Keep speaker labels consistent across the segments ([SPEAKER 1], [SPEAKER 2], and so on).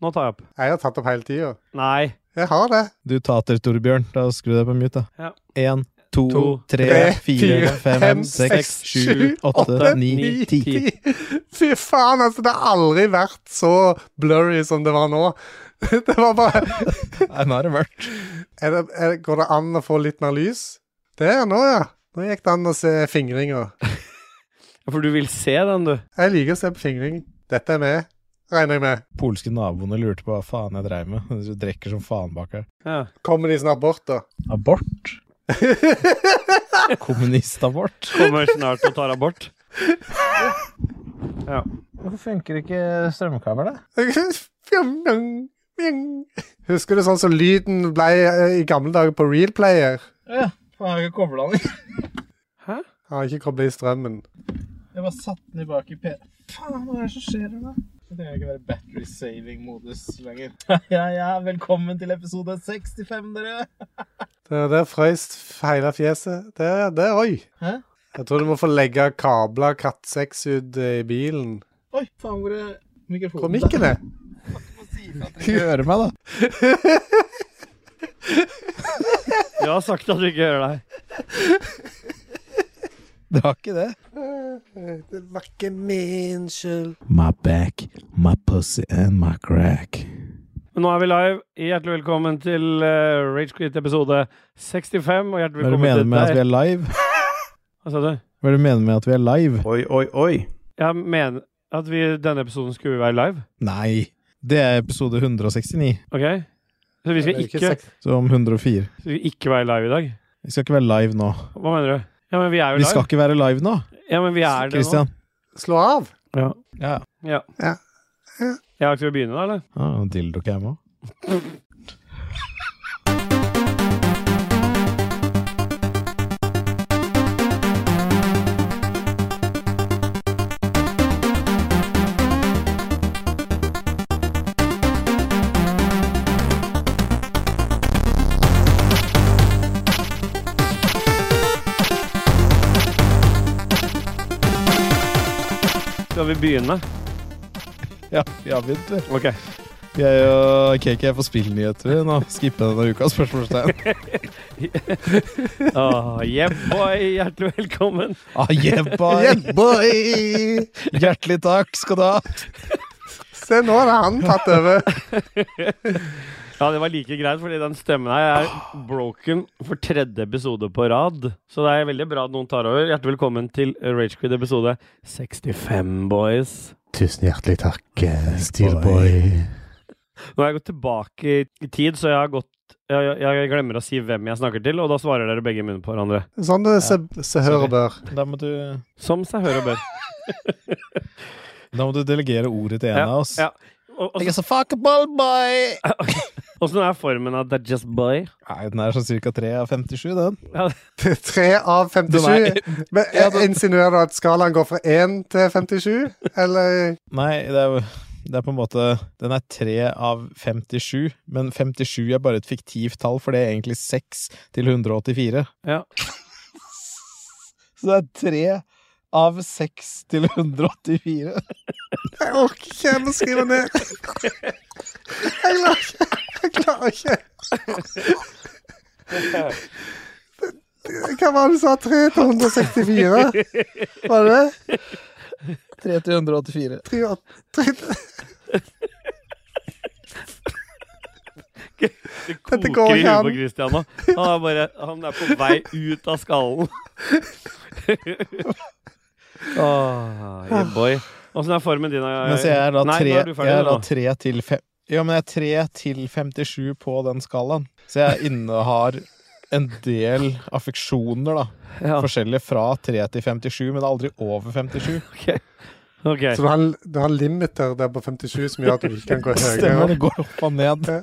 [SPEAKER 1] Nå tar jeg opp.
[SPEAKER 2] Jeg har tatt opp hele tida.
[SPEAKER 1] Nei.
[SPEAKER 2] Jeg har det.
[SPEAKER 3] Du tater, Torbjørn. Da skrur du deg på mute, da.
[SPEAKER 1] Ja.
[SPEAKER 3] Én, to,
[SPEAKER 1] To,
[SPEAKER 3] tre,
[SPEAKER 2] tre,
[SPEAKER 3] fire,
[SPEAKER 2] fire,
[SPEAKER 3] fem,
[SPEAKER 2] fem,
[SPEAKER 3] seks,
[SPEAKER 2] seks,
[SPEAKER 3] sju,
[SPEAKER 2] sju,
[SPEAKER 3] åtte,
[SPEAKER 1] åtte,
[SPEAKER 3] ni,
[SPEAKER 1] ni,
[SPEAKER 3] ti.
[SPEAKER 1] ti.
[SPEAKER 2] Fy faen, altså. Det har aldri vært så blurry som det var nå. Det var bare
[SPEAKER 3] Nei, nå er det mørkt.
[SPEAKER 2] er det, er, det- Går det an å få litt mer lys? Der, nå, ja. Nå gikk det an å se fingringa.
[SPEAKER 1] For du vil se den, du.
[SPEAKER 2] Jeg liker å se på fingring. Dette er med, regner jeg med.
[SPEAKER 3] Polske naboene lurte på hva faen jeg dreiv med. Du drikker som faen bak her.
[SPEAKER 1] Ja.
[SPEAKER 2] Kommer de snart bort, da?
[SPEAKER 3] Abort? Kommunistabort?
[SPEAKER 1] Kommer snart og tar abort. Ja.
[SPEAKER 3] Hvorfor funker ikke strømkabelen?
[SPEAKER 2] Fjong, fjong, fjong. Husker du sånn som lyden ble eh, i gamle dager på Real Player?
[SPEAKER 3] Ja, faen, jeg har ikke kobla den i.
[SPEAKER 1] Hæ?
[SPEAKER 2] Jeg har ikke koblet i strømmen.
[SPEAKER 3] Jeg bare satte den i bak i P... Faen, hva er det som skjer her nå? Det trenger ikke være battery saving-modus lenger. Ja, ja, velkommen til episode 65, dere!
[SPEAKER 2] Der, der frøys hele fjeset. Der, der, oi.
[SPEAKER 3] Hæ?
[SPEAKER 2] Jeg tror du må få legge kabla kattsex ut eh, i bilen.
[SPEAKER 3] Oi, faen, hvor er mikrofonen?
[SPEAKER 2] Hvor mikken er?
[SPEAKER 3] Ikke høre meg, da.
[SPEAKER 1] Du har sagt at du ikke hører deg.
[SPEAKER 3] Det var ikke det.
[SPEAKER 2] Det var ikke min skyld.
[SPEAKER 3] My back, my pussy and my crack.
[SPEAKER 1] Men nå er vi live. Hjertelig velkommen til eh, Rage Ragequit episode 65. Og hjertelig
[SPEAKER 3] Hva er det du
[SPEAKER 1] velkommen
[SPEAKER 3] mener
[SPEAKER 1] til
[SPEAKER 3] med at
[SPEAKER 1] deg.
[SPEAKER 3] vi er live?
[SPEAKER 1] Hva sa du?
[SPEAKER 3] Hva er det du mener med at vi er live?
[SPEAKER 4] Oi, oi, oi.
[SPEAKER 1] Jeg mener at vi i denne episoden skulle være live.
[SPEAKER 3] Nei, det er episode 169,
[SPEAKER 1] Ok? Så vi skal ikke,
[SPEAKER 3] så om 104.
[SPEAKER 1] så vi skal ikke være live i dag.
[SPEAKER 3] Vi skal ikke være live nå.
[SPEAKER 1] Hva mener du? Ja, men vi er jo
[SPEAKER 3] Vi skal
[SPEAKER 1] live.
[SPEAKER 3] ikke være live nå,
[SPEAKER 1] Ja, men vi er det nå.
[SPEAKER 3] Christian.
[SPEAKER 2] Slå av.
[SPEAKER 1] Ja.
[SPEAKER 3] Ja.
[SPEAKER 1] Ja.
[SPEAKER 2] Ja. Ja.
[SPEAKER 1] Ja, skal vi begynne da, eller?
[SPEAKER 3] Ah, Dildo-cam òg.
[SPEAKER 1] Skal vi begynne?
[SPEAKER 3] Ja, vi har begynt, vi.
[SPEAKER 1] Ok.
[SPEAKER 3] Vi er jo KK er på spillnyheter vi, nå. Skippe denne uka, spørsmålstegn.
[SPEAKER 1] Åh, yeah boy, hjertelig velkommen.
[SPEAKER 3] Ah, yeah, boy.
[SPEAKER 2] Yeah, boy!
[SPEAKER 3] Hjertelig takk skal du ha.
[SPEAKER 2] Se, nå har han tatt over.
[SPEAKER 1] Ja, det var like greit, fordi den stemmen her er broken for tredje episode på rad. Så det er veldig bra at noen tar over. Hjertelig velkommen til Ragequid episode 65, boys.
[SPEAKER 2] Tusen hjertelig takk, eh,
[SPEAKER 3] Steelboy.
[SPEAKER 1] Nå har jeg gått tilbake i- i tid, så jeg har gått jeg, jeg glemmer å si hvem jeg snakker til, og da svarer dere begge i munnen på hverandre.
[SPEAKER 2] Sånn du se, se hører bør.
[SPEAKER 3] Da må du,
[SPEAKER 1] Som seg hør og bør.
[SPEAKER 3] da må du delegere ordet til en
[SPEAKER 1] Ja,
[SPEAKER 3] av oss.
[SPEAKER 1] ja. Og- og-
[SPEAKER 3] Jeg er så fuckable, boy!
[SPEAKER 1] Åssen er formen av That's Just Boy?
[SPEAKER 3] Nei, den er sånn cirka 3 av 57, den.
[SPEAKER 2] Tre av 57. Men eh,
[SPEAKER 3] Ja, da-
[SPEAKER 2] Insinuerer du at skalaen går fra 1 til 57? Eller
[SPEAKER 3] Nei, det er, det er på en måte Den er 3 av 57, men 57 er bare et fiktivt tall, for det er egentlig 6 til 184.
[SPEAKER 1] Ja.
[SPEAKER 3] Så det er 3 av 6 til 184.
[SPEAKER 2] Jeg orker ikke jeg må skrive ned. Jeg klarer ikke. Jeg klarer ikke. Hva var det du sa? 3 til 164? Var det det?
[SPEAKER 3] 3 til 184.
[SPEAKER 2] Tre og- tre-
[SPEAKER 1] Det koker
[SPEAKER 2] Dette går
[SPEAKER 1] i
[SPEAKER 2] ikke
[SPEAKER 1] huet
[SPEAKER 2] an.
[SPEAKER 1] på Christian nå. Han er, bare, han er på vei ut av skallen. Åh, yeah boy. Åssen er formen din? eh,
[SPEAKER 3] Mens jeg er da
[SPEAKER 1] Nei, nå
[SPEAKER 3] 3,
[SPEAKER 1] er du ferdig
[SPEAKER 3] jeg er da
[SPEAKER 1] nå.
[SPEAKER 3] 3 til 5 Ja, men jeg er 3 til 57 på den skalaen. Så jeg innehar en del affeksjoner, da.
[SPEAKER 1] Ja,
[SPEAKER 3] Forskjellige fra 3 til 57, men aldri over 57.
[SPEAKER 1] ok. Ok.
[SPEAKER 2] Så du har, du har en limiter der på 57 som gjør at du ikke kan gå høyere?
[SPEAKER 3] Stemmer, det går opp og ned.
[SPEAKER 2] Ja.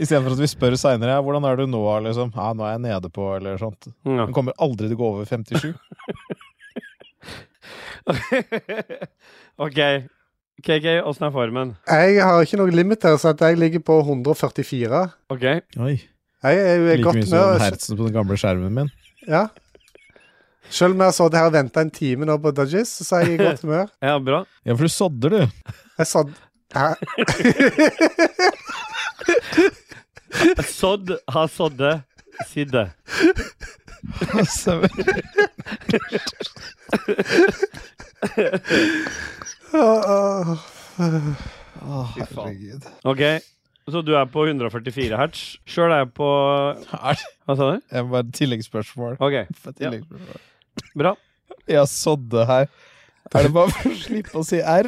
[SPEAKER 3] Istedenfor at vi spør seinere ja, 'hvordan er du nå', liksom. Ja, 'nå er jeg nede på', eller sånt.
[SPEAKER 1] Ja.
[SPEAKER 3] Den kommer aldri til å gå over 57.
[SPEAKER 1] ok. KK, åssen er formen?
[SPEAKER 2] Jeg har ikke noen limiter, så at jeg ligger på 144.
[SPEAKER 1] Ok.
[SPEAKER 3] Oi.
[SPEAKER 2] Jeg er jo i
[SPEAKER 3] Like
[SPEAKER 2] godt altså.
[SPEAKER 3] mye som
[SPEAKER 2] humør.
[SPEAKER 3] hertsen på den gamle skjermen min.
[SPEAKER 2] Ja. Selv om jeg har sittet her og venta en time nå på Dudgies, så er jeg i godt humør.
[SPEAKER 1] Ja, bra.
[SPEAKER 3] Ja, for du sodder, du.
[SPEAKER 2] Jeg sådd Hæ?
[SPEAKER 1] Sådd har sådde sidde.
[SPEAKER 2] Åh, åh.
[SPEAKER 5] Fy faen.
[SPEAKER 2] Herregud.
[SPEAKER 1] Ok, så du er på 144 hertz. Sjøl er jeg på
[SPEAKER 3] Er det-
[SPEAKER 1] Hva sa du?
[SPEAKER 3] Jeg må bare tilleggsspørsmål.
[SPEAKER 1] Ok,
[SPEAKER 3] For tilleggsspørsmål.
[SPEAKER 1] bra.
[SPEAKER 3] Jeg har sådd det her. Er det bare for å slippe å si R?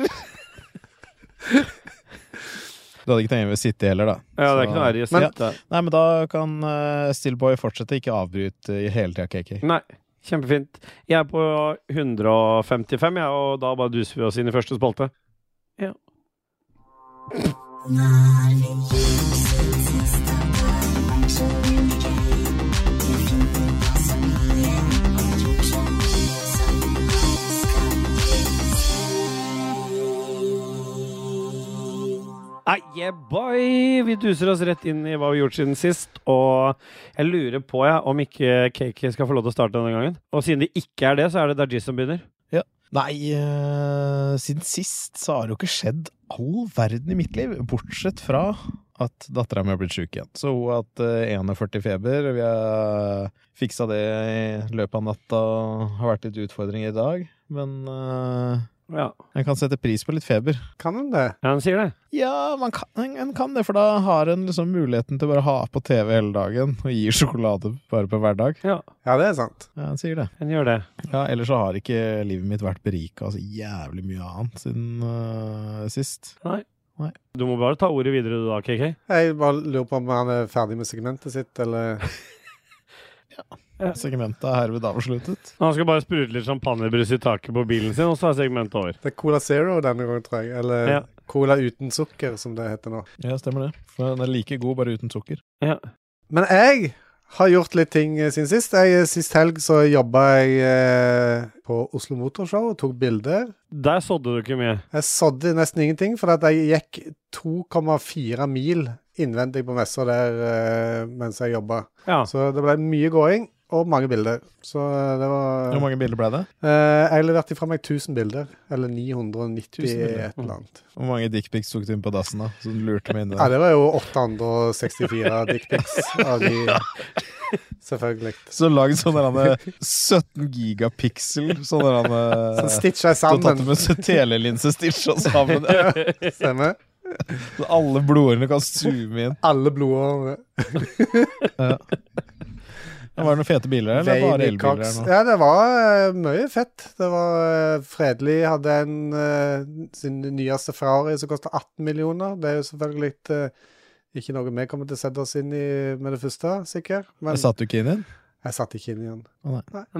[SPEAKER 3] Du hadde ikke tenkt meg å sitte heller, da.
[SPEAKER 1] Ja, det er
[SPEAKER 3] Så-
[SPEAKER 1] ikke noe ære i å
[SPEAKER 3] Men-
[SPEAKER 1] sitte.
[SPEAKER 3] Nei, men da kan eh, Stillboy fortsette, ikke avbryte i hele tida, KK.
[SPEAKER 1] Nei. Kjempefint. Jeg er på 155, jeg, og da bare duser vi oss inn i første spalte. Ja. Nei, yeah boy! Vi duser oss rett inn i hva vi har gjort siden sist. Og jeg lurer på ja, om ikke Kake skal få lov til å starte denne gangen. Og siden det ikke er det, så er det Dajis som begynner.
[SPEAKER 3] Nei, eh, siden sist så har det jo ikke skjedd all verden i mitt liv, bortsett fra at dattera mi har blitt sjuk igjen. Så hun har hatt eh, 41 feber. Vi har fiksa det i løpet av natta. Har vært litt utfordringer i dag. Men eh,
[SPEAKER 1] Ja,
[SPEAKER 3] en kan sette pris på litt feber.
[SPEAKER 2] Kan hun det?
[SPEAKER 1] ja han sier det.
[SPEAKER 3] Ja, man kan, en, en kan det, for da har en liksom muligheten til bare å ha på TV hele dagen og gi sjokolade bare på hverdag.
[SPEAKER 1] Ja,
[SPEAKER 2] Ja, det er sant.
[SPEAKER 3] Ja, en sier det.
[SPEAKER 1] han gjør det.
[SPEAKER 3] Ja, ellers så har ikke livet mitt vært berika så jævlig mye annet siden øh, sist.
[SPEAKER 1] Du må bare ta ordet videre du da, KK.
[SPEAKER 2] Jeg bare lurer på om han er ferdig med segmentet sitt, eller
[SPEAKER 3] Segmentet er herved avsluttet.
[SPEAKER 1] Han skal bare sprute litt champagnebrus i taket på bilen sin, og så er segmentet over.
[SPEAKER 2] Det er Cola Zero denne gangen, tror jeg. Eller
[SPEAKER 1] Ja.
[SPEAKER 2] Cola uten sukker, som det heter nå.
[SPEAKER 3] Ja, stemmer det. For den er like god, bare uten sukker.
[SPEAKER 1] Ja.
[SPEAKER 2] Men jeg har gjort litt ting eh, siden sist. Jeg, eh, sist helg så jobba jeg eh, på Oslo Motorshow og tok bilder.
[SPEAKER 1] Der sådde du ikke mye.
[SPEAKER 2] Jeg sådde nesten ingenting, for at jeg gikk 2,4 mil innvendig på messa der eh, mens jeg jobba.
[SPEAKER 1] Ja.
[SPEAKER 2] Så det ble mye gåing og mange bilder. Så eh, det var
[SPEAKER 3] Hvor mange bilder ble det?
[SPEAKER 2] eh, Jeg leverte ifra meg 1000 bilder. Eller 990
[SPEAKER 3] 1000 bilder. Mm.
[SPEAKER 2] et eller annet.
[SPEAKER 3] Hvor mange dickpics tok du inn på dassen, da? Så du lurte meg inn i
[SPEAKER 2] Ja,
[SPEAKER 3] det.
[SPEAKER 2] det var jo 864 dickpics av de Selvfølgelig.
[SPEAKER 3] Så lag sånn der han, eh, 17 gigapixel, sånn der han, eh,
[SPEAKER 2] Sånn stitcha jeg
[SPEAKER 3] du har tatt
[SPEAKER 2] sammen.
[SPEAKER 3] med så telelinse stitcha sammen.
[SPEAKER 2] Stemmer.
[SPEAKER 3] Så alle blodårene kan zoome inn.
[SPEAKER 2] Alle eh, blodårene.
[SPEAKER 3] Ja, Var det noen fete biler, eller bare
[SPEAKER 2] Veiny
[SPEAKER 3] elbiler?
[SPEAKER 2] Cox.
[SPEAKER 3] her nå?
[SPEAKER 2] Ja, det var eh, mye fett. Det var eh, Fredelig hadde en eh, sin nyeste Ferrari som kosta 18 millioner. Det er jo selvfølgelig eh, ikke noe vi kommer til å sette oss inn i med det første, sikkert. Men
[SPEAKER 3] Satt du ikke inn i den?
[SPEAKER 2] jeg satt ikke inn i den.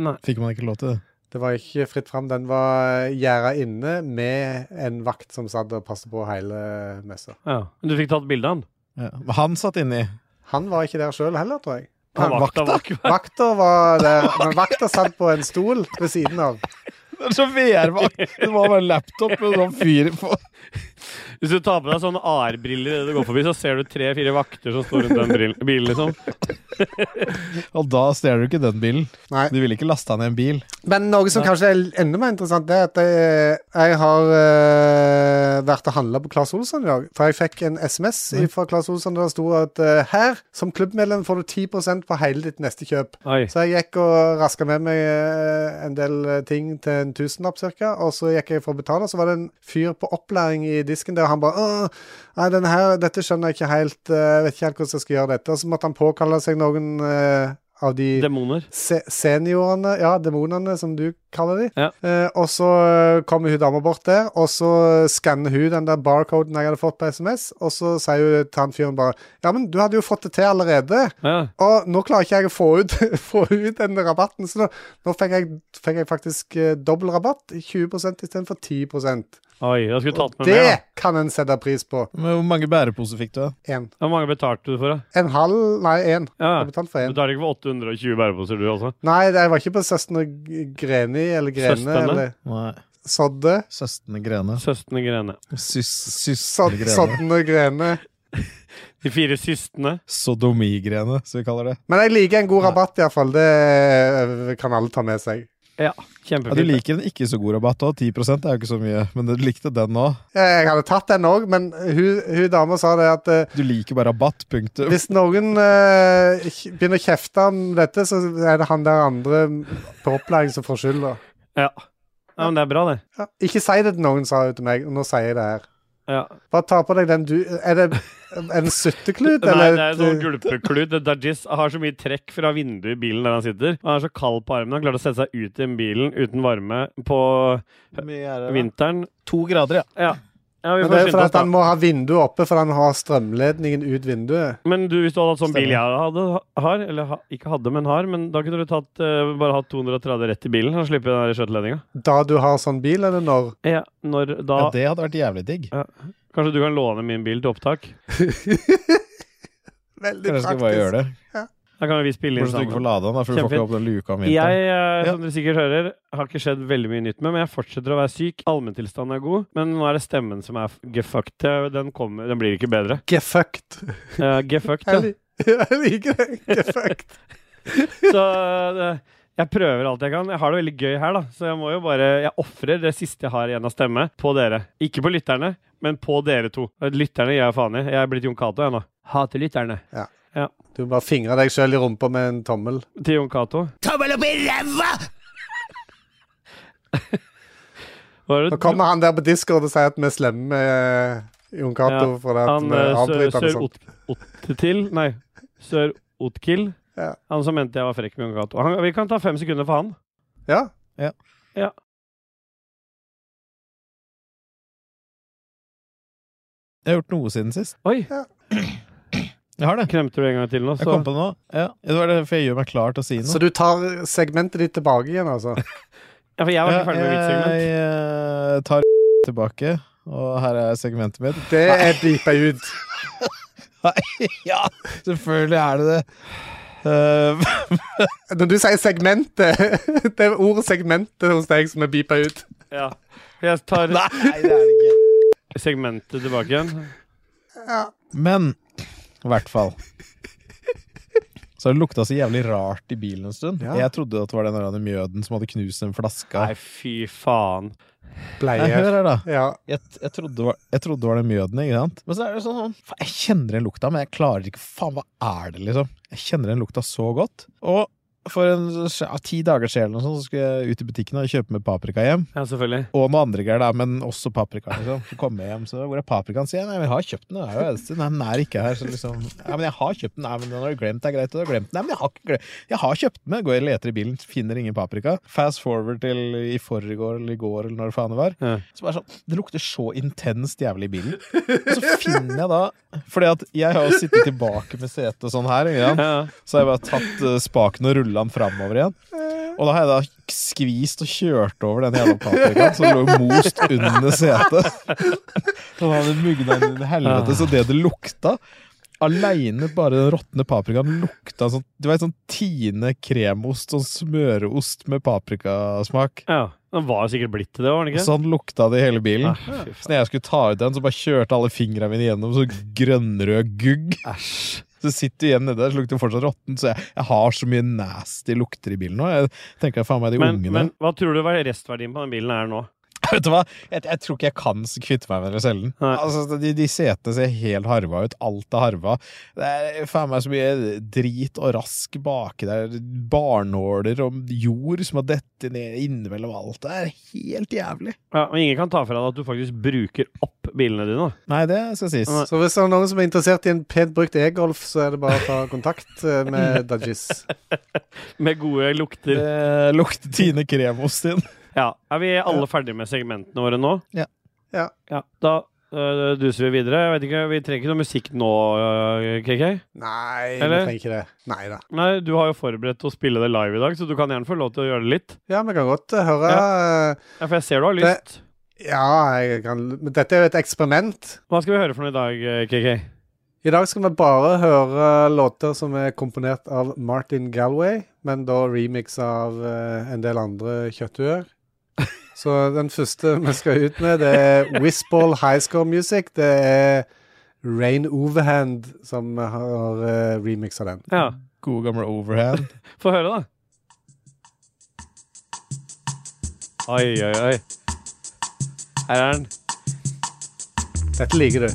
[SPEAKER 1] Nei.
[SPEAKER 3] Fikk man ikke lov til det?
[SPEAKER 2] Det var ikke fritt fram. Den var gjerda inne med en vakt som satt og passet på hele messa.
[SPEAKER 1] Ja. Men du fikk tatt bilde av han?
[SPEAKER 3] Ja. Men Han satt inni.
[SPEAKER 2] Han var ikke der sjøl heller, tror jeg.
[SPEAKER 1] Han vakta var
[SPEAKER 2] Vakta var der, men vakta satt på en stol ved siden av.
[SPEAKER 3] Det er så VR-vakt. Det var bare en laptop med sånn fyr på.
[SPEAKER 1] Hvis du tar på deg sånne AR-briller idet du går forbi, så ser du tre-fire vakter som står rundt den brill- bilen, liksom.
[SPEAKER 3] Og da stjeler du ikke den bilen.
[SPEAKER 2] Nei.
[SPEAKER 3] Du ville ikke lasta ned en bil.
[SPEAKER 2] Men noe som kanskje er enda mer interessant, det er at jeg, jeg har eh, vært og handla på Claes Olsson i dag. For jeg fikk en SMS fra Claes Olsson der det sto at eh, her, som klubbmedlem, får du 10 på hele ditt neste kjøp.
[SPEAKER 1] Oi.
[SPEAKER 2] Så jeg gikk og raska med meg eh, en del eh, ting til en tusenlapp ca. Og så gikk jeg for å betale, og så var det en fyr på opplæring i disken der, og han bare «Åh, Nei, denne her, dette skjønner jeg ikke helt. eh, Jeg vet ikke helt hvordan jeg skal gjøre dette. Og så måtte han påkalle seg noen eh, av de
[SPEAKER 1] Demoner.
[SPEAKER 2] se seniorene, ja, demonene, som du kaller de.
[SPEAKER 1] Ja.
[SPEAKER 2] Eh, og så eh, kommer hun dama bort der, og så skanner hun den der barcoden jeg hadde fått på SMS, og så sier hun til han fyren bare Ja, men du hadde jo fått det til allerede.
[SPEAKER 1] Ja.
[SPEAKER 2] Og nå klarer ikke jeg å få ut, få ut den rabatten, så nå, nå fikk, jeg, fikk jeg faktisk eh, dobbel rabatt. 20 istedenfor 10
[SPEAKER 1] Oi, da skulle du tatt med
[SPEAKER 2] Det
[SPEAKER 1] mer, da.
[SPEAKER 2] kan en sette pris på.
[SPEAKER 3] Men hvor mange bæreposer fikk du? da?
[SPEAKER 2] En.
[SPEAKER 1] Hvor mange betalte du for, da?
[SPEAKER 2] En halv, nei, én.
[SPEAKER 1] Ja.
[SPEAKER 2] Jeg betalte for
[SPEAKER 1] Du
[SPEAKER 2] én.
[SPEAKER 1] tar ikke for 820 bæreposer, du, altså?
[SPEAKER 2] Nei, det- jeg var ikke på Søstrene G- Greni eller Grene
[SPEAKER 1] Søstrene?
[SPEAKER 2] eller
[SPEAKER 3] Nei.
[SPEAKER 2] Sodde.
[SPEAKER 3] Søstene Grene.
[SPEAKER 1] Søstene Grene.
[SPEAKER 3] Søstene
[SPEAKER 2] Sod-
[SPEAKER 3] Grene.
[SPEAKER 2] Sodden og Grene.
[SPEAKER 1] De fire systene.
[SPEAKER 3] Sodomigrene, som vi kaller det.
[SPEAKER 2] Men jeg liker en god rabatt, iallfall. Det eh, kan alle ta med seg.
[SPEAKER 3] Ja, du
[SPEAKER 1] Kjempefint.
[SPEAKER 3] liker en ikke så god rabatt òg. 10 er jo ikke så mye, men du likte den òg.
[SPEAKER 2] Jeg hadde tatt den òg, men hun, hun dama sa det at eh,
[SPEAKER 3] Du liker bare rabatt, punktum.
[SPEAKER 2] hvis noen eh, kj- begynner å kjefte om dette, så er det han der andre på opplæring som får skylda.
[SPEAKER 1] Ja. ja, men det er bra, det.
[SPEAKER 2] Ja. Ikke si det til noen, sa hun til meg, og nå sier jeg det her.
[SPEAKER 1] Ja.
[SPEAKER 2] Bare ta på deg den du Er det en sutteklut,
[SPEAKER 1] Nei,
[SPEAKER 2] eller? eh,
[SPEAKER 1] det er sånn gulpekludd. Dajis har så mye trekk fra vinduet i bilen der han sitter. Han er så kald på armen. Han klarte å sette seg ut i den bilen uten varme på
[SPEAKER 5] Mye er det, da.
[SPEAKER 1] vinteren.
[SPEAKER 3] To grader, ja.
[SPEAKER 1] Ja, ja vi
[SPEAKER 2] Men det
[SPEAKER 1] får
[SPEAKER 2] er fordi
[SPEAKER 1] skynde oss,
[SPEAKER 2] at han
[SPEAKER 1] da.
[SPEAKER 2] må ha vinduet oppe, for han har strømledningen ut vinduet.
[SPEAKER 1] Men du, hvis du hadde hatt sånn bil
[SPEAKER 3] Stemmer.
[SPEAKER 1] jeg hadde, har, eller ha, ikke hadde, men har, men da kunne du tatt, eh, bare hatt 230 rett i bilen og slippe den der skjøteledninga.
[SPEAKER 2] Da du har sånn bil, eller når?
[SPEAKER 1] Ja, når da
[SPEAKER 3] ja. Det hadde vært jævlig digg.
[SPEAKER 1] Kanskje du kan låne min bil til opptak?
[SPEAKER 2] Veldig
[SPEAKER 3] Kanskje jeg skal bare gjøre det.
[SPEAKER 1] Da kan vi spille inn
[SPEAKER 3] Bortsett fra du ikke får
[SPEAKER 1] sammen.
[SPEAKER 3] lade den, da, for du får ikke
[SPEAKER 1] Kjempefint.
[SPEAKER 3] opp den luka om
[SPEAKER 1] Jeg,
[SPEAKER 3] vinteren.
[SPEAKER 1] eh,
[SPEAKER 3] Ja.
[SPEAKER 1] som dere sikkert hører, har ikke skjedd veldig mye nytt med, men jeg fortsetter å være syk. Allmenntilstanden er god, men nå er det stemmen som er f- gefucked. Den, kommer, den blir ikke bedre.
[SPEAKER 2] Gefucked.
[SPEAKER 1] Uh, gefucked, ja.
[SPEAKER 2] Jeg lik- jeg liker det. Gefucked.
[SPEAKER 1] Så eh, jeg prøver alt jeg kan. Jeg har det veldig gøy her, da. Så jeg må jo bare Jeg ofrer det siste jeg har igjen av stemme, på dere. Ikke på lytterne, men på dere to. Lytterne gir jeg faen i. Jeg er blitt Jon Cato, jeg nå. Hater lytterne.
[SPEAKER 2] Du bare fingrer deg sjøl i rumpa med en tommel.
[SPEAKER 1] Til Jon Cato.
[SPEAKER 6] Tommel opp i ræva!
[SPEAKER 1] Hva er
[SPEAKER 2] Nå
[SPEAKER 1] det du-
[SPEAKER 2] kommer han der på Discord og sier at vi er slemme med Jon Cato
[SPEAKER 1] Ja,
[SPEAKER 2] for det at
[SPEAKER 1] Han
[SPEAKER 2] vi
[SPEAKER 1] eh, Sør-
[SPEAKER 2] avbryter liksom. han og sånt.
[SPEAKER 1] Sør-Ottetil Nei, Sør-Otkill.
[SPEAKER 2] Ja.
[SPEAKER 1] Han som mente jeg var frekk med Jon Cato. Han- Vi kan ta fem sekunder for han.
[SPEAKER 2] Ja.
[SPEAKER 3] Jeg har gjort noe siden sist.
[SPEAKER 1] Oi!
[SPEAKER 3] Jeg har det.
[SPEAKER 1] Kremter du en gang til nå,
[SPEAKER 3] Jeg kom
[SPEAKER 1] så
[SPEAKER 3] på det nå. Ja, det var derfor jeg gjør meg klar til å si noe.
[SPEAKER 2] Så du tar segmentet ditt tilbake igjen, altså?
[SPEAKER 1] Ja, for jeg var ikke ferdig med mitt
[SPEAKER 3] jeg,
[SPEAKER 1] segment.
[SPEAKER 3] eh, tar tilbake, og her er segmentet mitt.
[SPEAKER 2] Det er beepa ut.
[SPEAKER 3] Ja, selvfølgelig er det det. Eh,
[SPEAKER 2] Når du sier segmentet, det er ordet segmentet hos deg som er beepa ut.
[SPEAKER 1] Ja. Jeg tar
[SPEAKER 3] nei, det er det ikke.
[SPEAKER 1] segmentet tilbake igjen.
[SPEAKER 3] Men i hvert fall. Så det lukta så jævlig rart i bilen en stund.
[SPEAKER 2] Ja.
[SPEAKER 3] Jeg trodde at det var den der mjøden som hadde knust den flaska.
[SPEAKER 1] Nei, fy faen.
[SPEAKER 3] Nei, hør
[SPEAKER 2] Bleier.
[SPEAKER 3] her, da.
[SPEAKER 2] Ja.
[SPEAKER 3] Jeg, jeg, trodde det var, jeg trodde det var den mjøden, ikke sant? Men så er det sånn sånn, faen, Jeg kjenner den lukta, men jeg klarer ikke Faen, hva er det, liksom? Jeg kjenner den lukta så godt. Og for en, ja, ti dager siden eller noe sånt, så skulle jeg ut i butikken og kjøpe med paprika hjem.
[SPEAKER 1] Ja, selvfølgelig.
[SPEAKER 3] Og noe andre greier, da, men også paprika. liksom. Så kommer jeg hjem, så hvor er paprikaen? Sier jeg, nei, men jeg har kjøpt den. det er jo eneste. Nei, den er ikke her. Så liksom, ja, men jeg har kjøpt den. Nei, men den har du glemt, det er greit. Du har glemt den. Nei, men jeg har ikke glemt Jeg har kjøpt den. Jeg går og leter i bilen, finner ingen paprika. Fast forward til i forgår eller i går eller når faen det var.
[SPEAKER 1] Ja.
[SPEAKER 3] Så bare sånn, Det lukter så intenst jævlig i bilen. Og så finner jeg da fordi at jeg har jo sittet tilbake med setet og sånn her. Ikke sant?
[SPEAKER 1] Ja, ja.
[SPEAKER 3] Så har jeg bare tatt eh, spaken og rulla den framover igjen. Og da har jeg da skvist og kjørt over den jævla paprikaen som lå most under setet. Så da hadde det mugna inn i helvete. Så det det lukta Aleine bare den råtne paprikaen lukta sånn Du vet sånn Tine kremost, sånn smøreost med paprikasmak.
[SPEAKER 1] ja. Den var jo sikkert blitt til det, var den ikke?
[SPEAKER 3] Sånn lukta det i hele bilen.
[SPEAKER 1] Ah, fy
[SPEAKER 3] Så
[SPEAKER 1] faen.
[SPEAKER 3] når jeg skulle ta ut den, så bare kjørte alle fingra mine gjennom så grønnrød gugg.
[SPEAKER 1] Æsj.
[SPEAKER 3] Så sitter du igjen nedi der, så lukter det fortsatt råttent. Så jeg, jeg har så mye nasty lukter i bilen nå. Jeg tenker faen meg de
[SPEAKER 1] Men,
[SPEAKER 3] ungene
[SPEAKER 1] men hva tror du var restverdien på den bilen her nå?
[SPEAKER 3] Vet du hva? Jeg, jeg tror ikke jeg kan s- kvitte meg med det selv.
[SPEAKER 1] Nei.
[SPEAKER 3] Altså, de, de setene ser helt harva ut. Alt er harva. Det er faen meg så mye drit og rask baki der. Barnåler og jord som har dettet ned innimellom alt. Det er helt jævlig.
[SPEAKER 1] Ja, men ingen kan ta fra deg at du faktisk bruker opp bilene dine.
[SPEAKER 3] Nei, det skal sies.
[SPEAKER 1] Nei.
[SPEAKER 2] Så hvis det er noen som er interessert i en pent brukt e-golf, så er det bare å ta kontakt eh, med Dajis.
[SPEAKER 1] da. Med gode lukter.
[SPEAKER 3] Det lukter Tine kremost inn.
[SPEAKER 1] Ja, Er vi alle ferdige med segmentene våre nå?
[SPEAKER 3] Ja.
[SPEAKER 2] Ja.
[SPEAKER 1] Ja, Da øh, duser vi videre. Jeg vet ikke, Vi trenger ikke noe musikk nå, øh, KK?
[SPEAKER 2] Nei, vi
[SPEAKER 1] Eller?
[SPEAKER 2] trenger ikke det. Nei da.
[SPEAKER 1] Nei, Du har jo forberedt å spille det live i dag, så du kan gjerne få lov til å gjøre det litt.
[SPEAKER 2] Ja, vi kan godt eh, høre eh,
[SPEAKER 1] Ja, For jeg ser du har
[SPEAKER 2] Det-
[SPEAKER 1] lyst.
[SPEAKER 2] Ja, jeg kan Men dette er jo et eksperiment.
[SPEAKER 1] Hva skal vi høre for noe i dag, øh, KK?
[SPEAKER 2] I dag skal vi bare høre låter som er komponert av Martin Galway, men da remix av eh, en del andre kjøttuer. Så den første vi skal ut med, det er Whispall High Score Music. Det er Rain Overhand som har uh, remixa den.
[SPEAKER 1] Ja,
[SPEAKER 3] God gammel overhand.
[SPEAKER 1] Få høre, da. Oi, oi, oi. Her er den.
[SPEAKER 2] Dette liker du.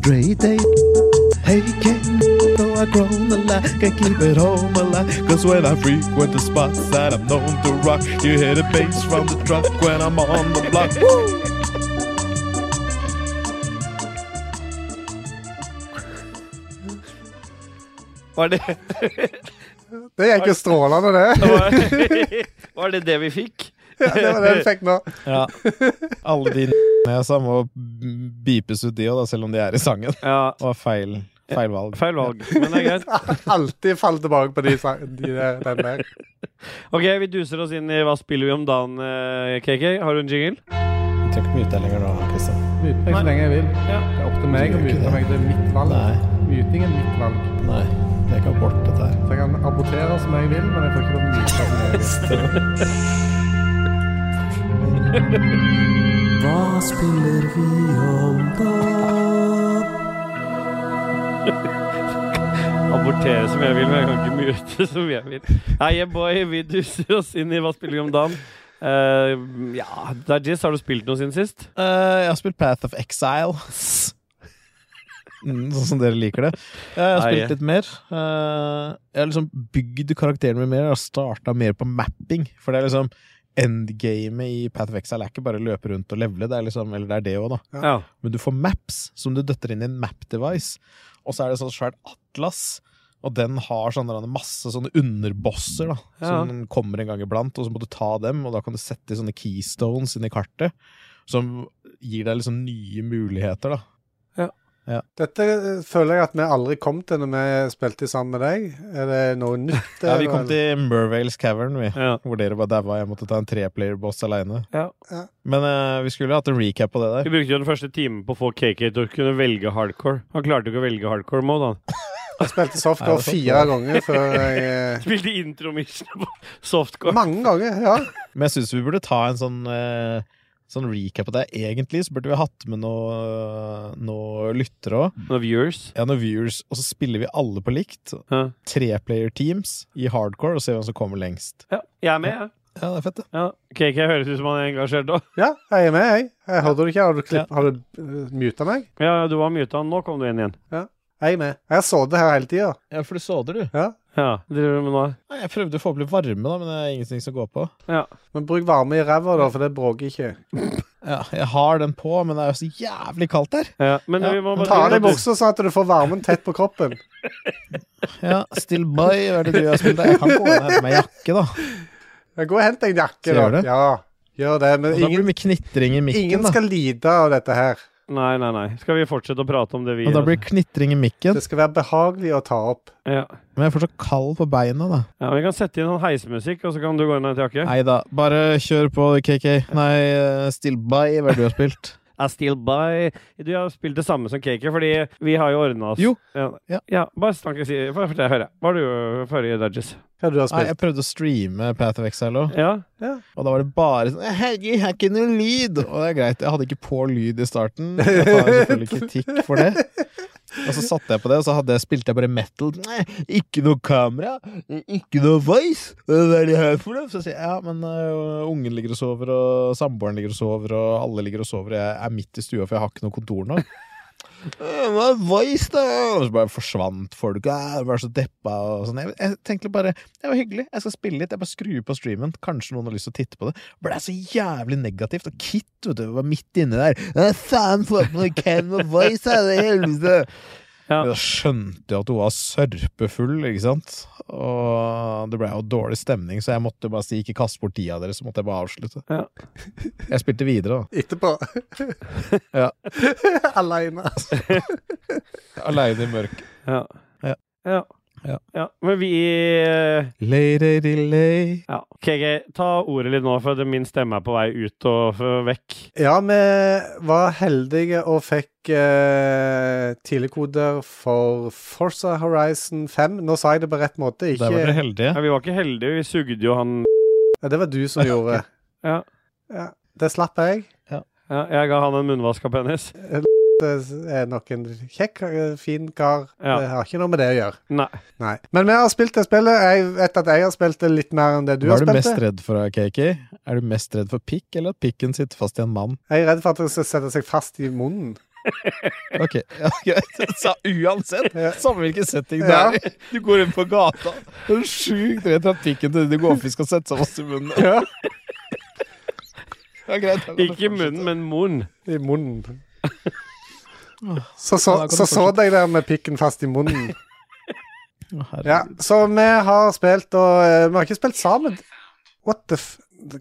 [SPEAKER 3] Dre day. Hey kid, though I grown a lot, can keep it home a lot. Cause when I frequent the spots that I'm known to rock, you hear the bass from the truck when I'm on the block. Woo!
[SPEAKER 1] Var det
[SPEAKER 2] Det gikk jo strålende, det.
[SPEAKER 1] var, var det det vi fikk?
[SPEAKER 2] Ja, det var det du fikk nå.
[SPEAKER 3] Ja. Alle de n***nesa må bipes ut, de òg, selv om de er i sangen.
[SPEAKER 1] Ja.
[SPEAKER 3] Det var feil, feil valg.
[SPEAKER 1] Feil valg, men det er greit.
[SPEAKER 2] Alltid faller tilbake på de, sa- de der- den der.
[SPEAKER 1] Ok, vi duser oss inn i Hva spiller vi om dagen, eh, KK? Har du en jingle?
[SPEAKER 3] Jeg trenger ikke mute deg lenger nå, Kristian.
[SPEAKER 2] Myte meg så lenge jeg vil.
[SPEAKER 1] Ja.
[SPEAKER 2] Det er opp til meg å myte meg. Det er mitt valg.
[SPEAKER 3] Nei.
[SPEAKER 2] Myting er mitt valg.
[SPEAKER 3] Nei, det er ikke abort, dette her.
[SPEAKER 2] Så jeg kan abortere som jeg vil, men jeg får ikke lov til å myte som jeg vil.
[SPEAKER 1] Abortere som jeg vil, men jeg kan ikke mute som jeg vil. Hei, yeah, boy, vi duser oss inn i Hva spiller vi om dagen? Eh, ja, Dajis, har du spilt noe siden sist?
[SPEAKER 3] Eh, jeg har spilt Path of Exile. Mm, sånn som dere liker det. Eh, jeg har
[SPEAKER 1] Nei,
[SPEAKER 3] spilt litt mer. Eh, jeg har liksom bygd karakteren min mer. Jeg har starta mer på mapping. For det er liksom endgamet i Path of Exile er ikke bare å løpe rundt og levele, det er liksom, eller det er det òg, da.
[SPEAKER 1] Ja.
[SPEAKER 3] Men du får maps som du døtter inn i en map-device. Og så er det sånn svært atlas, og den har sånne, der masse sånne underbosser da,
[SPEAKER 1] Ja.
[SPEAKER 3] som kommer en gang iblant, og så må du ta dem, og da kan du sette sånne keystones inn i kartet, som gir deg liksom nye muligheter. da.
[SPEAKER 2] Dette eh, føler jeg at vi aldri kom til når vi spilte sammen med deg. Er det noe nytt?
[SPEAKER 3] Ja, vi
[SPEAKER 2] eller?
[SPEAKER 3] kom til Mervales Cavern, vi.
[SPEAKER 1] ja.
[SPEAKER 3] Hvor dere bare daua. Jeg måtte ta en treplayer-boss aleine.
[SPEAKER 1] Ja.
[SPEAKER 2] Ja.
[SPEAKER 3] Men eh, vi skulle hatt en recap på det
[SPEAKER 1] Vi
[SPEAKER 3] der.
[SPEAKER 1] brukte jo den første timen på å få KK til å kunne velge hardcore. Han klarte jo ikke å velge hardcore mode, han.
[SPEAKER 2] Jeg spilte
[SPEAKER 3] Ja, det
[SPEAKER 2] softcore
[SPEAKER 3] var
[SPEAKER 2] fire ganger før jeg eh,
[SPEAKER 1] Spilte intromission på softcore.
[SPEAKER 2] Mange ganger, ja.
[SPEAKER 3] Men jeg syns vi burde ta en sånn eh, Sånn recap på det. Egentlig så burde vi hatt med noe, noe lyttere òg.
[SPEAKER 1] Noen viewers.
[SPEAKER 3] Ja, noen viewers. Og så spiller vi alle på likt.
[SPEAKER 1] Ja.
[SPEAKER 3] Treplayer-teams i hardcore, og ser hvem som kommer lengst.
[SPEAKER 1] ja. Jeg er med, jeg.
[SPEAKER 3] Ja, det er fett, det.
[SPEAKER 1] Ja. KK høres ut som han er engasjert òg.
[SPEAKER 2] Ja, jeg er med, jeg. jeg hørte du ikke? Har du, klipp- har du eh, muta meg?
[SPEAKER 1] Ja, du var muta. Nå kom du inn igjen.
[SPEAKER 2] Jeg er med. Jeg har sittet her hele tida.
[SPEAKER 3] Ja, for du såder, du.
[SPEAKER 2] Ja.
[SPEAKER 1] Ja. det Driver du med nå?
[SPEAKER 3] Nei, Jeg prøvde å få opp litt varme, da, men det er ingenting som går på.
[SPEAKER 2] Men bruk varme i ræva, da, for det bråker ikke.
[SPEAKER 3] Ja, jeg har den på, men det er jo så jævlig kaldt her.
[SPEAKER 1] Ja. Men
[SPEAKER 3] Ja.
[SPEAKER 1] vi må
[SPEAKER 2] Ta
[SPEAKER 1] bare
[SPEAKER 2] av deg buksa sånn at du får varmen tett på kroppen.
[SPEAKER 3] Ja, Still By, hva er det du har spilt? Jeg kan gå og hente meg jakke, da.
[SPEAKER 2] Ja, Gå og hent deg en jakke,
[SPEAKER 3] Gjør
[SPEAKER 2] da.
[SPEAKER 3] det?
[SPEAKER 2] Ja, gjør det. Men
[SPEAKER 3] Og da blir det
[SPEAKER 2] ingen,
[SPEAKER 3] mye knitring i mikken,
[SPEAKER 2] ingen
[SPEAKER 3] da.
[SPEAKER 2] skal lide av dette her.
[SPEAKER 1] Nei, nei, nei. Skal vi fortsette å prate om det vi
[SPEAKER 3] Og da blir det knitring i mikken.
[SPEAKER 2] Det skal være behagelig å ta opp.
[SPEAKER 1] ja.
[SPEAKER 3] Men jeg får så kald på beina, da.
[SPEAKER 1] ja, men Vi kan sette inn noen heismusikk, og så kan du gå inn og hente jakke.
[SPEAKER 3] Nei da, bare kjør på, KK. Nei, eh, Still By, hva er det du har spilt?
[SPEAKER 1] I still buy Du har spilt det samme som Kake, fordi vi har jo ordna oss
[SPEAKER 3] Jo.
[SPEAKER 1] Ja,
[SPEAKER 3] Ja.
[SPEAKER 1] ja bare snakk si Få fortelle, høre. Hva har du gjort før i Dudges?
[SPEAKER 2] Hva du har
[SPEAKER 3] Nei,
[SPEAKER 2] spilt.
[SPEAKER 3] jeg prøvde å streame Path of Exile òg,
[SPEAKER 1] Ja?
[SPEAKER 3] og da var det bare sånn Hei, jeg har ikke noe lyd! Og det er greit, jeg hadde ikke på lyd i starten. Jeg tar selvfølgelig kritikk for det. Og så satte jeg på det, og så hadde jeg, spilte jeg bare metal. Nei, ikke noe kamera, ikke noe voice! Hva er det her for noe? Så sier jeg ja, men øh, ungen ligger og sover, og samboeren ligger og sover, og alle ligger og sover, og jeg er midt i stua, for jeg har ikke noe kontor nå. «Øh, Hva er voice, da? Og så bare forsvant folk. Jeg var så deppa og sånn. Jeg, jeg tenkte bare Det var hyggelig. Jeg skal spille litt. Jeg bare skrur på streamen. Kanskje noen har lyst til å titte på det. Men det er så jævlig negativt. Og Kit vet du, var midt inni der. «Ja, Faen, få på noe Ken og Voice, da! Det er helvete!
[SPEAKER 1] Ja.
[SPEAKER 3] Da skjønte jeg at hun var sørpefull, ikke sant? Og det ble jo dårlig stemning, så jeg måtte jo bare si ikke kast bort tida deres, så måtte jeg bare avslutte.
[SPEAKER 1] Ja.
[SPEAKER 3] Jeg spilte videre, da.
[SPEAKER 2] Etterpå.
[SPEAKER 3] Ja.
[SPEAKER 2] Aleine.
[SPEAKER 3] Aleine i mørket.
[SPEAKER 1] Ja.
[SPEAKER 3] Ja.
[SPEAKER 1] Ja. Ja, men vi eh,
[SPEAKER 3] Later delay.
[SPEAKER 1] ja. KG, ta ordet litt nå, for at min stemme er på vei ut og f- vekk.
[SPEAKER 2] Ja, vi var heldige og fikk eh, tidligkoder for Forza Horizon 5. Nå sa jeg det på rett måte.
[SPEAKER 3] Der var dere
[SPEAKER 2] Ikke,
[SPEAKER 3] heldige.
[SPEAKER 1] Ja, vi var ikke heldige, vi sugde jo han
[SPEAKER 2] ja, det var du som gjorde.
[SPEAKER 1] Ja.
[SPEAKER 2] ja. Det slapp jeg.
[SPEAKER 1] ja, Jeg ga han en munnvaska penis.
[SPEAKER 2] Det er nok en kjekk, eh, fin kar.
[SPEAKER 1] Ja.
[SPEAKER 2] Det har ikke noe med det å gjøre.
[SPEAKER 1] Nei.
[SPEAKER 2] Nei. Men vi har spilt det spillet. Jeg vet at jeg har spilt det litt mer enn det du
[SPEAKER 3] Hva
[SPEAKER 2] har
[SPEAKER 3] er du
[SPEAKER 2] spilt
[SPEAKER 3] mest
[SPEAKER 2] det.
[SPEAKER 3] redd for, KK? Er du mest redd for pikk, eller at pikken sitter fast i en mann?
[SPEAKER 2] Jeg er redd for at det skal sette seg fast i munnen.
[SPEAKER 3] Ok, ja, greit. Så uansett,
[SPEAKER 2] Ja.
[SPEAKER 3] samme hvilken setting det
[SPEAKER 2] Ja.
[SPEAKER 3] er i. Du går inn på gata, og er sjukt redd for at pikken til Didi Gåfi skal sette seg fast i munnen.
[SPEAKER 2] Ja.
[SPEAKER 3] Ja, greit. da kan du
[SPEAKER 1] Ikke i munnen, men munnen.
[SPEAKER 2] I munnen. Så så,
[SPEAKER 3] Ah, Ja, da kan du
[SPEAKER 2] så, så deg der med pikken fast i munnen.
[SPEAKER 3] fortsette. Å, herregud.
[SPEAKER 2] Ja, så vi har spilt, og eh, vi har ikke spilt sammen. What the f...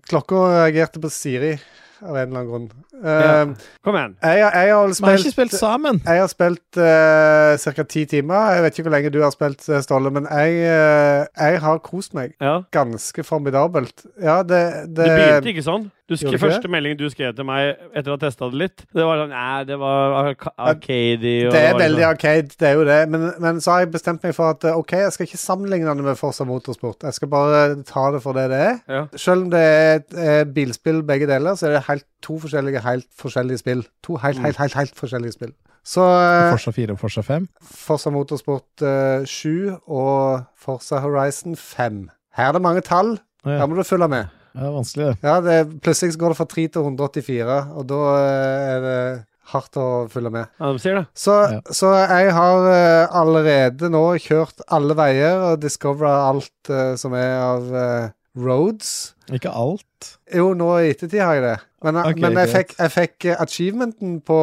[SPEAKER 2] Klokka reagerte på Siri av en eller annen grunn. Eh,
[SPEAKER 1] Kom igjen.
[SPEAKER 2] jeg, har- jeg har
[SPEAKER 3] Vi har
[SPEAKER 2] spilt
[SPEAKER 3] ikke spilt sammen.
[SPEAKER 2] jeg har spilt uh, ca. ti timer. Jeg vet ikke hvor lenge du har spilt, eh, Ståle, men jeg, eh, jeg har kost meg
[SPEAKER 1] Ja.
[SPEAKER 2] ganske formidabelt. Ja, det,
[SPEAKER 1] Det
[SPEAKER 2] det,
[SPEAKER 1] begynte ikke sånn. Du sk
[SPEAKER 2] Gjorde det ikke
[SPEAKER 1] første meldingen du skrev til meg etter å ha testa det litt, det var sånn Nei, det var arca- arcadey og
[SPEAKER 2] det er
[SPEAKER 1] var
[SPEAKER 2] veldig
[SPEAKER 1] liksom-
[SPEAKER 2] arcade, det er jo det. Men, men så har jeg bestemt meg for at eh, OK, jeg skal ikke sammenligne det med Forsa Motorsport. Jeg skal bare ta det for det det er.
[SPEAKER 1] ja.
[SPEAKER 2] Selv om det er et eh, bilspill begge deler, så er det helt, to forskjellige helt forskjellige spill. To helt, helt, helt, helt forskjellige spill. Så eh,
[SPEAKER 3] Forsa 4 og Forsa 5.
[SPEAKER 2] Forza Motorsport eh, 7 og Forza Horizon 5. Her er det mange tall.
[SPEAKER 3] Å,
[SPEAKER 2] Her
[SPEAKER 3] ja.
[SPEAKER 2] må du følge med.
[SPEAKER 3] Det er vanskelig, det.
[SPEAKER 2] Ja, det, Plutselig så går det fra 3 til 184, og da eh, er det hardt å følge med.
[SPEAKER 1] ja, de sier det.
[SPEAKER 2] Så,
[SPEAKER 3] Ja.
[SPEAKER 2] så jeg har eh, allerede nå kjørt alle veier og discovera alt eh, som er av eh, roads.
[SPEAKER 3] Ikke alt.
[SPEAKER 2] Jo, nå i ettertid har jeg det. Men, eh,
[SPEAKER 3] Ok,
[SPEAKER 2] men jeg,
[SPEAKER 3] greit.
[SPEAKER 2] fikk, jeg fikk eh, achievementen på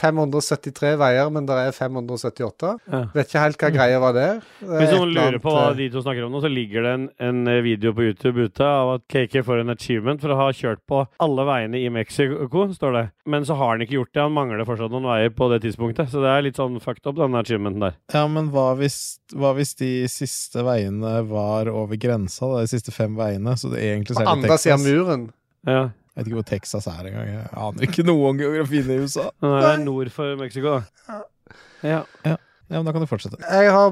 [SPEAKER 2] 573 veier, men det er 578.
[SPEAKER 1] Ja. Mm.
[SPEAKER 2] Vet ikke helt hva greia var der. Det er
[SPEAKER 1] Hvis
[SPEAKER 2] et
[SPEAKER 1] noen
[SPEAKER 2] eller
[SPEAKER 1] lurer
[SPEAKER 2] annet,
[SPEAKER 1] på hva
[SPEAKER 2] eh,
[SPEAKER 1] de to snakker om nå, så ligger det en, en eh, video på YouTube ute av at KK får en achievement for å ha kjørt på alle veiene i Mexico, står det. Men så har han ikke gjort det. Han mangler fortsatt noen veier på det tidspunktet. Så det er litt sånn fucked up, den achievementen der.
[SPEAKER 3] Ja, men hva hvis, hva hvis de siste veiene var over grensa, da, de siste fem veiene? Så det egentlig så
[SPEAKER 2] På
[SPEAKER 3] er det
[SPEAKER 2] andre siden av
[SPEAKER 3] Texas. Jeg
[SPEAKER 2] muren.
[SPEAKER 1] Ja.
[SPEAKER 3] vet ikke hvor Texas er engang. Jeg aner ikke noe om geografien i USA.
[SPEAKER 1] Men det er nord for Mexico, da. Ja.
[SPEAKER 3] Ja, men Da kan du fortsette.
[SPEAKER 2] Jeg har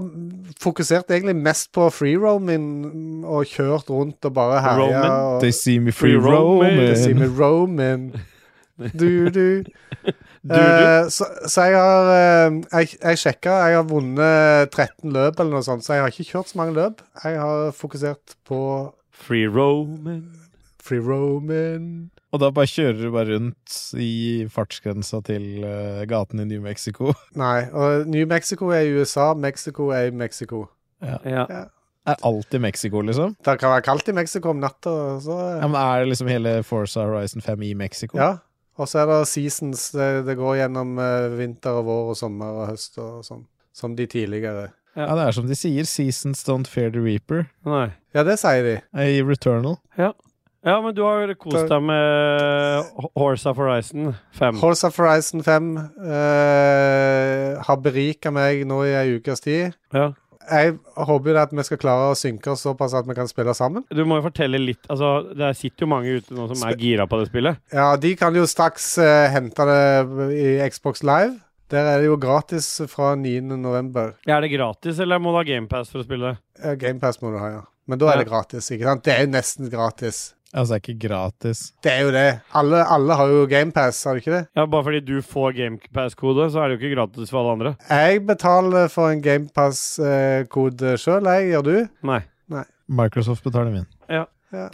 [SPEAKER 2] fokusert egentlig mest på freeroaming og kjørt rundt og bare herja.
[SPEAKER 1] Roaming?
[SPEAKER 2] og-
[SPEAKER 3] They see me
[SPEAKER 1] free
[SPEAKER 3] free
[SPEAKER 1] roaming.
[SPEAKER 3] Eh,
[SPEAKER 2] Det sier vi
[SPEAKER 3] roaming.
[SPEAKER 2] roaming. Du, du.
[SPEAKER 1] Du, du.
[SPEAKER 2] Eh, så, så jeg har eh, Jeg, jeg sjekka. Jeg har vunnet 13 løp eller noe sånt, så jeg har ikke kjørt så mange løp. Jeg har fokusert på
[SPEAKER 1] Free roaming.
[SPEAKER 2] free roaming.
[SPEAKER 3] Og da bare kjører du bare rundt i fartsgrensa til eh, gaten i New Mexico.
[SPEAKER 2] Nei. Og New Mexico er i USA, Mexico er i Mexico.
[SPEAKER 1] Ja.
[SPEAKER 3] Er alt i Mexico, liksom?
[SPEAKER 2] Det kan være kaldt i Mexico om natta, og så eh,
[SPEAKER 3] Ja, men Er det liksom hele Forza Horizon 5 i Mexico?
[SPEAKER 2] Ja. Og så er det seasons. Det, det går gjennom eh, vinter og vår og sommer og høst og sånn. Som de tidligere.
[SPEAKER 3] Ja, Det er som de sier, seasons don't fear the reaper.
[SPEAKER 1] Nei.
[SPEAKER 2] Ja, det sier de.
[SPEAKER 3] I Returnal.
[SPEAKER 1] Ja, men du har kost deg med H- Horse of Horizon 5.
[SPEAKER 2] Horse of Horizon 5 eh, har berika meg nå i ei ukes tid.
[SPEAKER 1] Ja.
[SPEAKER 2] Jeg håper jo det at vi skal klare å synke oss såpass at vi kan spille sammen.
[SPEAKER 1] Du må jo fortelle litt Altså, det sitter jo mange ute nå som er gira på det spillet.
[SPEAKER 2] Ja, de kan jo straks eh, hente det i Xbox Live. Der er det jo gratis fra 9. november.
[SPEAKER 1] Ja, Er det gratis, eller må du ha GamePass for å spille det?
[SPEAKER 2] Eh, GamePass må du ha, ja. Men da er det gratis, ikke sant? Det er jo nesten gratis.
[SPEAKER 3] Altså, det er ikke gratis.
[SPEAKER 2] Det er jo det. Alle, alle har jo GamePass, har de ikke det?
[SPEAKER 1] Ja, Bare fordi du får GamePass-kode, så er det jo ikke gratis for alle andre.
[SPEAKER 2] Jeg betaler for en GamePass-kode sjøl, jeg. Gjør du?
[SPEAKER 1] Nei.
[SPEAKER 3] Microsoft betaler min.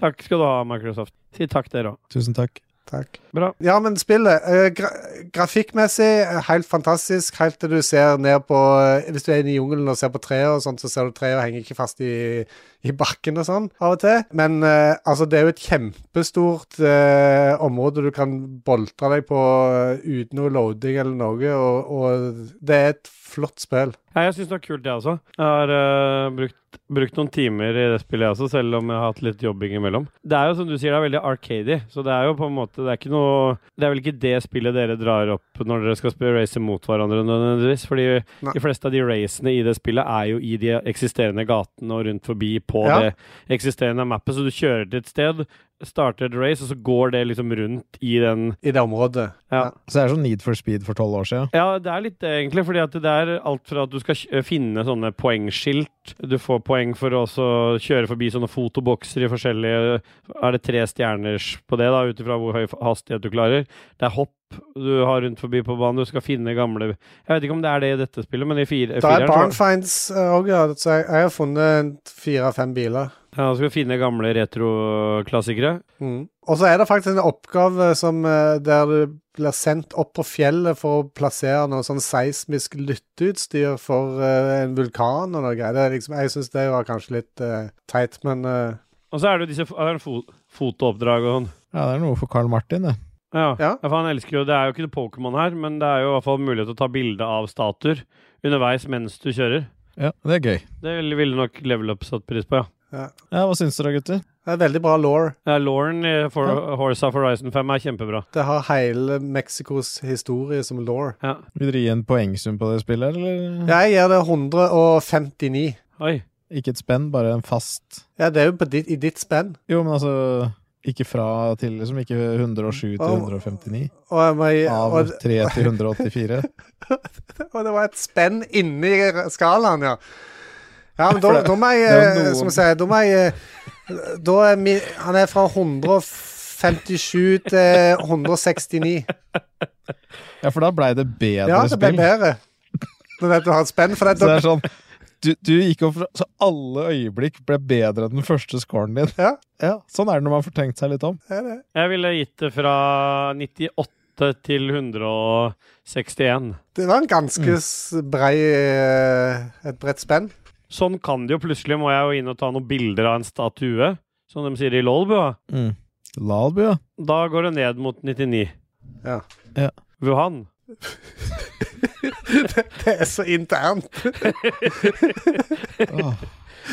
[SPEAKER 1] Takk skal du ha, Microsoft. Si takk, dere òg.
[SPEAKER 3] Tusen takk.
[SPEAKER 2] Takk.
[SPEAKER 1] Bra.
[SPEAKER 2] Ja, men spillet eh, gra Grafikkmessig eh, helt fantastisk. Helt til du ser ned på eh, Hvis du er inne i jungelen og ser på treet og sånt, så ser du treet og henger ikke fast i i bakken og sånn av og til. Men eh, altså, det er jo et kjempestort eh, område du kan boltre deg på eh, uten noe loading eller noe, og, og det er et flott spill.
[SPEAKER 1] Ja, jeg syns det var kult, jeg også. Jeg har eh, brukt, brukt noen timer i det spillet, jeg også, selv om jeg har hatt litt jobbing imellom. Det er jo som du sier, det er veldig arcady, så det er jo på en måte Det er ikke noe Det er vel ikke det spillet dere drar opp når dere skal spille racer mot hverandre, nødvendigvis. Fordi
[SPEAKER 2] Nei.
[SPEAKER 1] de fleste av de racene i det spillet er jo i de eksisterende gatene og rundt forbi på
[SPEAKER 2] Ja.
[SPEAKER 1] det eksisterende mappet, så du kjører til et sted, starter et race, og så går det liksom rundt i den
[SPEAKER 2] I det området.
[SPEAKER 3] Så det er sånn Need for Speed for tolv år siden.
[SPEAKER 1] Ja, det er litt det, egentlig. fordi at det er alt fra at du skal kj- finne sånne poengskilt Du får poeng for å også kjøre forbi sånne fotobokser i forskjellige Er det tre stjerners på det, da, ut ifra hvor høy hastighet du klarer? Det er hopp du har rundt forbi på banen. Du skal finne gamle Jeg vet ikke om det er det i dette spillet, men i fire,
[SPEAKER 2] Det er
[SPEAKER 1] fireren så-
[SPEAKER 2] barnfinds òg, ja. Så jeg, jeg har funnet fire-fem biler.
[SPEAKER 1] Ja, du skal finne gamle retroklassikere.
[SPEAKER 2] Mm. Og så er det faktisk en oppgave som, eh, der du blir sendt opp på fjellet for å plassere noe sånn seismisk lytteutstyr for eh, en vulkan og noe greier. Det er liksom, jeg syns det var kanskje litt eh, teit, men eh,
[SPEAKER 1] Og så er det jo disse fo- er det fo- fotooppdrag og sånn.
[SPEAKER 3] Ja, det er noe for Carl Martin, det.
[SPEAKER 1] Ja,
[SPEAKER 2] Ja.
[SPEAKER 1] for han elsker jo Det er jo ikke Pokémon her, men det er jo i hvert fall mulighet til å ta bilde av statuer underveis mens du kjører.
[SPEAKER 3] Ja, det er gøy.
[SPEAKER 1] Det ville nok Level Up satt pris på, ja.
[SPEAKER 3] Ja, Hva syns dere, gutter?
[SPEAKER 2] det er veldig bra law.
[SPEAKER 1] ja Lauren i for Horse of Horizon 5 er kjempebra.
[SPEAKER 2] Det har hele Mexicos historie som law.
[SPEAKER 1] Ja.
[SPEAKER 3] Vil dere gi en poengsum på det spillet, eller?
[SPEAKER 2] Jeg gir det 159.
[SPEAKER 1] Oi.
[SPEAKER 3] Ikke et spenn, bare en fast
[SPEAKER 2] Ja, det er jo på ditt, i ditt spenn.
[SPEAKER 3] Jo, men altså ikke fra til, liksom. Ikke 107 til 159.
[SPEAKER 2] Og, jeg må,
[SPEAKER 3] Av
[SPEAKER 2] og,
[SPEAKER 3] 3 til 184.
[SPEAKER 2] og det var et spenn inni skalaen, ja. Ja, men da,
[SPEAKER 3] For det-
[SPEAKER 2] da må jeg,
[SPEAKER 3] det er jo
[SPEAKER 2] eh,
[SPEAKER 3] noen-
[SPEAKER 2] som jeg sier, da må jeg eh, da er mi, Han er fra 157 til 169.
[SPEAKER 3] Ja, for da blei det bedre
[SPEAKER 2] Ja, det ble
[SPEAKER 3] spill.
[SPEAKER 2] bedre. Når det- du har et spenn for
[SPEAKER 3] Så det
[SPEAKER 2] det.
[SPEAKER 3] er sånn du, du gikk opp fra Så alle øyeblikk ble bedre enn den første scoren din.
[SPEAKER 2] Ja.
[SPEAKER 3] Sånn er det når man får tenkt seg litt om.
[SPEAKER 2] Det er det.
[SPEAKER 1] Jeg ville gitt det fra 98 til 161.
[SPEAKER 2] Det var en ganske s- brei eh, Et bredt spenn.
[SPEAKER 1] Sånn kan det jo. Plutselig må jeg jo inn og ta noen bilder av en statue, som de sier i Lolbua.
[SPEAKER 3] Mm. Lalbu, ja.
[SPEAKER 1] Da går det ned mot 99.
[SPEAKER 2] Ja.
[SPEAKER 3] Ja.
[SPEAKER 1] Wuhan.
[SPEAKER 2] Det er så internt.
[SPEAKER 3] Åh.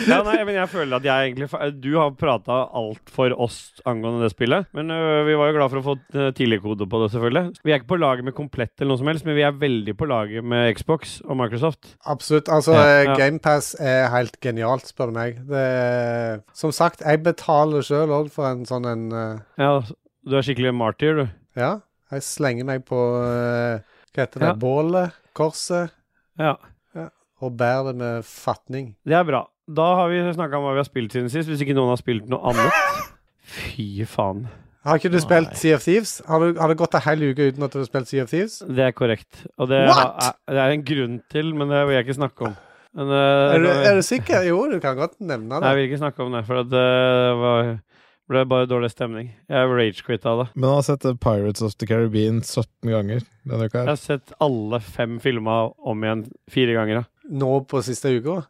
[SPEAKER 1] Ja, nei, men jeg føler at jeg egentlig fa- Du har prata alt for oss angående det spillet. Men øh, vi var jo glad for å få øh, tidligkode på det, selvfølgelig. Vi er ikke på laget med Komplett eller noe som helst, men vi er veldig på laget med Xbox og Microsoft.
[SPEAKER 2] Absolutt. Altså,
[SPEAKER 3] Ja,
[SPEAKER 2] ja,
[SPEAKER 1] ja.
[SPEAKER 2] GamePass er helt genialt, spør du meg. Det er, som sagt, jeg betaler sjøl òg for en sånn en eh,
[SPEAKER 1] Ja, du er skikkelig martyr, du.
[SPEAKER 2] Ja, jeg slenger meg på eh, Hva heter det?
[SPEAKER 1] Ja.
[SPEAKER 2] Bålet, korset,
[SPEAKER 1] Ja,
[SPEAKER 2] og bærer det med fatning.
[SPEAKER 1] Det er bra. Da har vi snakka om hva vi har spilt siden sist, hvis ikke noen har spilt noe annet. Fy faen.
[SPEAKER 2] Har ikke du
[SPEAKER 3] Nei.
[SPEAKER 2] spilt Sea of Thieves? Har, du, har det gått en hel uke uten at du har spilt Sea of Thieves?
[SPEAKER 1] Det er korrekt. Og det,
[SPEAKER 2] What?
[SPEAKER 1] er, det er en grunn til, men det vil jeg ikke snakke om. Men, øh,
[SPEAKER 2] Er du,
[SPEAKER 1] da-
[SPEAKER 2] er du sikker? Jo, du kan godt nevne
[SPEAKER 1] Nei,
[SPEAKER 2] det.
[SPEAKER 1] jeg vil ikke snakke om det, for at eh, det var, ble bare dårlig stemning. Jeg rage-quitta det.
[SPEAKER 3] Men han har sett eh, Pirates of the Caribbean 17 ganger denne
[SPEAKER 1] Jeg
[SPEAKER 3] uka. her.
[SPEAKER 1] har sett alle fem filma om igjen fire ganger. da.
[SPEAKER 2] Nå på siste uka.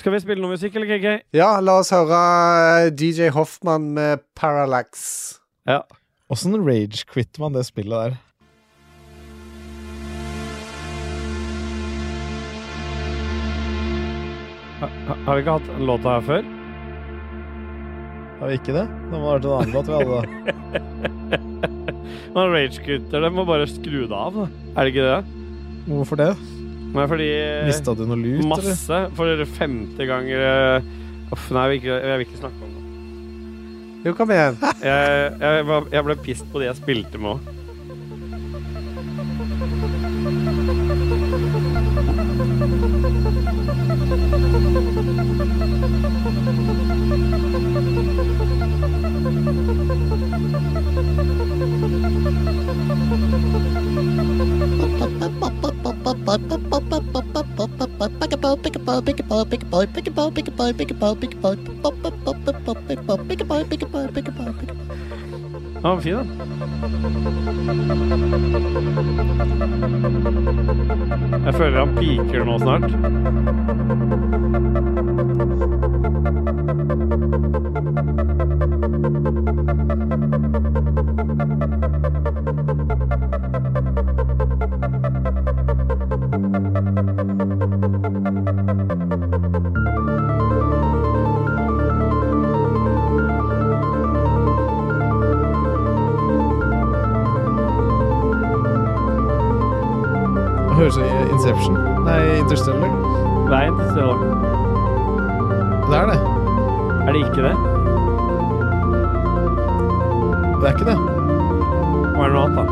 [SPEAKER 1] Skal vi spille noe musikk, eller, KK?
[SPEAKER 2] Ja, la oss høre eh, DJ Hoffmann med Parallax.
[SPEAKER 3] Åssen rage-quitter man det spillet der?
[SPEAKER 1] Ha- Har vi ikke hatt den låta her før?
[SPEAKER 3] Har vi ikke det? Det må ha vært en annen låt vi hadde da.
[SPEAKER 1] Man rage-quitter det. Må bare skru det av, da. Er det ikke det?
[SPEAKER 3] Hvorfor det?
[SPEAKER 1] Nei, fordi
[SPEAKER 3] Mista du noe lut, eller?
[SPEAKER 1] Masse. For femte ganger eh, Uff, nei, jeg vil ikke, jeg vil ikke snakke om det.
[SPEAKER 2] Jo, kom igjen.
[SPEAKER 1] Jeg, jeg, var- jeg ble pissed på det jeg spilte med òg. Den var fin, da. Jeg føler han piker nå snart.
[SPEAKER 6] Thank
[SPEAKER 3] Kanskje Inception? Nei, Interstellar.
[SPEAKER 1] Nei, så
[SPEAKER 3] Det er det.
[SPEAKER 1] er det ikke det.
[SPEAKER 3] Det er ikke det.
[SPEAKER 1] Hva er det noe annet, da?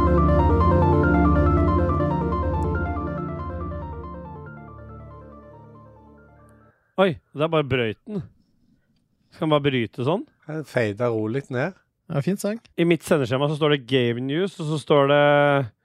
[SPEAKER 1] Oi, det er bare brøyten. Skal man bare bryte sånn?
[SPEAKER 2] Den fader rolig ned.
[SPEAKER 3] Ja, Fin sang.
[SPEAKER 1] I mitt sendeskjema så står det Game News, og så står det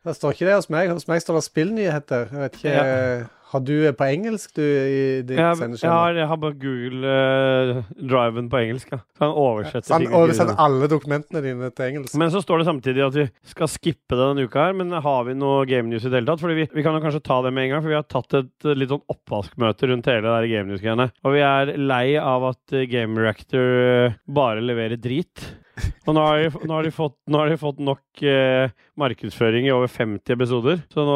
[SPEAKER 2] Det står ikke det hos meg. Hos meg står det spillnyheter. Jeg vet ikke, eh, Har du det på engelsk, du, i
[SPEAKER 1] Jeg,
[SPEAKER 2] ditt
[SPEAKER 1] jeg,
[SPEAKER 2] sendeskjema?
[SPEAKER 1] har, jeg har bare Google-driven på engelsk. Ja. Så han oversetter
[SPEAKER 2] Så han
[SPEAKER 1] ting. og
[SPEAKER 2] oversetter
[SPEAKER 1] skriver.
[SPEAKER 2] alle dokumentene dine til engelsk.
[SPEAKER 1] Men så står det samtidig at vi skal skippe det denne uka her. Men har vi noe Game News i det hele tatt? Fordi vi, vi kan jo kanskje ta det med en gang, for vi har tatt et eh, litt sånn oppvaskmøte rundt hele det der Game News-greiene. Og vi er lei av at eh, Game Reactor eh, bare leverer drit. Og nå har de, nå har de, fått, nå har de fått nok eh, markedsføring i over 50 episoder. Så nå,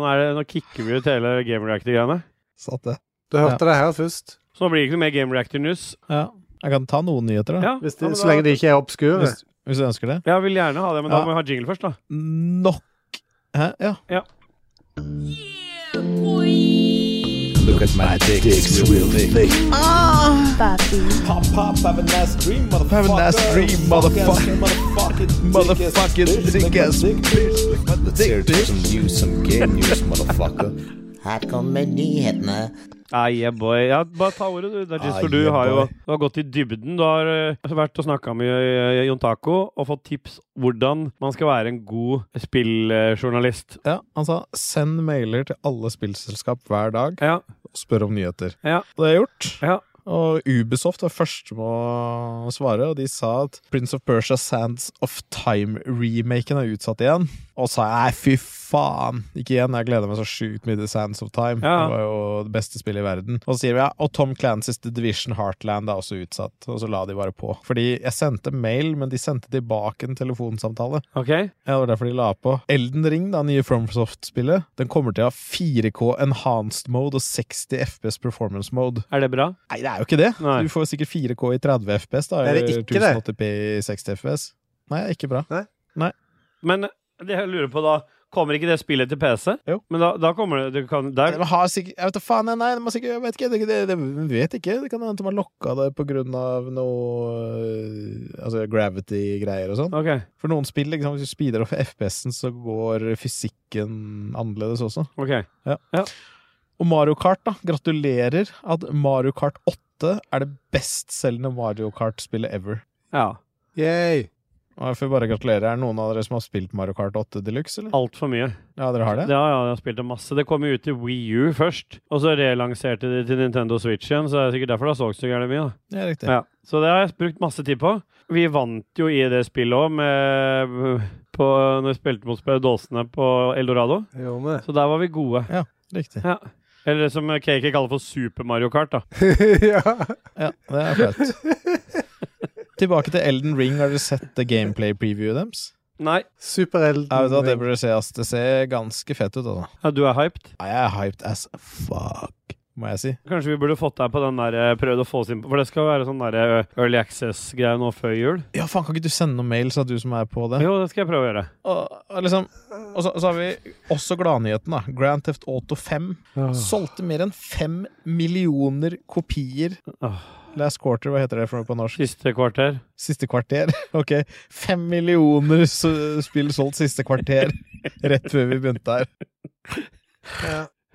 [SPEAKER 1] nå, er det, nå kicker vi ut hele Game Reactor-greiene.
[SPEAKER 3] Satt det.
[SPEAKER 2] Du hørte det her først.
[SPEAKER 1] Så nå blir det ikke noe mer Game Reactor-news.
[SPEAKER 3] Ja. Jeg kan ta noen nyheter,
[SPEAKER 1] Ja,
[SPEAKER 3] da.
[SPEAKER 2] Hvis
[SPEAKER 1] ja,
[SPEAKER 2] de,
[SPEAKER 1] men
[SPEAKER 2] så lenge
[SPEAKER 1] da-
[SPEAKER 2] de ikke er obskure.
[SPEAKER 3] Hvis, hvis du ønsker det.
[SPEAKER 1] Ja, jeg vil gjerne ha det, men da
[SPEAKER 3] Ja.
[SPEAKER 1] må vi ha jingle først, da.
[SPEAKER 3] Nok Hæ? Ja. Have a nice dream, motherfucker. Motherfucking dick ass
[SPEAKER 6] Her kommer nyhetene.
[SPEAKER 1] Nei, yeah, boy. Ja, bare ta ordet, du. Det er just for
[SPEAKER 3] Ah,
[SPEAKER 1] du
[SPEAKER 3] yeah,
[SPEAKER 1] har jo
[SPEAKER 3] boy.
[SPEAKER 1] du har gått i dybden. Du har eh, vært og snakka med eh, Jon Taco og fått tips hvordan man skal være en god spilljournalist.
[SPEAKER 3] Ja, han sa send mailer til alle spillselskap hver dag
[SPEAKER 1] Ja.
[SPEAKER 3] og spør om nyheter.
[SPEAKER 1] Ja.
[SPEAKER 3] Og det har jeg gjort.
[SPEAKER 1] Ja.
[SPEAKER 3] Og Ubisoft var først med å svare, og de sa at Prince of Persia Sands of Time-remaken er utsatt igjen. Og sa jeg fy faen, ikke igjen, jeg gleder meg så sjukt mye til Sands of Time.
[SPEAKER 1] Ja.
[SPEAKER 3] Det var jo det beste spillet i verden. Og så sier vi ja, og Tom Clancys The Division Heartland er også utsatt. Og så la de bare på. Fordi jeg sendte mail, men de sendte tilbake en telefonsamtale.
[SPEAKER 1] Ok?
[SPEAKER 3] Ja, det var derfor de la på. Elden Ring, da, nye FromSoft-spillet, den kommer til å ha 4K enhanced mode og 60 FPS performance mode.
[SPEAKER 1] Er det bra?
[SPEAKER 3] Nei, det er jo ikke det!
[SPEAKER 1] Nei.
[SPEAKER 3] Du får sikkert 4K i 30 FPS, da.
[SPEAKER 2] Det er det
[SPEAKER 3] eller
[SPEAKER 2] ikke, det.
[SPEAKER 3] 1080p i 60 FPS. Nei, ikke bra.
[SPEAKER 1] Men eh, det jeg lurer på da Kommer ikke det spillet til PC?
[SPEAKER 3] Jo.
[SPEAKER 1] Men da, da kommer det du kan,
[SPEAKER 3] Nei,
[SPEAKER 1] der,
[SPEAKER 3] de har sikkert, jeg vet da faen, nei, nei, de har sikkert, jeg vet ikke, det, det, det, de vet ikke. Det kan hende de har lokka det på grunn av noe øh, Altså gravity-greier og sånn.
[SPEAKER 1] Ok.
[SPEAKER 3] For noen spill, liksom, hvis du speeder opp FPS-en, så går fysikken annerledes også.
[SPEAKER 1] ok
[SPEAKER 3] Og Mario Kart, da. Gratulerer at Mario Kart 8 er det bestselgende Mario Kart-spillet ever.
[SPEAKER 1] Ja.
[SPEAKER 2] Yay.
[SPEAKER 3] Og jeg får bare gratulere. Er det noen av dere som har spilt Mario Kart 8 Deluxe, eller?
[SPEAKER 1] Altfor mye.
[SPEAKER 3] Ja, dere har det?
[SPEAKER 1] Ja, ja, jeg har spilt det masse. Det kom jo ut til Wii U først, og så relanserte de til Nintendo Switch igjen, så det er sikkert derfor det har solgt så gærent mye. da.
[SPEAKER 3] Ja, riktig.
[SPEAKER 1] Ja. Så det har jeg brukt masse tid på. Vi vant jo i det spillet òg, når vi spilte mot spedalsene på Eldorado.
[SPEAKER 2] Det gjorde vi.
[SPEAKER 1] Så der var vi gode.
[SPEAKER 3] Riktig.
[SPEAKER 1] Ja. Eller det som KK kaller for Super Mario Kart. da.
[SPEAKER 2] ja.
[SPEAKER 3] Ja, det er flaut. Tilbake til Elden Ring. Har dere sett the gameplay-previewet deres?
[SPEAKER 1] Nei,
[SPEAKER 2] Super-Elden
[SPEAKER 3] Jeg vet at Det
[SPEAKER 2] Ring.
[SPEAKER 3] burde se, ass. Det ser ganske fett ut, altså.
[SPEAKER 1] ja, du er hyped.
[SPEAKER 3] Ja, Jeg er hyped as fuck, må jeg si.
[SPEAKER 1] Kanskje vi burde fått deg på den der eh, prøvd å få oss inn på For det skal være sånn der eh, early access-greie nå før jul.
[SPEAKER 3] Ja, faen, kan ikke du sende noen mail, sa du som er på det?
[SPEAKER 1] Jo, det skal jeg prøve å gjøre.
[SPEAKER 3] Og, og liksom, og så, så har vi også gladnyheten, da. Grand Theft Auto 5 solgte mer enn fem millioner kopier.
[SPEAKER 1] Åh.
[SPEAKER 3] Last quarter, hva heter det for noe på norsk?
[SPEAKER 1] Siste kvarter.
[SPEAKER 3] Siste kvarter. Ok, fem millioner s- spill solgt siste kvarter. Rett før vi begynte her.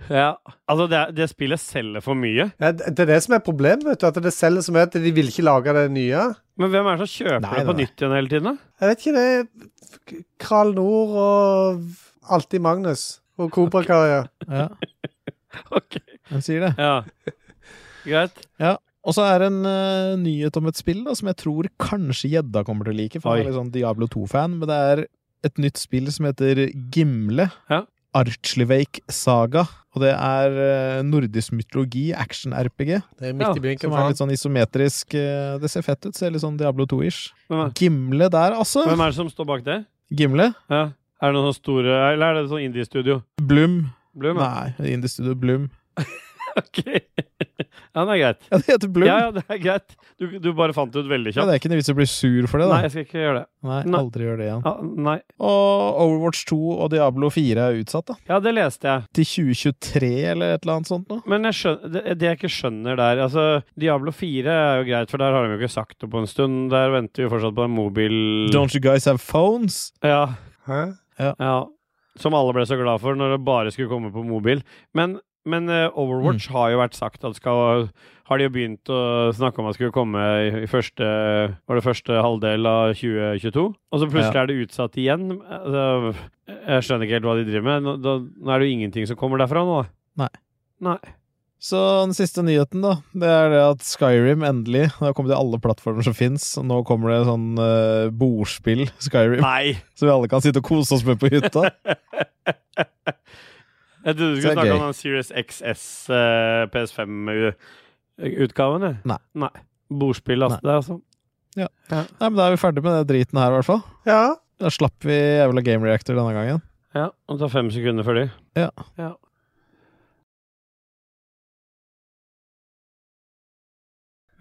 [SPEAKER 1] Ja. Altså, det, det spillet selger for mye.
[SPEAKER 2] Ja, det det er det som er problemet, vet du. At det selger så mye at de vil ikke lage det nye.
[SPEAKER 1] Men hvem er det som kjøper
[SPEAKER 3] Nei,
[SPEAKER 1] det på
[SPEAKER 3] nei, nei.
[SPEAKER 1] nytt igjen hele tiden? da?
[SPEAKER 2] Jeg vet ikke, det er Kral Nord og Alltid Magnus og Cobra Karia.
[SPEAKER 3] Ja,
[SPEAKER 1] Ok.
[SPEAKER 3] hvem sier det?
[SPEAKER 1] Ja. Greit.
[SPEAKER 3] Og så er det en eh, nyhet om et spill da, som jeg tror kanskje gjedda kommer til å like. For han
[SPEAKER 1] Oi.
[SPEAKER 3] er litt sånn Diablo 2-fan, men det er et nytt spill som heter Gimle.
[SPEAKER 1] Ja.
[SPEAKER 3] Archlivake Saga. Og det er eh, nordisk mytologi, action-RPG.
[SPEAKER 2] Det er
[SPEAKER 1] Ja,
[SPEAKER 2] midt i blinken.
[SPEAKER 3] Som
[SPEAKER 2] for
[SPEAKER 3] er
[SPEAKER 2] han.
[SPEAKER 3] litt sånn isometrisk. eh, Det ser fett ut. Ser litt sånn Diablo 2-ish.
[SPEAKER 1] Hvem er,
[SPEAKER 3] Gimle der, altså.
[SPEAKER 1] hvem er det som står bak det?
[SPEAKER 3] Gimle?
[SPEAKER 1] Ja. Er det noen sånne store Eller er det sånn indie-studio?
[SPEAKER 3] Blum.
[SPEAKER 1] Blum? ja.
[SPEAKER 3] Nei, Indie Studio Blum.
[SPEAKER 1] Ok. Ja, det er greit.
[SPEAKER 3] Ja, det heter Blum.
[SPEAKER 1] Ja,
[SPEAKER 3] Ja,
[SPEAKER 1] ja, det er greit. Du, du bare fant det ut veldig
[SPEAKER 3] det
[SPEAKER 1] kjapt.
[SPEAKER 3] er ikke noe vits i å bli sur for det,
[SPEAKER 1] Nei,
[SPEAKER 3] da.
[SPEAKER 1] jeg skal ikke gjøre det.
[SPEAKER 3] Nei,
[SPEAKER 1] Nei.
[SPEAKER 3] aldri gjør det igjen.
[SPEAKER 1] Ja, nei.
[SPEAKER 3] Og Overwatch 2 og Diablo 4 er utsatt, da.
[SPEAKER 1] ja, det leste jeg.
[SPEAKER 3] Til 2023 eller et eller annet sånt noe.
[SPEAKER 1] Men jeg skjønner, det, det jeg ikke skjønner der altså, Diablo 4 er jo greit, for der har de jo ikke sagt det på en stund. Der venter vi fortsatt på en mobil
[SPEAKER 3] Don't you guys have phones?
[SPEAKER 1] Ja,
[SPEAKER 2] Hæ?
[SPEAKER 1] ja. Som alle ble så glad for når det bare skulle komme på mobil. Men, men eh, Overwatch
[SPEAKER 3] Mm.
[SPEAKER 1] har jo vært sagt at skal Har de jo begynt å snakke om at skulle komme i, i første Var det første halvdel av 2022? Og så plutselig er det utsatt igjen. Altså, jeg skjønner ikke helt hva de driver med. Nå, da, nå er det jo ingenting som kommer derfra nå.
[SPEAKER 3] Nei.
[SPEAKER 1] Nei.
[SPEAKER 3] Så den siste nyheten, da, det er det at Skyrim endelig Det har kommet til alle plattformer som fins. Nå kommer det sånn eh, bordspill Skyrim,
[SPEAKER 1] Nei.
[SPEAKER 3] som vi alle kan sitte og kose oss med på hytta.
[SPEAKER 1] Jeg trodde du
[SPEAKER 3] Så
[SPEAKER 1] skulle
[SPEAKER 3] det er
[SPEAKER 1] snakke om
[SPEAKER 3] gøy.
[SPEAKER 1] den Series XS eh, PS5-utgaven.
[SPEAKER 3] Nei.
[SPEAKER 1] Nei. Bordspill, altså. Det, er altså.
[SPEAKER 3] Nei, men Da er vi ferdig med den driten her, i hvert fall.
[SPEAKER 2] Ja.
[SPEAKER 3] Da slapp vi jævla Game Reactor denne gangen.
[SPEAKER 1] Ja, og ta fem sekunder før de.
[SPEAKER 3] Ja.
[SPEAKER 1] ja.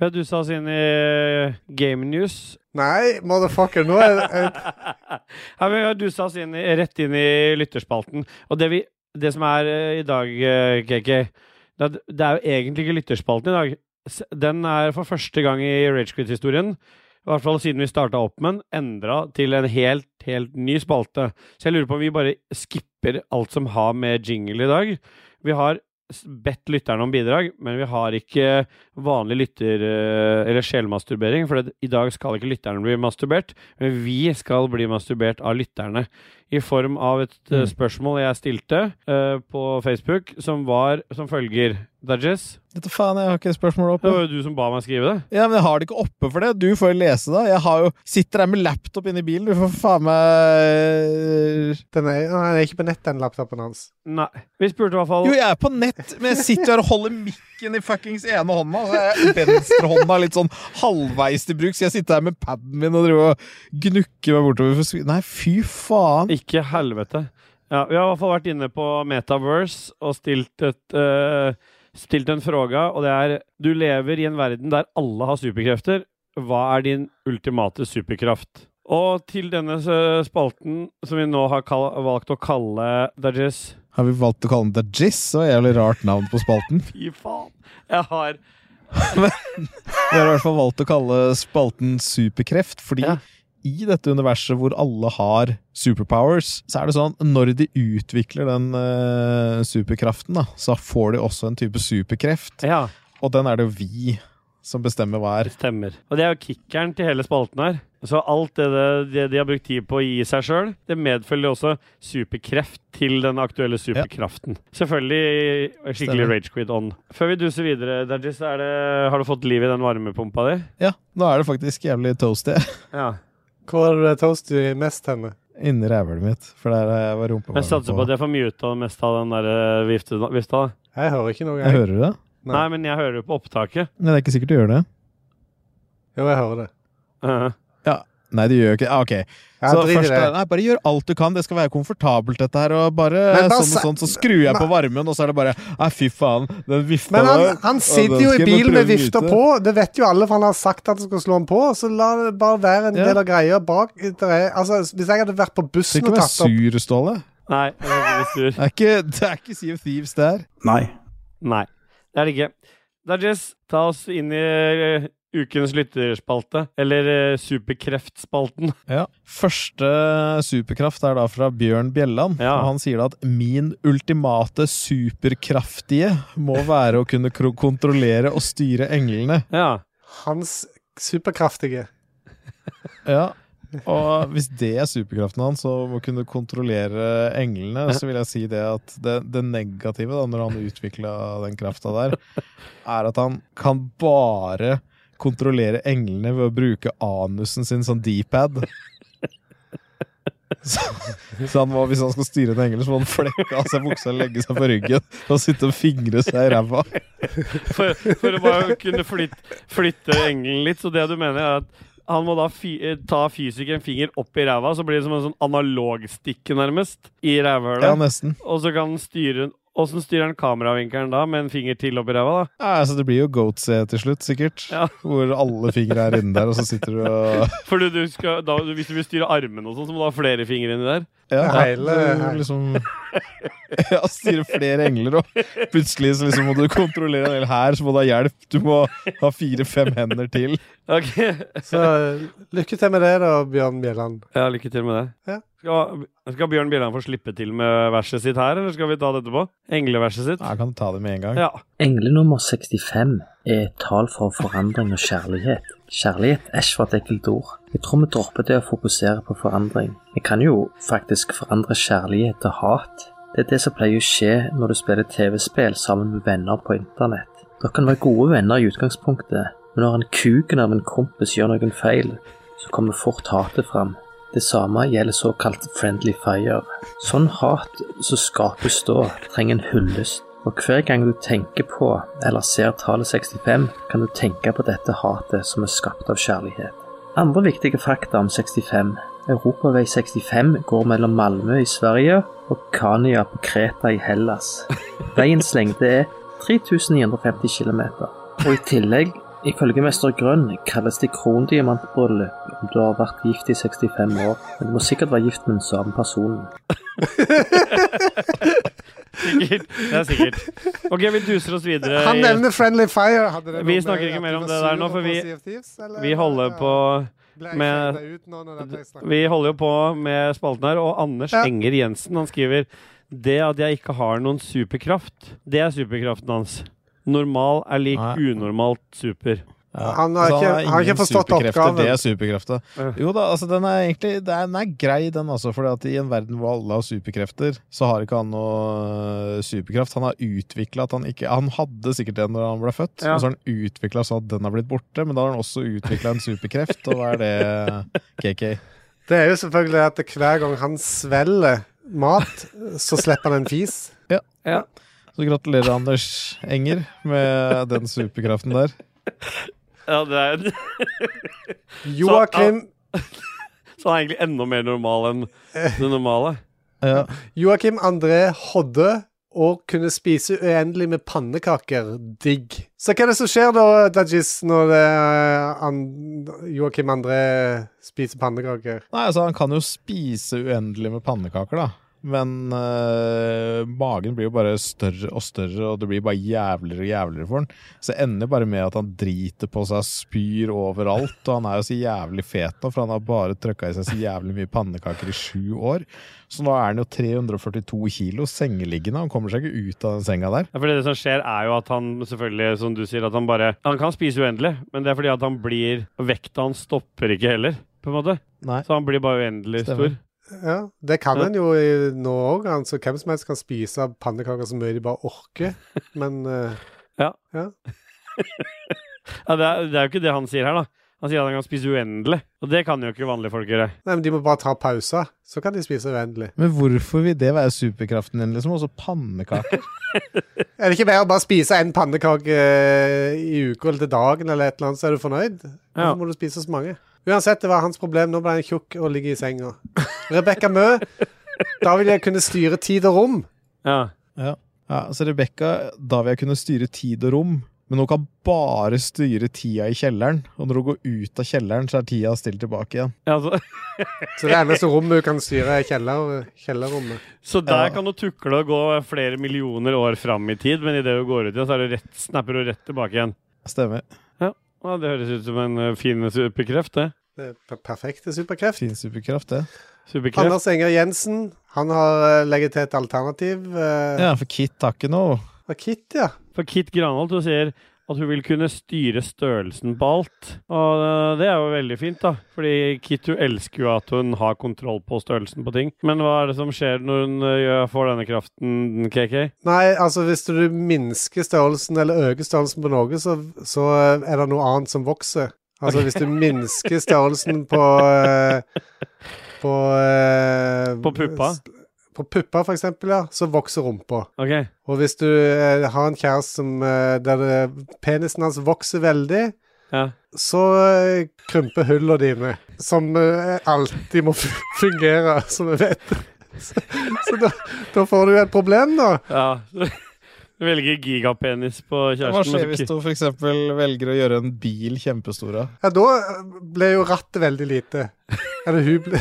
[SPEAKER 1] Hva du sa oss inn i Game News?
[SPEAKER 2] Nei, motherfucker, nå er jeg,
[SPEAKER 1] Her vil jeg dusa oss inn, i- rett inn i lytterspalten. Og det, vi, det som er eh, i dag, eh, KK det er, det er jo egentlig ikke lytterspalten i dag. S- Den er for første gang i Ragequit-historien, i hvert fall siden vi starta opp med den, endra til en helt, helt ny spalte. Så jeg lurer på om vi bare skipper alt som har med jingle i dag. Vi har s- bedt lytterne om bidrag, men vi har ikke vanlig lytter... eh, Eller sjelmasturbering, for det, i dag skal ikke lytterne bli masturbert. Men vi skal bli masturbert av lytterne i form av et eh,
[SPEAKER 3] Mm.
[SPEAKER 1] spørsmål jeg stilte eh, på Facebook, som var som følger Dajis,
[SPEAKER 3] Dette faen, jeg har ikke spørsmålet
[SPEAKER 1] det
[SPEAKER 3] oppe.
[SPEAKER 1] var jo du som ba meg skrive det.
[SPEAKER 3] Ja, men jeg har det ikke oppe for det. Du får jo lese det. Jeg har jo, sitter her med laptop inne i bilen. Du får faen eh, meg
[SPEAKER 2] den er, nei, den er ikke på nett, den laptopen hans.
[SPEAKER 1] Nei. Vi spurte i hvert fall
[SPEAKER 3] Jo, jeg er på nett, men jeg sitter her og holder mikken i fuckings ene hånda. Så jeg Venstrehånda litt sånn halvveis til bruk, så jeg sitter her med paden min og driver og gnukker meg bortover. For skri- Nei, fy faen.
[SPEAKER 1] Ikke helvete. Ja, vi har i hvert fall vært inne på Metaverse og stilt, et, eh, stilt en fråga, og det er Du lever i en verden der alle har superkrefter. Hva er din ultimate superkraft? Og til denne eh, spalten, som vi nå har kall valgt å kalle Dajis
[SPEAKER 3] Har vi valgt å kalle den Dajis? Så jævlig rart navn på spalten.
[SPEAKER 1] Fy faen! Jeg har
[SPEAKER 3] Vi har i hvert fall valgt å kalle spalten Superkreft, fordi
[SPEAKER 1] Ja.
[SPEAKER 3] i dette universet hvor alle har superpowers, så er det sånn når de utvikler den eh, superkraften, da, så får de også en type superkreft.
[SPEAKER 1] Ja,
[SPEAKER 3] Og den er det jo vi som bestemmer hva er.
[SPEAKER 1] det stemmer. Og det er jo kickeren til hele spalten her. Så alt det, det de har brukt tid på å gi seg sjøl, det medfølger også superkreft til den aktuelle superkraften. Selvfølgelig skikkelig
[SPEAKER 3] Stemmer.
[SPEAKER 1] ragequid-on. Før vi duser videre, Dajis, er det- har du fått liv i den varmepumpa di?
[SPEAKER 3] Ja, nå er det faktisk jævlig toasty
[SPEAKER 1] Ja.
[SPEAKER 2] Hvor er det toast du mest henne?
[SPEAKER 3] inni rævhølet mitt, for der er jeg var rumpa
[SPEAKER 1] Jeg satser på at jeg får muta det meste av den der eh, vifte- vifta. da.
[SPEAKER 2] Jeg hører ikke noe.
[SPEAKER 3] Jeg
[SPEAKER 2] Jeg.
[SPEAKER 3] hører det,
[SPEAKER 2] Nei.
[SPEAKER 1] Nei, men jeg hører det på opptaket.
[SPEAKER 3] men det er ikke sikkert du gjør det.
[SPEAKER 2] Jo, jeg hører det.
[SPEAKER 1] Eh,
[SPEAKER 3] Nei, det gjør jo ikke ah, Ok.
[SPEAKER 2] Ja,
[SPEAKER 3] så
[SPEAKER 2] drit i
[SPEAKER 3] først
[SPEAKER 2] det.
[SPEAKER 3] er, nei, bare gjør alt du kan. Det skal være komfortabelt, dette her. Og bare
[SPEAKER 2] Men da
[SPEAKER 3] sånn og
[SPEAKER 2] sa-
[SPEAKER 3] sånn, så skrur jeg på varmen, og så er det bare Nei, fy faen, den vifta
[SPEAKER 2] Men
[SPEAKER 3] der,
[SPEAKER 2] han, han
[SPEAKER 3] og
[SPEAKER 2] sitter
[SPEAKER 3] den
[SPEAKER 2] jo i
[SPEAKER 3] skal jeg
[SPEAKER 2] bil med
[SPEAKER 3] bare prøve å
[SPEAKER 2] vifta
[SPEAKER 3] nyte.
[SPEAKER 2] på. Det vet jo alle, for han har sagt at han skal slå den på. Så la det bare være en
[SPEAKER 3] Ja.
[SPEAKER 2] del av greia bak. Det er- Altså, hvis jeg hadde vært på
[SPEAKER 3] Du
[SPEAKER 2] bussen og
[SPEAKER 3] skal ikke være
[SPEAKER 2] tatt opp
[SPEAKER 3] sur, Ståle.
[SPEAKER 1] Nei, jeg er veldig sur.
[SPEAKER 3] Det er ikke, det er ikke Sea of Thieves, det her.
[SPEAKER 1] Nei, det er det ikke. Dajis, ta oss inn i eh, ukens lytterspalte, eller eh, superkreftspalten.
[SPEAKER 3] Ja. Første superkraft er da fra Bjørn Bjelland.
[SPEAKER 1] Ja.
[SPEAKER 3] Og han sier da at 'min ultimate superkraftige må være å kunne kro- kontrollere og styre englene'.
[SPEAKER 1] Ja.
[SPEAKER 2] hans superkraftige
[SPEAKER 3] Ja. Og hvis det er superkraften hans, så må kunne kontrollere englene, så vil jeg si det at det, det negative da, når han utvikla den krafta der, er at han kan bare kontrollere englene ved å bruke anusen sin som D-pad. Så, så han må, hvis han skal styre en engel, så må han flekke av seg buksa og legge seg på ryggen og sitte og fingre seg i ræva.
[SPEAKER 1] For, for å bare kunne flytte, flytte engelen litt, så det du mener er at han må da fy, eh, ta fysikeren finger opp i ræva, så blir det som en sånn analogstikke nærmest i
[SPEAKER 3] Ja,
[SPEAKER 1] rævhølet.
[SPEAKER 3] nesten.
[SPEAKER 1] og så kan han styre den Åssen styrer han kameravinkelen da, med en finger til oppi ræva, da?
[SPEAKER 3] Nei, altså Det blir jo goatse til slutt, sikkert.
[SPEAKER 1] Ja.
[SPEAKER 3] Hvor alle fingre er inne der, og så sitter du og
[SPEAKER 1] For du, du skal, da, hvis du vil styre armene og sånn, så må du ha flere fingre inni der.
[SPEAKER 3] Ja,
[SPEAKER 2] Hele-
[SPEAKER 3] du liksom Ja, styrer flere engler, og plutselig så liksom må du kontrollere en hel hær, så må du ha hjelp. Du må ha fire-fem hender til.
[SPEAKER 1] Ok,
[SPEAKER 2] Så eh, lykke til med det, da, Bjørn Bjelland.
[SPEAKER 1] ja, Lykke til med det.
[SPEAKER 2] Ja.
[SPEAKER 1] Skal, skal Bjørn Bjelland få slippe til med verset sitt her, eller skal vi ta det etterpå? Engleverset sitt?
[SPEAKER 3] Ja, Jeg kan ta det med en gang.
[SPEAKER 1] Ja.
[SPEAKER 7] Engle nummer 65 er et tall for forandring og kjærlighet. Kjærlighet æsj for et ekkelt ord. Jeg tror vi dropper det å fokusere på forandring. Vi kan jo faktisk forandre kjærlighet til hat. Det er det som pleier å skje når du spiller TV-spill sammen med venner på internett. Dere kan være gode venner i utgangspunktet, men når en kuken av en kompis gjør noen feil, så kommer fort hatet fram. Det samme gjelder såkalt friendly fire. Sånn hat som skapes da, trenger en hyllest. Og hver gang du tenker på eller ser tallet 65, kan du tenke på dette hatet som er skapt av kjærlighet. Andre viktige fakta om 65. Europavei 65 går mellom Malmö i Sverige og Kania på Kreta i Hellas. Veiens lengde er 3950 km. Og i tillegg, ifølge Mester Grønn, kalles det krondiamantbryllup om du har vært gift i 65 år, men du må sikkert være gift med den samme personen.
[SPEAKER 1] Sikkert. Det er sikkert. Ok, vi duser oss videre.
[SPEAKER 2] Han
[SPEAKER 1] i-
[SPEAKER 2] nevner Friendly Fire. Hadde det
[SPEAKER 1] Eh, Vi
[SPEAKER 2] noe med
[SPEAKER 1] snakker ikke
[SPEAKER 2] at du
[SPEAKER 1] mer om
[SPEAKER 2] var
[SPEAKER 1] det der
[SPEAKER 2] sur
[SPEAKER 1] nå, for
[SPEAKER 2] på
[SPEAKER 1] vi-
[SPEAKER 2] Sea of Thieves, eller?
[SPEAKER 1] Vi holder på
[SPEAKER 2] Ble jeg
[SPEAKER 1] med-
[SPEAKER 2] skjellet ut nå når dette jeg snakket?
[SPEAKER 1] Vi holder jo på med spalten her, og Anders
[SPEAKER 2] Ja.
[SPEAKER 1] Enger Jensen han skriver Det at jeg ikke har noen superkraft, det er superkraften hans. Normal er lik
[SPEAKER 3] Nei.
[SPEAKER 1] unormalt super.
[SPEAKER 3] Ja.
[SPEAKER 2] Han har
[SPEAKER 3] Så
[SPEAKER 2] ikke- han har ikke
[SPEAKER 3] ingen
[SPEAKER 2] forstått
[SPEAKER 3] superkrefter,
[SPEAKER 2] oppgaven.
[SPEAKER 3] Det er superkrefter.
[SPEAKER 1] Ja.
[SPEAKER 3] Jo da, altså den er egentlig det er, Den er grei, den også, for i en verden hvor alle har superkrefter, så har ikke han noe øh, superkraft. Han har utvikla at han ikke Han hadde sikkert den da han ble født,
[SPEAKER 1] Ja.
[SPEAKER 3] og så har han utvikla sånn at den har blitt borte, men da har han også utvikla en superkreft, og hva er det, KK?
[SPEAKER 2] Det er jo selvfølgelig at hver gang han svelger mat, så slipper han en fis.
[SPEAKER 3] Så gratulerer, Anders Enger, med den superkraften der.
[SPEAKER 1] Ja, det er
[SPEAKER 2] Joakim,
[SPEAKER 1] Så han er egentlig enda mer normal enn det normale.
[SPEAKER 3] Ja.
[SPEAKER 2] Joakim André Hodde og kunne spise uendelig med pannekaker. Digg. Så hva er det som skjer da, Dajis, når det er an- Joakim André spiser pannekaker?
[SPEAKER 3] Nei, altså han kan jo spise uendelig med pannekaker da Men øh, magen blir jo bare større og større Og det blir bare jævligere og jævligere for han Så det ender bare med at han driter på seg Spyr overalt Og han er jo så jævlig fet nå For han har bare trøkket i seg så jævlig mye pannekaker i sju år Så nå er han jo 342 kilo sengeliggende Han kommer seg ikke ut av den senga der
[SPEAKER 1] Ja, for det som skjer, er jo at han selvfølgelig, som du sier, at han bare Han kan spise uendelig, men det er fordi at han blir Vekta hans stopper ikke heller, på en måte.
[SPEAKER 3] Nei.
[SPEAKER 1] Så han blir bare uendelig
[SPEAKER 3] Stemmer.
[SPEAKER 1] stor.
[SPEAKER 2] Ja, Det kan
[SPEAKER 1] Ja.
[SPEAKER 2] en jo i- nå òg, altså hvem som helst kan spise pannekaker så mye de bare orker. Men eh,
[SPEAKER 1] Ja, det, er, det er jo ikke det han sier her, da. Han sier at han kan spise uendelig, og det kan jo ikke vanlige folk gjøre.
[SPEAKER 2] nei, men de må bare ta pauser, så kan de spise uendelig.
[SPEAKER 3] Men hvorfor vil det være superkraften din liksom Også pannekaker
[SPEAKER 2] Er det ikke bedre å bare spise en pannekake eh, i uka eller til dagen, eller et eller annet, så er du fornøyd? Hvorfor
[SPEAKER 1] Ja.
[SPEAKER 2] må du spise så mange? Uansett, det var hans problem. Nå ble han tjukk og ligger i senga. Rebekka Mø, da vil jeg kunne styre tid og rom.
[SPEAKER 1] Ja.
[SPEAKER 3] Ja, så Rebekka, da vil jeg kunne styre tid og rom, men hun kan bare styre tida i kjelleren. Og når hun går ut av kjelleren, så er tida stilt tilbake igjen.
[SPEAKER 1] Ja, altså, så,
[SPEAKER 2] Så det eneste rommet hun kan styre, er kjeller, kjellerrommet.
[SPEAKER 1] så der
[SPEAKER 3] Ja.
[SPEAKER 1] kan du tukle og gå flere millioner år fram i tid, men idet du går ut igjen, så er du rett, snapper du rett tilbake igjen.
[SPEAKER 3] Stemmer.
[SPEAKER 1] Ja, det høres ut som en eh, fin superkreft, det.
[SPEAKER 2] Det er per- perfekte superkreft.
[SPEAKER 3] Fin superkraft, det.
[SPEAKER 1] Superkreft.
[SPEAKER 2] Anders Enger Jensen, han har eh, legget til et alternativ. eh,
[SPEAKER 3] Ja, for Kit har ikke noe.
[SPEAKER 2] Og Kit, ja.
[SPEAKER 1] For Kit Granholt hun sier at hun vil kunne styre størrelsen på alt. Og eh, det er jo veldig fint, da. Fordi Kit hun elsker jo at hun har kontroll på størrelsen på ting. Men hva er det som skjer når hun eh, gjør- får denne kraften, KK?
[SPEAKER 2] Nei, altså hvis du minsker størrelsen eller øker størrelsen på noe, så, så eh, er det noe annet som vokser. Altså hvis du minsker størrelsen på eh, På eh,
[SPEAKER 1] På puppa?
[SPEAKER 2] s- På puppa, for eksempel, ja. Så vokser rumpa.
[SPEAKER 1] OK.
[SPEAKER 2] Og hvis du eh, har en kjæreste som, eh, der det- penisen hans vokser veldig,
[SPEAKER 1] Ja.
[SPEAKER 2] så eh, krymper hullene dine. Som eh, alltid må fungere, som vi vet. Så da, da får du et problem, da.
[SPEAKER 1] Ja. Du velger gigapenis på kjæresten.
[SPEAKER 3] Hva skjer
[SPEAKER 1] og
[SPEAKER 3] hvis
[SPEAKER 1] så-
[SPEAKER 3] du f.eks. velger å gjøre en bil kjempestor? da?
[SPEAKER 2] Ja, da eh, ble jo rattet veldig lite. Eller hun ble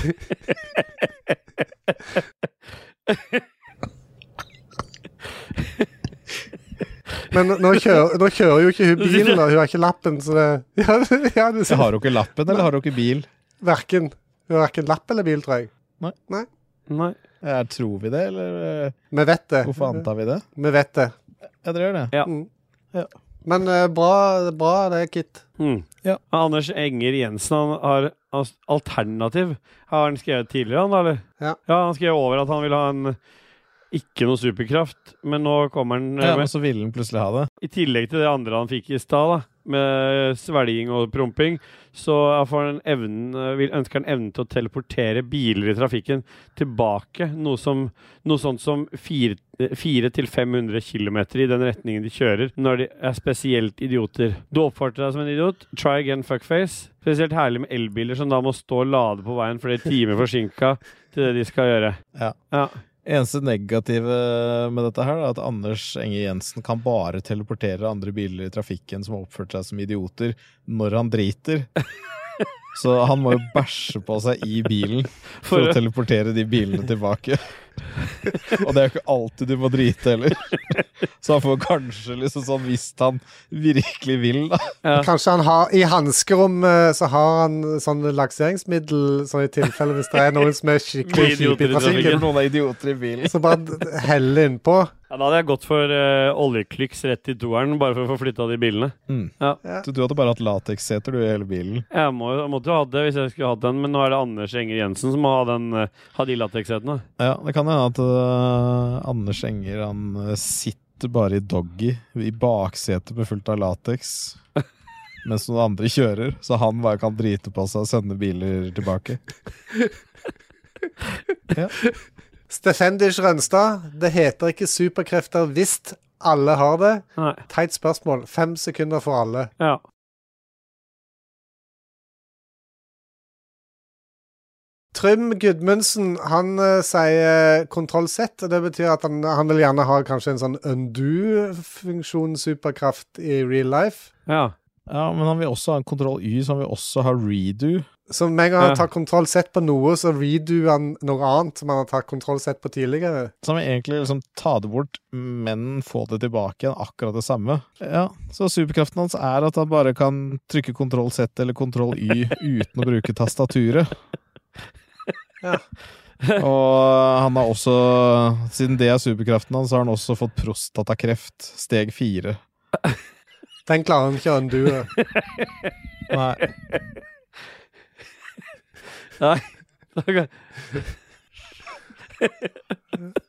[SPEAKER 2] Men nå kjører, nå kjører jo ikke hun bilen, da. Hun har ikke lappen, så det Ja, ja du
[SPEAKER 3] Så
[SPEAKER 2] ser
[SPEAKER 3] har du ikke lappen, eller har du ikke bil?
[SPEAKER 2] verken Hun har verken lapp eller bil, tror jeg.
[SPEAKER 1] Nei.
[SPEAKER 3] Ja, tror vi det, eller eh,
[SPEAKER 2] Vi vet det.
[SPEAKER 3] hvorfor antar vi det?
[SPEAKER 2] Vi vet det.
[SPEAKER 3] Ja, dere gjør det.
[SPEAKER 2] Men eh, bra, bra det, Kit.
[SPEAKER 1] Mm.
[SPEAKER 3] Ja.
[SPEAKER 1] Anders Enger Jensen han har hans alternativ. Har han skrevet tidligere, han da, eller?
[SPEAKER 2] Ja.
[SPEAKER 1] han skrev over at han ville ha en ikke noe superkraft, men nå kommer han eh,
[SPEAKER 3] Ja, men
[SPEAKER 1] med,
[SPEAKER 3] så ville den plutselig ha det.
[SPEAKER 1] I tillegg til det andre han fikk i stad, da, med svelging og promping, så får han evnen, eh, vil, ønsker han evnen til å teleportere biler i trafikken tilbake. Noe, som, noe sånt som 400-500 km i den retningen de kjører, når de er spesielt idioter. Du oppførte deg som en idiot. Try again, fuckface. Spesielt herlig med elbiler som da må stå og lade på veien flere timer forsinka til det de skal gjøre.
[SPEAKER 3] Ja.
[SPEAKER 1] ja.
[SPEAKER 3] Eneste negative med dette her er at Anders Enge Jensen kan bare teleportere andre biler i trafikken som har oppført seg som idioter, når han driter. Så han må jo bæsje på seg i bilen for å
[SPEAKER 1] For,
[SPEAKER 3] teleportere de bilene tilbake. Og det er jo ikke alltid du må drite heller. Så han får kanskje liksom sånn hvis han virkelig vil, da.
[SPEAKER 1] Ja.
[SPEAKER 2] Kanskje han har I hanskerommet så har han sånn lakseringsmiddel, sånn i tilfelle hvis det er noen som er skikkelig kjipe i
[SPEAKER 1] Idioter i trafikken.
[SPEAKER 2] trafikken.
[SPEAKER 3] Noen er idioter i bilen.
[SPEAKER 2] Så bare d- helle innpå.
[SPEAKER 1] ja, da hadde jeg gått for uh, oljeklyks rett i toeren, bare for å få flytta de bilene.
[SPEAKER 3] Du, du hadde bare hatt lateksseter, du, i hele bilen.
[SPEAKER 1] Jeg må, jeg måtte jo hatt det hvis jeg skulle hatt den, men nå er det Anders Enger Jensen som må ha, den, eh, ha de latekssetene.
[SPEAKER 3] Ja, det kan hende at øh, Anders Enger han øh, sitter bare i doggy i baksetet med fullt av lateks. Mens noen andre kjører, så han bare kan drite på seg og sende biler tilbake.
[SPEAKER 2] Stefendish Rønstad, det heter ikke superkrefter hvis alle har det.
[SPEAKER 1] Nei.
[SPEAKER 2] Teit spørsmål. Fem sekunder for alle.
[SPEAKER 1] Ja.
[SPEAKER 2] Trym Gudmundsen han eh, sier kontroll Z. og Det betyr at han, han vil gjerne ha kanskje en sånn undo-funksjon, superkraft, i real life.
[SPEAKER 1] ja.
[SPEAKER 3] Ja, men han vil også ha en kontroll Y, så han vil også ha redo.
[SPEAKER 2] Så med en gang
[SPEAKER 1] Ja.
[SPEAKER 2] han tar kontroll Z på noe, så redoer han noe annet som han har tatt kontroll Z på tidligere.
[SPEAKER 3] Så han vil egentlig liksom ta det bort, men få det tilbake igjen, akkurat det samme. Ja, Så superkraften hans er at han bare kan trykke kontroll Z eller kontroll Y uten å bruke tastaturet.
[SPEAKER 2] Ja.
[SPEAKER 3] Og han har også, siden det er superkraften hans, så har han også fått prostatakreft, steg fire.
[SPEAKER 2] Den klarer han ikke å undue.
[SPEAKER 3] Nei.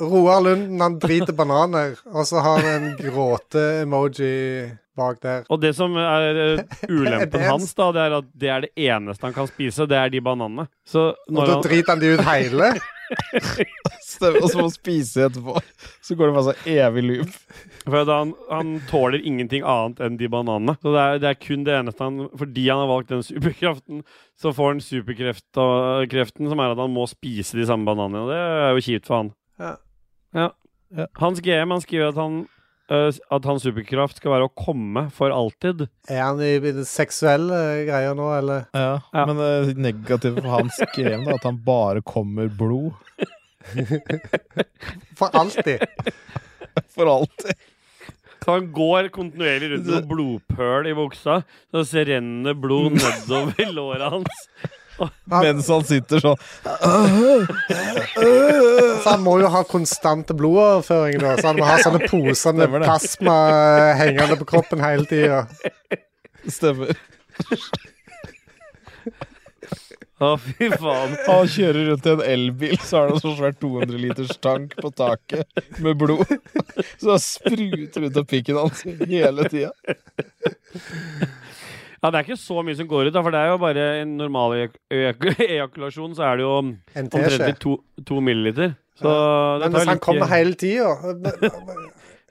[SPEAKER 2] Roar Lunden han driter bananer, og så har han en gråte-emoji bak der.
[SPEAKER 1] Og det som er eh,
[SPEAKER 2] Det
[SPEAKER 1] ulempen
[SPEAKER 2] er-
[SPEAKER 1] hans, da, det er at det er det eneste han kan spise, det er de bananene. Så
[SPEAKER 2] Og
[SPEAKER 1] når
[SPEAKER 2] da
[SPEAKER 1] han
[SPEAKER 2] driter han de ut hele.
[SPEAKER 3] Stemmer, Og så må han spise etterpå. Så går det bare så evig loop.
[SPEAKER 1] For da han, han tåler ingenting annet enn de bananene. Så det er, det er kun det eneste han Fordi han har valgt den superkraften, så får han superkreften som er at han må spise de samme bananene. Og det er jo kjipt for han.
[SPEAKER 2] Ja.
[SPEAKER 1] Ja.
[SPEAKER 3] Ja.
[SPEAKER 1] Hans GM han skriver at han øh, at hans superkraft skal være å komme for alltid.
[SPEAKER 2] Er han i i det seksuelle greier nå, eller?
[SPEAKER 3] Ja,
[SPEAKER 1] Ja.
[SPEAKER 3] Men eh, det negative for hans game da, at han bare kommer blod
[SPEAKER 2] For alltid.
[SPEAKER 3] for alt.
[SPEAKER 1] Så han går kontinuerlig rundt med noen blodpøl i buksa, så det renner blod nedover låret hans.
[SPEAKER 2] Han,
[SPEAKER 3] Mens han sitter sånn
[SPEAKER 2] så han må jo ha konstant blodoverføring, da. Så han må ha sånne poser med
[SPEAKER 3] Stemmer det.
[SPEAKER 2] plasma hengende på kroppen hele tida.
[SPEAKER 3] Stemmer.
[SPEAKER 1] Å, fy faen.
[SPEAKER 3] Han kjører rundt i en elbil, så har han en sånn svær 200 liters tank på taket med blod. Så han spruter ut av pikken hans hele tida.
[SPEAKER 1] Ja, det er ikke så mye som går ut, da, for det er jo bare en normal eak- eak- ejakulasjon, så er det jo
[SPEAKER 2] En teskje.
[SPEAKER 1] omtrent to, to milliliter. Så det tar
[SPEAKER 2] Men hvis han
[SPEAKER 1] litt tid.
[SPEAKER 2] kommer hele tida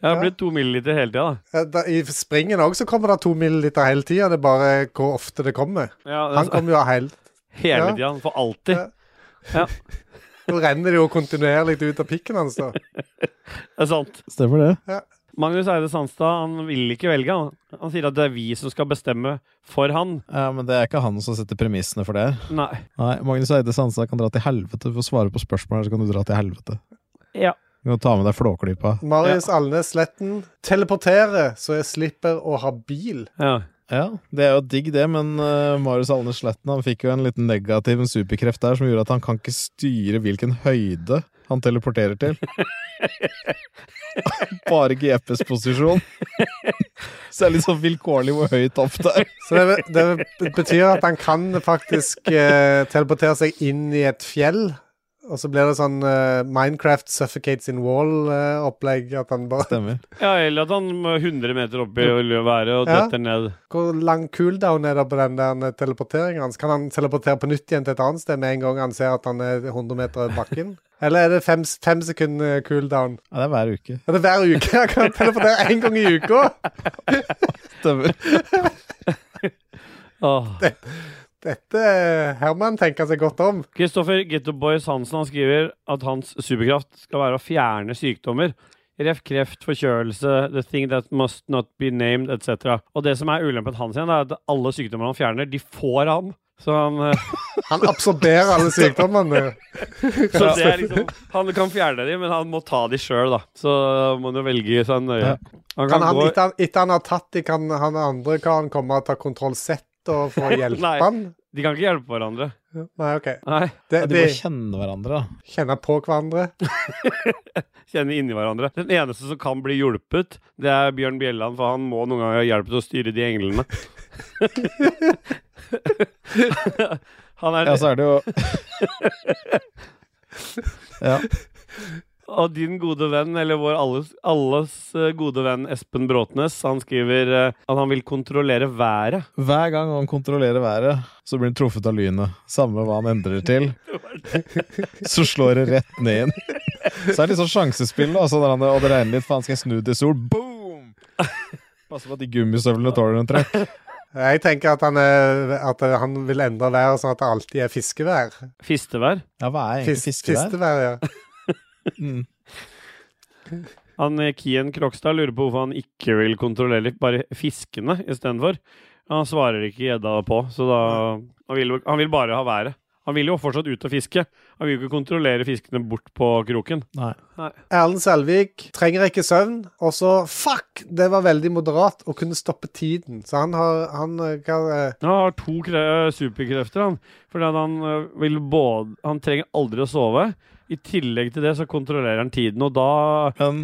[SPEAKER 1] Ja, det blir to milliliter hele tida, da.
[SPEAKER 2] eh, I springen òg så kommer det to milliliter hele tida. Det er bare hvor ofte det kommer.
[SPEAKER 1] Ja,
[SPEAKER 2] Han
[SPEAKER 1] altså,
[SPEAKER 2] kommer jo hele
[SPEAKER 1] hele
[SPEAKER 2] ja.
[SPEAKER 1] tida. For alltid.
[SPEAKER 2] Ja. Nå renner det jo kontinuerlig ut av pikken hans, da.
[SPEAKER 1] Det er sant.
[SPEAKER 3] Stemmer det?
[SPEAKER 1] Magnus Eide Sandstad han vil ikke velge. Han, han sier at det er vi som skal bestemme for han.
[SPEAKER 3] Ja, men det er ikke han som setter premissene for det.
[SPEAKER 1] Nei.
[SPEAKER 3] Nei, Magnus Eide Sandstad kan dra til helvete. For å svare på spørsmål her, så kan du dra til helvete.
[SPEAKER 1] Ja.
[SPEAKER 3] Du kan ta med deg flåklypa.
[SPEAKER 2] Marius Alnes Sletten teleporterer, så jeg slipper å ha bil.
[SPEAKER 1] ja.
[SPEAKER 3] Ja, det er jo digg det, men eh, Marius Alnes Sletten han fikk jo en liten negativ superkreft der som gjorde at han kan ikke styre hvilken høyde han teleporterer til. Bare GPS-posisjon. Så det er litt sånn vilkårlig hvor høyt opp det er.
[SPEAKER 2] Så det, det betyr at han kan faktisk eh, teleportere seg inn i et fjell. Og så blir det sånn eh, Minecraft suffocates in wall-opplegg. at han bare
[SPEAKER 3] Stemmer.
[SPEAKER 1] ja, eller at han må 100 meter opp i været og
[SPEAKER 2] Ja.
[SPEAKER 1] detter ned.
[SPEAKER 2] Hvor lang cooldown er det på den der eh, teleporteringen hans? Kan han teleportere på nytt igjen til et annet sted med en gang han ser at han er 100 meter over bakken? Eller er det fem, fem sekunder cooldown?
[SPEAKER 3] Ja, det er hver uke.
[SPEAKER 2] Er det hver uke? Han kan teleportere én gang i uka!
[SPEAKER 3] Stemmer.
[SPEAKER 1] Åh.
[SPEAKER 2] Dette eh, Herman tenker seg godt om.
[SPEAKER 1] Kristoffer Ghetto Boys Hansen han skriver at hans superkraft skal være å fjerne sykdommer. Ref kreft, forkjølelse, the thing that must not be named, etc. Og det som er ulempen hans igjen, er at alle sykdommer han fjerner, de får han. Så han, eh,
[SPEAKER 2] Han absorberer alle sykdommene.
[SPEAKER 1] så det er liksom, han kan fjerne de, men han må ta de sjøl, da. Så må han jo velge seg nøye.
[SPEAKER 3] Ja.
[SPEAKER 1] Han
[SPEAKER 2] Kan han,
[SPEAKER 1] gå-
[SPEAKER 2] etter, han- etter han har tatt de, kan han andre kan komme og ta kontroll Z og få hjelpe
[SPEAKER 1] Nei.
[SPEAKER 2] han?
[SPEAKER 1] De kan ikke hjelpe hverandre.
[SPEAKER 2] Nei, OK.
[SPEAKER 1] Nei,
[SPEAKER 2] De,
[SPEAKER 3] Ja, de
[SPEAKER 2] de
[SPEAKER 3] må kjenne hverandre, da.
[SPEAKER 2] kjenner på hverandre.
[SPEAKER 1] kjenne inni hverandre. Den eneste som kan bli hjulpet, det er Bjørn Bjelland, for han må noen ganger ha hjelp til å styre de englene. han er,
[SPEAKER 3] Ja, altså- så er det jo Ja.
[SPEAKER 1] Og din gode venn, eller vår alles, alles eh, gode venn Espen Bråtnes, han skriver eh, at han vil kontrollere været.
[SPEAKER 3] Hver gang han kontrollerer været, så blir han truffet av lynet. Samme hva han endrer til, så slår det rett ned inn. Så er det litt sånn sjansespill, da. Så når han, og det regner litt, faen, skal jeg snu til sol? Boom! Passe på at de gummistøvlene tåler en trøkk.
[SPEAKER 2] Jeg tenker at han, er, at han vil endre været sånn at det alltid er fiskevær.
[SPEAKER 1] Fistevær.
[SPEAKER 3] Ja, hva er
[SPEAKER 2] Fis,
[SPEAKER 3] egentlig fiskevær?
[SPEAKER 2] fiskevær, ja.
[SPEAKER 3] Mm.
[SPEAKER 1] Han eh, Kien Krokstad lurer på hvorfor han ikke vil kontrollere bare fiskene istedenfor. Han svarer ikke gjedda på, så da han vil, jo- han vil bare ha været. Han vil jo fortsatt ut og fiske. Han vil jo ikke kontrollere fiskene bort på kroken.
[SPEAKER 3] Nei.
[SPEAKER 2] Erlend Selvik trenger ikke søvn, og så Fuck! Det var veldig moderat å kunne stoppe tiden. Så han har han, eh, hva, eh,
[SPEAKER 1] Han har to kre eh, superkrefter, han. Fordi at han eh, vil både Han trenger aldri å sove. I tillegg til det så kontrollerer han tiden, og da
[SPEAKER 3] Men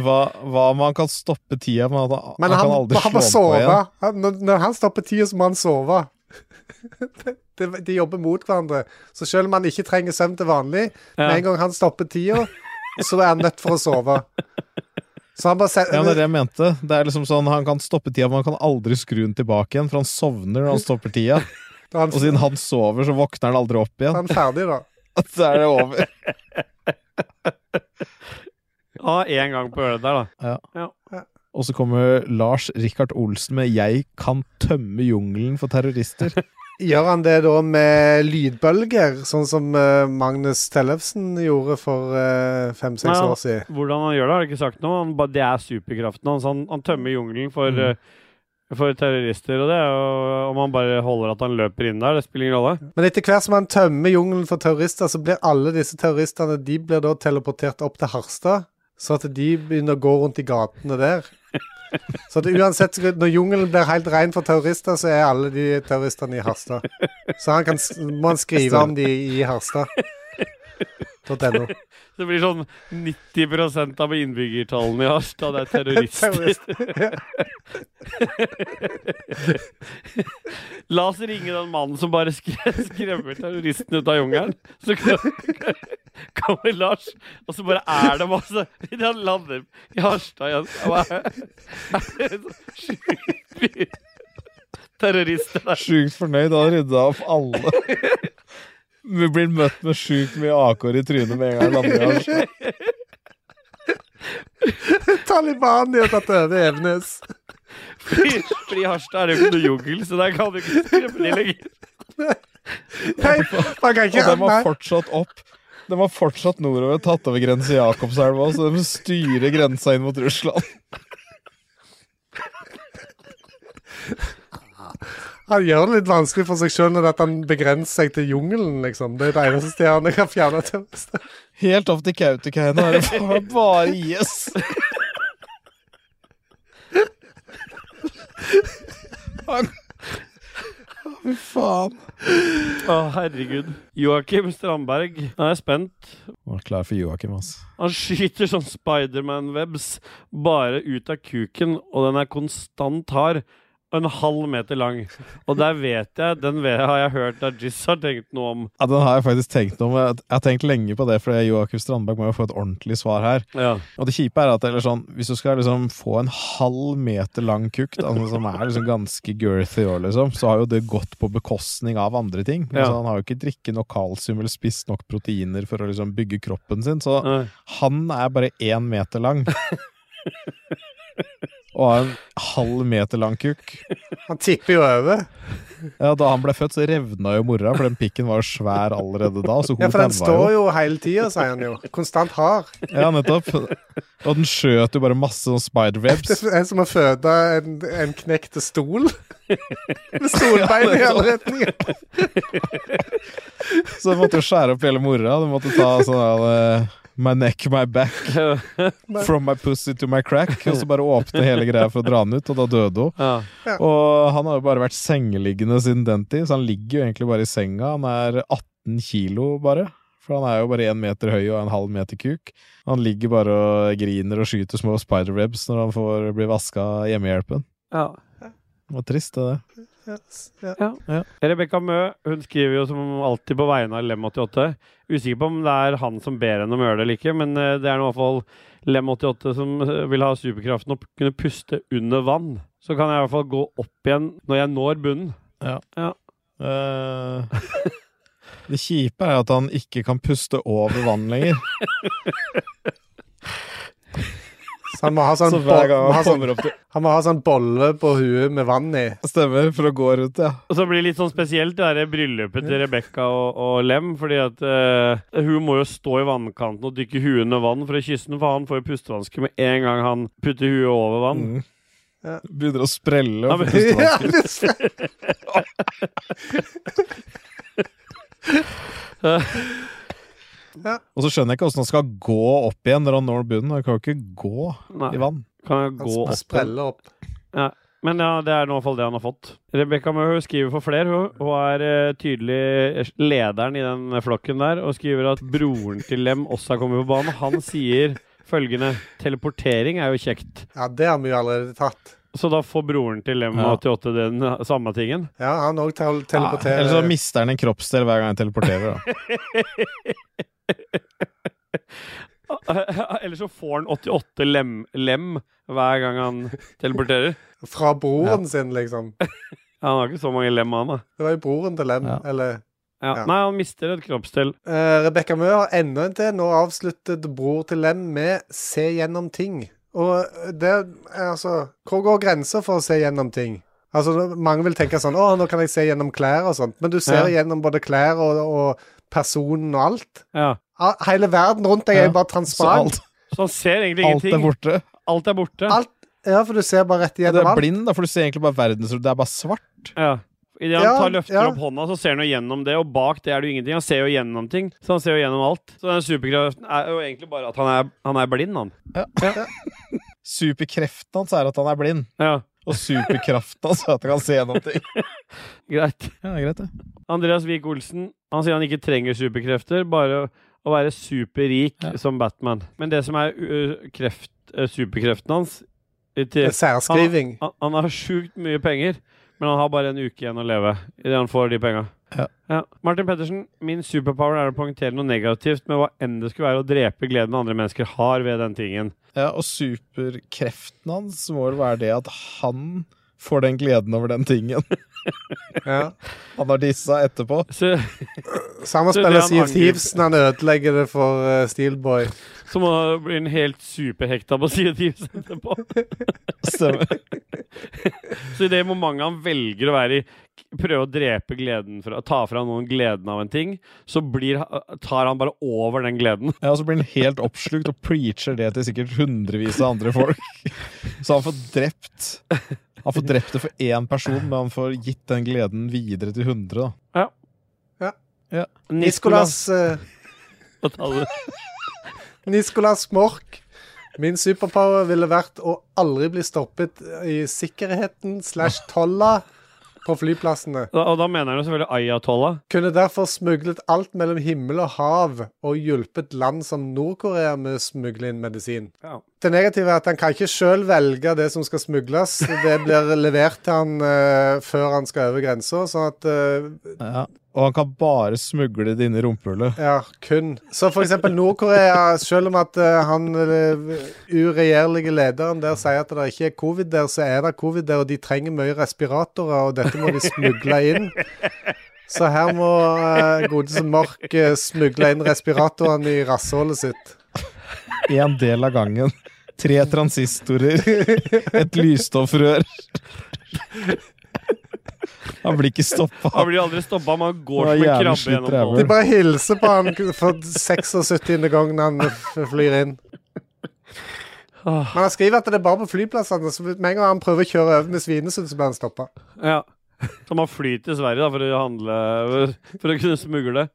[SPEAKER 3] hva, hva om han kan stoppe tida med at han,
[SPEAKER 2] Men
[SPEAKER 3] han
[SPEAKER 2] han,
[SPEAKER 3] kan aldri
[SPEAKER 2] han må
[SPEAKER 3] slå på
[SPEAKER 2] sove.
[SPEAKER 3] igjen?
[SPEAKER 2] Han, når, når han stopper tida, så må han sove. de, de jobber mot hverandre. Så selv om han ikke trenger søvn til vanlig,
[SPEAKER 1] Ja.
[SPEAKER 2] med en gang han stopper tida, så er han nødt for å sove. Så han bare se-
[SPEAKER 3] Ja, men det er det jeg mente. Det er liksom sånn, Han kan stoppe tida, men han kan aldri skru den tilbake igjen, for han sovner når han stopper tida.
[SPEAKER 2] han,
[SPEAKER 3] Og siden han sover, så våkner han aldri opp igjen.
[SPEAKER 2] han er ferdig, da.
[SPEAKER 3] Så er det over.
[SPEAKER 1] Ja, én gang på ølet der, da.
[SPEAKER 3] Og så kommer Lars Rikard Olsen med 'Jeg kan tømme jungelen for terrorister'.
[SPEAKER 2] Gjør han det da med lydbølger, sånn som eh, Magnus Tellefsen gjorde for fem-seks
[SPEAKER 1] Nei, han-
[SPEAKER 2] år siden?
[SPEAKER 1] Hvordan han gjør det, har jeg ikke sagt noe. Han, ba- det er superkraften hans. Han, han tømmer jungelen for,
[SPEAKER 3] Mm.
[SPEAKER 1] eh, for terrorister og det. Og om han bare holder at han løper inn der, det spiller ingen rolle.
[SPEAKER 2] Men etter hvert som han tømmer jungelen for terrorister, så blir alle disse terroristene de blir da teleportert opp til Harstad, så at de begynner å gå rundt i gatene der. Så at uansett, når jungelen blir helt ren for terrorister, så er alle de terroristene i Harstad. Så han kan, s- må han skrive om de i Harstad. .no.
[SPEAKER 1] Det blir sånn 90 av innbyggertallene i Harstad det er terrorister.
[SPEAKER 2] Terrorist.
[SPEAKER 1] La oss ringe den mannen som bare skre skremmer terroristene ut av jungelen. Så kom- kommer Lars, og så bare er det masse Han lander i Harstad igjen. Og er- er det så sjukt mye Terrorister der.
[SPEAKER 3] Sjukt fornøyd, han rydda opp alle. Vi blir møtt med sjukt mye AK-er i trynet med en gang. lander i Harstad.
[SPEAKER 2] Taliban de har tatt over Evenes.
[SPEAKER 1] Fordi, fordi Harstad er jo ikke noe jungel, så der kan du ikke skremme de lenger.
[SPEAKER 2] Nei, man kan
[SPEAKER 3] Og
[SPEAKER 2] ikke
[SPEAKER 3] de har
[SPEAKER 2] nei.
[SPEAKER 3] Altså, fortsatt opp De var fortsatt nordover, tatt over grensa i Jakobselva, så de styrer grensa inn mot Russland.
[SPEAKER 2] Han gjør det litt vanskelig for seg sjøl når at han begrenser seg til jungelen, liksom. Det er det eneste stedet han kan fjerne tømmeret.
[SPEAKER 3] Helt opp til Kautokeino er det bare, bare IS. Han Å, Fy faen.
[SPEAKER 1] Å, herregud. Joakim Strandberg. Han er spent.
[SPEAKER 3] Var klar for Joakim, ass.
[SPEAKER 1] Han skyter sånn Spiderman-webs bare ut av kuken, og den er konstant hard. En halv meter lang. Og der vet jeg Den ve- har jeg hørt at Jizz har tenkt noe om.
[SPEAKER 3] Ja, den har jeg faktisk tenkt noe om. Jeg jeg har tenkt lenge på det, for Joakim Strandberg må jo få et ordentlig svar her.
[SPEAKER 1] Ja.
[SPEAKER 3] Og det kjipe er at eller sånn, hvis du skal liksom få en halv meter lang kukk, da, altså, som er liksom ganske girthy, og liksom, så har jo det gått på bekostning av andre ting.
[SPEAKER 1] Ja.
[SPEAKER 3] Altså, han har jo ikke drikket nok kalsium eller spist nok proteiner for å liksom bygge kroppen sin, så
[SPEAKER 1] Ja.
[SPEAKER 3] han er bare én meter lang. Og har en halv meter lang kukk.
[SPEAKER 2] Han tipper jo over.
[SPEAKER 3] Ja, da han ble født, så revna jo mora, for den pikken var jo svær allerede da. Så hun
[SPEAKER 2] Ja, for den
[SPEAKER 3] daua
[SPEAKER 2] står jo hele tida, sier han jo. Konstant hard.
[SPEAKER 3] Ja, nettopp. Og den skjøt jo bare masse sånn
[SPEAKER 2] Det
[SPEAKER 3] spiderwebs.
[SPEAKER 2] er som å føde en, en knekt stol. Med stolbein i alle retninger.
[SPEAKER 3] Så de måtte jo skjære opp hele mora. De måtte ta sånn der eh, My neck, my back, from my pussy to my crack. Og så bare åpne hele greia for å dra den ut, og da døde hun.
[SPEAKER 1] Ja.
[SPEAKER 3] Og han har jo bare vært sengeliggende siden den tid, så han ligger jo egentlig bare i senga. Han er 18 kilo, bare. For han er jo bare én meter høy og en halv meter kuk. Han ligger bare og griner og skyter små spiderwebs når han får bli vaska av hjemmehjelpen.
[SPEAKER 1] Ja.
[SPEAKER 3] Det var trist, det der.
[SPEAKER 2] Ja.
[SPEAKER 1] Rebekka Mø hun skriver jo som alltid på vegne av Lem88. Usikker på om det er han som ber henne om å gjøre det eller ikke, men eh, det er nå i hvert fall Lem88 som eh, vil ha superkraften å p- kunne puste under vann. Så kan jeg i hvert fall gå opp igjen når jeg når bunnen.
[SPEAKER 3] Eh, det kjipe er at han ikke kan puste over vann lenger.
[SPEAKER 2] Så han må ha sånn,
[SPEAKER 3] Så
[SPEAKER 2] bo-
[SPEAKER 3] hver gang
[SPEAKER 2] må ha
[SPEAKER 3] han
[SPEAKER 2] sånn,
[SPEAKER 3] kommer opp til
[SPEAKER 2] han må ha sånn bolle på huet med vann i.
[SPEAKER 3] Stemmer, for å gå rundt, ja.
[SPEAKER 1] Og så blir det litt sånn spesielt det der bryllupet til Rebekka og, og Lem, fordi at eh, hun må jo stå i vannkanten og dykke huet under vann for å kysse den, for han får jo pustevansker med en gang han putter huet over vann.
[SPEAKER 3] Mm.
[SPEAKER 2] Ja.
[SPEAKER 3] Begynner å sprelle.
[SPEAKER 1] Ja,
[SPEAKER 3] Og
[SPEAKER 1] men-
[SPEAKER 3] puste vann.
[SPEAKER 2] Ja, det-
[SPEAKER 3] og så skjønner jeg ikke åssen han skal gå opp igjen når han når bunnen. Han kan jo ikke gå i
[SPEAKER 1] Nei,
[SPEAKER 3] vann.
[SPEAKER 1] kan jeg gå
[SPEAKER 2] Han
[SPEAKER 1] opp?
[SPEAKER 2] spreller opp.
[SPEAKER 1] Men ja, det er i hvert fall det han har fått. Rebekka Mø hun skriver for flere. Hun, hun er eh, tydelig lederen i den eh, flokken der, og skriver at broren til Lem også har kommet på banen. Han sier følgende Teleportering er jo kjekt.
[SPEAKER 2] Ja, det har vi jo allerede tatt.
[SPEAKER 1] Så da får broren til Lem
[SPEAKER 3] Ja.
[SPEAKER 1] 88 den eh, samme tingen.
[SPEAKER 2] Ja, han òg
[SPEAKER 3] Ja, eller så
[SPEAKER 2] teleporterer.
[SPEAKER 3] mister han en kroppsdel hver gang han teleporterer. Da.
[SPEAKER 1] Eller så får han 88 lem-lem hver gang han teleporterer.
[SPEAKER 2] Fra broren sin, liksom.
[SPEAKER 1] Ja, han har ikke så mange lem, han da.
[SPEAKER 2] Det var jo broren til Lem.
[SPEAKER 3] Ja.
[SPEAKER 2] Eller
[SPEAKER 1] Ja.
[SPEAKER 2] Ja.
[SPEAKER 1] Nei, han mister et kroppsdel.
[SPEAKER 2] uh, Rebekka Mø har enda en til. Nå avsluttet bror til Lem med 'se gjennom ting'. Og det er altså Hvor går grensa for å se gjennom ting? Altså, Mange vil tenke sånn 'Å, nå kan jeg se gjennom klær' og sånt. Men du ser gjennom både klær og, og personen og alt.
[SPEAKER 1] Ja.
[SPEAKER 2] Ah, Hele verden rundt deg er
[SPEAKER 3] Ja,
[SPEAKER 2] jo bare
[SPEAKER 3] Så
[SPEAKER 2] transparent.
[SPEAKER 3] alt,
[SPEAKER 1] Så han ser egentlig
[SPEAKER 3] alt er
[SPEAKER 1] ingenting.
[SPEAKER 3] borte.
[SPEAKER 1] Alt er borte.
[SPEAKER 2] Alt- Ja, for du ser bare rett
[SPEAKER 3] Ja, Du
[SPEAKER 2] igjennom
[SPEAKER 3] er
[SPEAKER 2] alt.
[SPEAKER 3] blind, da, for du ser egentlig bare verdensrommet. Det er bare svart.
[SPEAKER 1] Ja. Idet han
[SPEAKER 2] Ja,
[SPEAKER 1] tar løfter
[SPEAKER 2] ja.
[SPEAKER 1] opp hånda, så ser han jo gjennom det, og bak det er det jo ingenting. Han ser jo gjennom ting, så han ser jo gjennom alt. Så den superkraften er jo egentlig bare at han er, han er blind, han.
[SPEAKER 3] Superkreften hans er at han er blind,
[SPEAKER 1] Ja,
[SPEAKER 3] og superkraften hans er at han kan se gjennom ting.
[SPEAKER 1] greit.
[SPEAKER 3] Ja, det er greit, det.
[SPEAKER 1] Andreas Wiik Olsen han sier han ikke trenger superkrefter, bare å- å være superrik
[SPEAKER 3] Ja.
[SPEAKER 1] som Batman. Men det som er ø, kreft, ø, superkreften hans ø, til,
[SPEAKER 2] Særskriving.
[SPEAKER 1] han, han har sjukt mye penger, men han har bare en uke igjen å leve idet han får de penga.
[SPEAKER 3] Ja.
[SPEAKER 1] Martin Pettersen, min superpower er å poengtere noe negativt med hva enn det skulle være å drepe gleden andre mennesker har ved den tingen.
[SPEAKER 3] Ja, og superkreften hans må vel være det at han får den gleden over den tingen
[SPEAKER 2] Ja.
[SPEAKER 3] han har dissa etterpå.
[SPEAKER 1] Så,
[SPEAKER 2] Samme
[SPEAKER 1] Så
[SPEAKER 2] spiller
[SPEAKER 1] det han
[SPEAKER 2] Siv
[SPEAKER 1] angriper-
[SPEAKER 2] Thieves når han ødelegger det for eh, Steelboy.
[SPEAKER 1] så må han bli en helt superhekta på side 10 etterpå.
[SPEAKER 3] Stemmer.
[SPEAKER 1] Så i det momentet han velger å være i Prøve å drepe gleden fra, ta fra noen gleden av en ting, så blir, tar han bare over den gleden.
[SPEAKER 3] Ja, og så blir han helt oppslukt og preacher det til sikkert hundrevis av andre folk. Så han får drept Han får drept det for én person, men han får gitt den gleden videre til hundre. da.
[SPEAKER 2] Niskolas, eh,
[SPEAKER 1] Hva tar du?
[SPEAKER 2] Niskolas Mork. Min superpower ville vært å aldri bli stoppet i sikkerheten slash tolla på flyplassene.
[SPEAKER 1] Da- Og da mener han jo selvfølgelig ayatollah.
[SPEAKER 2] Kunne derfor smuglet alt mellom himmel og hav og hjulpet land som Nord-Korea med å smugle inn medisin.
[SPEAKER 1] Ja.
[SPEAKER 2] Det negative er at han kan ikke sjøl velge det som skal smugles. Det blir levert til han eh, før han skal over grensa, sånn at eh,
[SPEAKER 3] Ja. Og han kan bare smugle det inn i rumpehullet.
[SPEAKER 2] Ja, kun. Så for eksempel Nord-Korea, selv om at eh, han eh, uregjerlige lederen der sier at det ikke er covid der, så er det covid der, og de trenger mye respiratorer, og dette må de smugle inn. Så her må uh, godeste Mork eh, smugle inn respiratorene i rasshålet sitt.
[SPEAKER 3] Én del av gangen. Tre transistorer. Et lysstoffrør. Han blir ikke
[SPEAKER 1] Han
[SPEAKER 3] stoppa.
[SPEAKER 1] blir jo aldri stoppa, man går som
[SPEAKER 3] Det var
[SPEAKER 1] en
[SPEAKER 3] jævlig
[SPEAKER 1] krabbe
[SPEAKER 3] slitt
[SPEAKER 1] gjennom
[SPEAKER 3] rævhull.
[SPEAKER 2] De
[SPEAKER 1] tollen.
[SPEAKER 2] bare hilser på han for 76. gangen han f- flyr inn. Men han skriver at det er bare på flyplassene, så med en gang han prøver å kjøre over med Svinesund, så blir han stoppa.
[SPEAKER 1] Ja. Så man flyr til Sverige da, for å handle For å kunne smugle.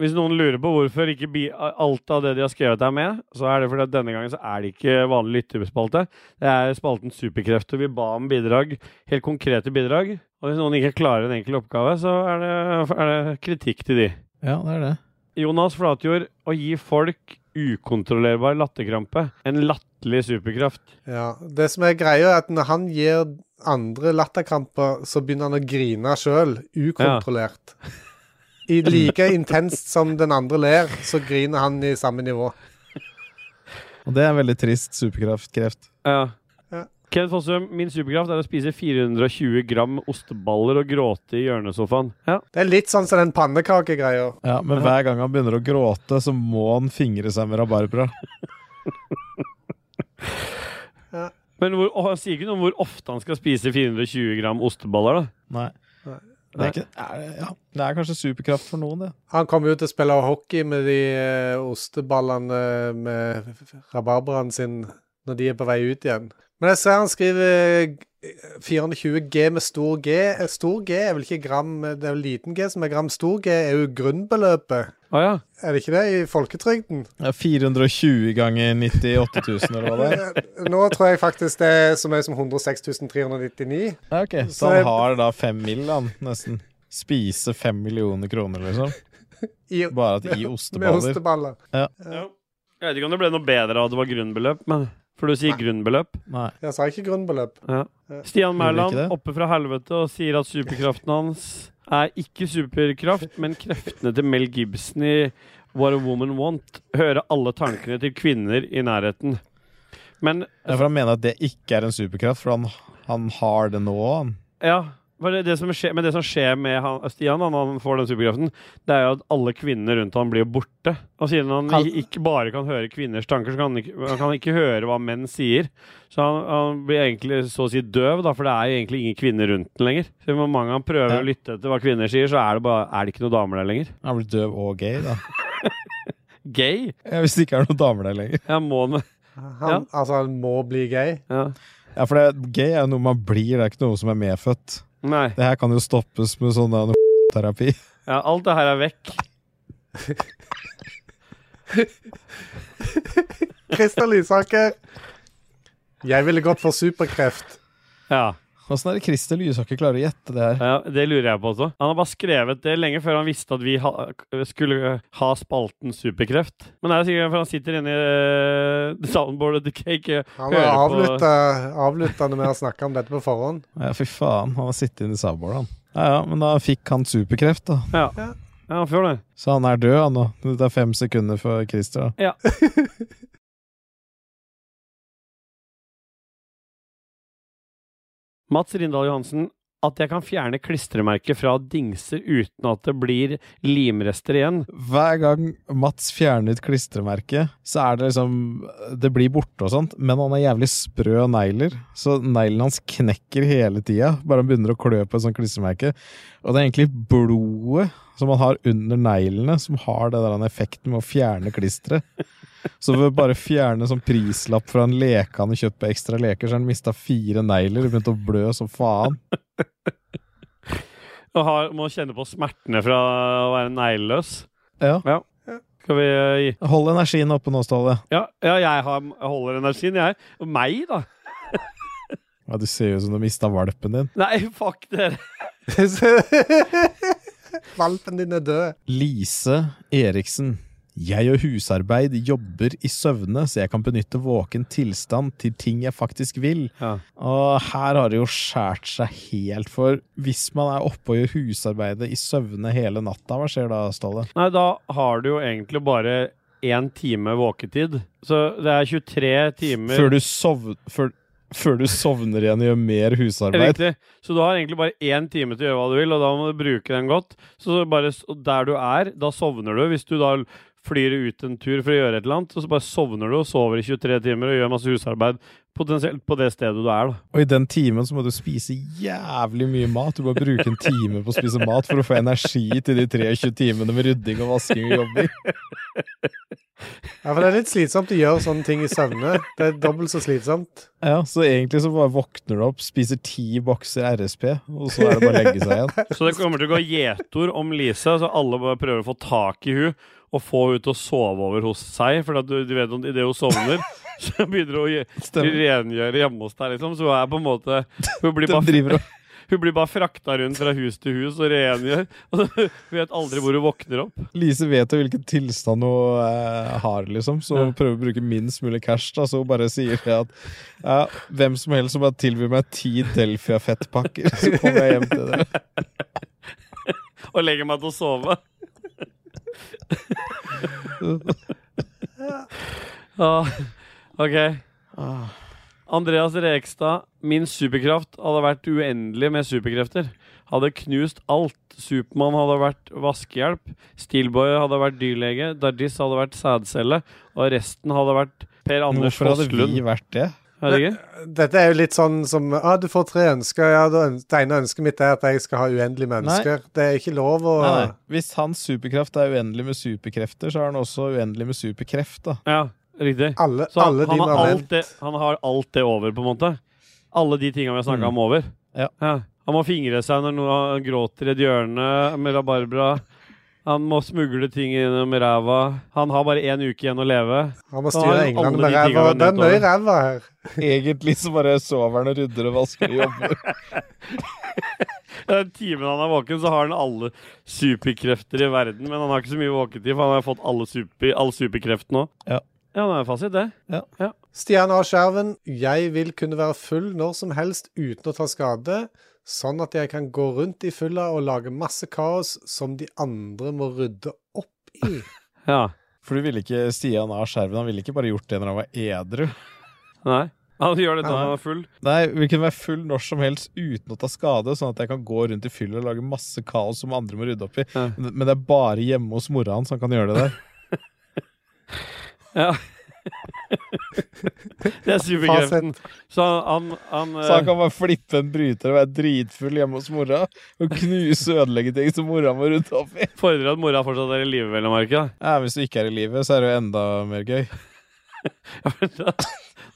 [SPEAKER 1] Hvis noen lurer på hvorfor ikke bi alt av det de har skrevet er med, så er det fordi at denne gangen så er det ikke vanlig lytterspalte. Det er spalten Superkrefter. Vi ba om bidrag. Helt konkrete bidrag. Og hvis noen ikke klarer en enkel oppgave, så er det, er det kritikk til de.
[SPEAKER 3] Ja, det er det.
[SPEAKER 1] Jonas Flatjord, å gi folk ukontrollerbar latterkrampe. En latterlig superkraft.
[SPEAKER 2] Ja, Det som er greia, er at når han gir andre latterkramper, så begynner han å grine sjøl, ukontrollert. I like intenst som den andre ler, så griner han i samme nivå.
[SPEAKER 3] Og det er en veldig trist superkraft. kreft.
[SPEAKER 1] Ja.
[SPEAKER 2] Ja.
[SPEAKER 1] Kenneth Fossum, min superkraft er å spise 420 gram osteballer og gråte i hjørnesofaen. Ja.
[SPEAKER 2] Det er litt sånn som den pannekakegreia.
[SPEAKER 3] Ja, Men hver gang han begynner å gråte, så må han fingre seg med rabarbra.
[SPEAKER 1] Men hvor, å, han sier ikke noe om hvor ofte han skal spise 420 gram osteballer, da.
[SPEAKER 3] Nei.
[SPEAKER 2] Nei.
[SPEAKER 3] Det er, ikke, er det, ja. det er kanskje superkraft for noen, det.
[SPEAKER 2] Han kommer jo til å spille hockey med de eh, osteballene med rabarbraen sin når de er på vei ut igjen. Men jeg ser han skriver eh, 420 G med stor G. Eh, Stor G er vel ikke gram, eh, det er vel liten G som er gram. Stor G er jo grunnbeløpet.
[SPEAKER 1] Å ja.
[SPEAKER 2] Er det ikke det i folketrygden?
[SPEAKER 3] Ja, 420 ganger 98 000, eller hva det er.
[SPEAKER 2] Eh, Nå tror jeg faktisk det er så mye som 106 399.
[SPEAKER 3] Ja, ok. Så
[SPEAKER 2] Så jeg-
[SPEAKER 3] han har da fem mill., han, nesten. Spise fem millioner kroner, liksom.
[SPEAKER 2] I,
[SPEAKER 3] Bare at i
[SPEAKER 2] med
[SPEAKER 3] osteballer.
[SPEAKER 2] osteballer.
[SPEAKER 1] Jeg vet ikke om det ble noe bedre av at det var grunnbeløp, men For du sier grunnbeløp.
[SPEAKER 3] Nei.
[SPEAKER 2] Jeg sa ikke grunnbeløp.
[SPEAKER 1] Ja. Stian Mæland
[SPEAKER 3] ikke det?
[SPEAKER 1] oppe fra helvete og sier at superkraften hans er ikke superkraft, men kreftene til Mel Gibson i What a Woman Want. Høre alle tankene til kvinner i nærheten. Men
[SPEAKER 3] Ja, for han mener at det ikke er en superkraft, for han, han har det nå, han.
[SPEAKER 1] Ja, for det, det som skjer, men det som skjer med han, Stian da, når han får den superkraften, det er jo at alle kvinner rundt ham blir borte. Og siden han
[SPEAKER 3] Al-
[SPEAKER 1] i- ikke bare kan høre kvinners tanker, så kan han ikke, han kan ikke høre hva menn sier. Så han, han blir egentlig så å si døv, da, for det er jo egentlig ingen kvinner rundt ham lenger. Så med mange han prøver
[SPEAKER 3] Ja.
[SPEAKER 1] å lytte etter hva kvinner sier, så er det, bare, er det ikke noen damer der lenger.
[SPEAKER 3] Han blir døv og gay, da.
[SPEAKER 1] Gay?
[SPEAKER 3] Ja, hvis det ikke er noen damer der lenger.
[SPEAKER 1] Ja, må han
[SPEAKER 2] Han, Altså, han må bli gay.
[SPEAKER 1] ja.
[SPEAKER 3] Ja, for det, gay er jo noe man blir, det er ikke noe som er medfødt.
[SPEAKER 1] Nei.
[SPEAKER 3] Det her kan jo stoppes med sånn der terapi.
[SPEAKER 1] Ja, alt det her er vekk.
[SPEAKER 2] Christer Lysaker. Jeg ville gått for superkreft.
[SPEAKER 1] Ja.
[SPEAKER 3] Åssen er det Christer Lysaker klarer å gjette det her?
[SPEAKER 1] Ja, Det lurer jeg på også. Han har bare skrevet det lenge før han visste at vi ha, skulle ha spalten Superkreft. Men det er sikkert for han sitter inne i uh, soundboardet til Cake.
[SPEAKER 2] Han har
[SPEAKER 1] Hører på-
[SPEAKER 2] avlytta, avlytta når vi har snakka om dette på forhånd.
[SPEAKER 3] Ja, fy faen, han har sittet inne i Sabor, han. Ja, ja, men da fikk han superkreft, da.
[SPEAKER 1] Ja. ja, han får det.
[SPEAKER 3] Så han er død, han nå. Det er fem sekunder for Christer, da.
[SPEAKER 1] Mats Rindal Johansen, at jeg kan fjerne klistremerker fra dingser uten at det blir limrester igjen.
[SPEAKER 3] Hver gang Mats fjerner et klistremerke, så er det liksom Det blir borte og sånt, men han har jævlig sprø negler, så neglene hans knekker hele tida. Bare han begynner å klø på et sånt klistremerke. Og det er egentlig blodet som han har under neglene, som har den der den effekten med å fjerne klisteret. Så ved å bare fjerne sånn prislapp fra en leke han har kjøpt på Ekstra Leker, så har han mista fire negler og begynt å blø som faen.
[SPEAKER 1] Og har, må kjenne på smertene fra å være negleløs.
[SPEAKER 3] Ja.
[SPEAKER 1] Skal vi eh, gi
[SPEAKER 3] Hold energien oppe nå, Ståle.
[SPEAKER 1] Ja, ja jeg har, holder energien, jeg. Og meg, da?
[SPEAKER 3] Ja, du ser jo ut som du mista valpen din.
[SPEAKER 1] Nei, fuck dere.
[SPEAKER 2] Valpen din er død.
[SPEAKER 3] Lise Eriksen. Jeg og husarbeid jobber i søvne, så jeg kan benytte våken tilstand til ting jeg faktisk vil.
[SPEAKER 1] Ja.
[SPEAKER 3] Og her har det jo skjært seg helt, for hvis man er oppe og gjør husarbeidet i søvne hele natta, hva skjer da, Ståle?
[SPEAKER 1] Nei, da har du jo egentlig bare én time våketid. Så det er 23 timer
[SPEAKER 3] Før du, sov før, før du sovner igjen og gjør mer husarbeid?
[SPEAKER 1] Riktig. Så du har egentlig bare én time til å gjøre hva du vil, og da må du bruke den godt. Så bare s- og der du er, da sovner du. Hvis du da l- flyr ut en tur for å gjøre et eller annet, så bare sovner du og sover i 23 timer og gjør masse husarbeid potensielt på det stedet du er, da.
[SPEAKER 3] Og i den timen så må du spise jævlig mye mat. Du må bruke en time på å spise mat for å få energi til de 23 timene med rydding og vasking og jobbing.
[SPEAKER 2] Ja, for det er litt slitsomt å gjøre sånne ting i søvne. Det er dobbelt så slitsomt.
[SPEAKER 3] Ja, så egentlig så bare våkner du opp, spiser ti bokser RSP, og så er det bare å legge seg igjen.
[SPEAKER 1] Så det kommer til å gå gjetord om Lise, så alle bare prøver å få tak i hun og få hun til å sove over hos seg. For at du, du vet om idet hun sovner, så begynner hun å gje-
[SPEAKER 3] Stemmer.
[SPEAKER 1] rengjøre hjemme hos deg, liksom. Så hun er på en måte Hun blir
[SPEAKER 3] Den
[SPEAKER 1] bare
[SPEAKER 3] driver og
[SPEAKER 1] Hun blir bare frakta rundt fra hus til hus og rengjør. Og så vet aldri hvor hun våkner opp.
[SPEAKER 3] Lise vet jo hvilken tilstand hun eh, har, liksom, så hun prøver å bruke minst mulig cash. da, Så hun bare sier det at ja, hvem som helst som bare tilbyr meg ti Delfia-fettpakker, så kommer jeg hjem til dere.
[SPEAKER 1] Og legger meg til å sove. ah, ok. Andreas Rekstad. Min superkraft hadde vært uendelig med superkrefter. Hadde knust alt. Supermann hadde vært vaskehjelp. Steelboy hadde vært dyrlege. Dargis hadde vært sædcelle. Og resten hadde vært Per Anders
[SPEAKER 3] Hvorfor hadde
[SPEAKER 1] Fosslund.
[SPEAKER 3] vi vært det?
[SPEAKER 1] Er det ikke?
[SPEAKER 2] Dette er jo litt sånn som ah, du får tre ønsker. Ja, da øns- det ene ønsket mitt er at jeg skal ha uendelig med
[SPEAKER 3] Nei.
[SPEAKER 2] ønsker. Det er ikke lov å
[SPEAKER 3] Nei, nei. Hvis hans superkraft er uendelig med superkrefter, så er han også uendelig med superkreft, da.
[SPEAKER 1] Ja, riktig.
[SPEAKER 2] Alle,
[SPEAKER 1] Så han,
[SPEAKER 2] alle de
[SPEAKER 1] han, har
[SPEAKER 2] moment-
[SPEAKER 1] alt det, han har alt det over, på en måte. Alle de tinga vi har snakka
[SPEAKER 3] Mm.
[SPEAKER 1] om, over.
[SPEAKER 3] Ja.
[SPEAKER 1] Han må fingre seg når noen gråter i et hjørne med rabarbra. Han må smugle ting innom ræva. Han har bare én uke igjen å leve.
[SPEAKER 2] Han må
[SPEAKER 1] Da har
[SPEAKER 2] styre
[SPEAKER 1] han alle
[SPEAKER 2] England
[SPEAKER 1] de
[SPEAKER 2] med
[SPEAKER 1] tingene
[SPEAKER 2] ræva.
[SPEAKER 1] vi
[SPEAKER 2] Det er
[SPEAKER 1] nevnte
[SPEAKER 2] mye
[SPEAKER 1] over.
[SPEAKER 2] ræva her.
[SPEAKER 3] Egentlig så bare sover han og rydder og vasker og jobber.
[SPEAKER 1] Den timen han er våken, så har han alle superkrefter i verden. Men han har ikke så mye våketid, for han har fått alle, super, all superkreft nå.
[SPEAKER 3] Ja.
[SPEAKER 1] ja, det er fasit, det.
[SPEAKER 2] Stian A. Skjerven, jeg vil kunne være full når som helst uten å ta skade, sånn at jeg kan gå rundt i fylla og lage masse kaos som de andre må rydde opp i.
[SPEAKER 1] Ja.
[SPEAKER 3] For du ville ikke Stian A. Skjerven, han ville ikke bare gjort det når han var edru.
[SPEAKER 1] Nei. Han gjør det når han er full.
[SPEAKER 3] Nei, vi kunne være full når som helst uten å ta skade, sånn at jeg kan gå rundt i fyll og lage masse kaos som andre må rydde opp i.
[SPEAKER 1] Ja.
[SPEAKER 3] Men men det er bare hjemme hos mora hans han kan gjøre det der.
[SPEAKER 1] Ja. det er superkreften. Så han, han, eh,
[SPEAKER 3] Så han kan bare flippe en bryter og være dritfull hjemme hos mora og knuse og ødelegge ting som mora må rydde opp i.
[SPEAKER 1] fordrer at mora fortsatt er i live, vel å merke. da.
[SPEAKER 3] Ja, Hvis du ikke er i live, så er det jo enda mer gøy.
[SPEAKER 1] Ja, men da-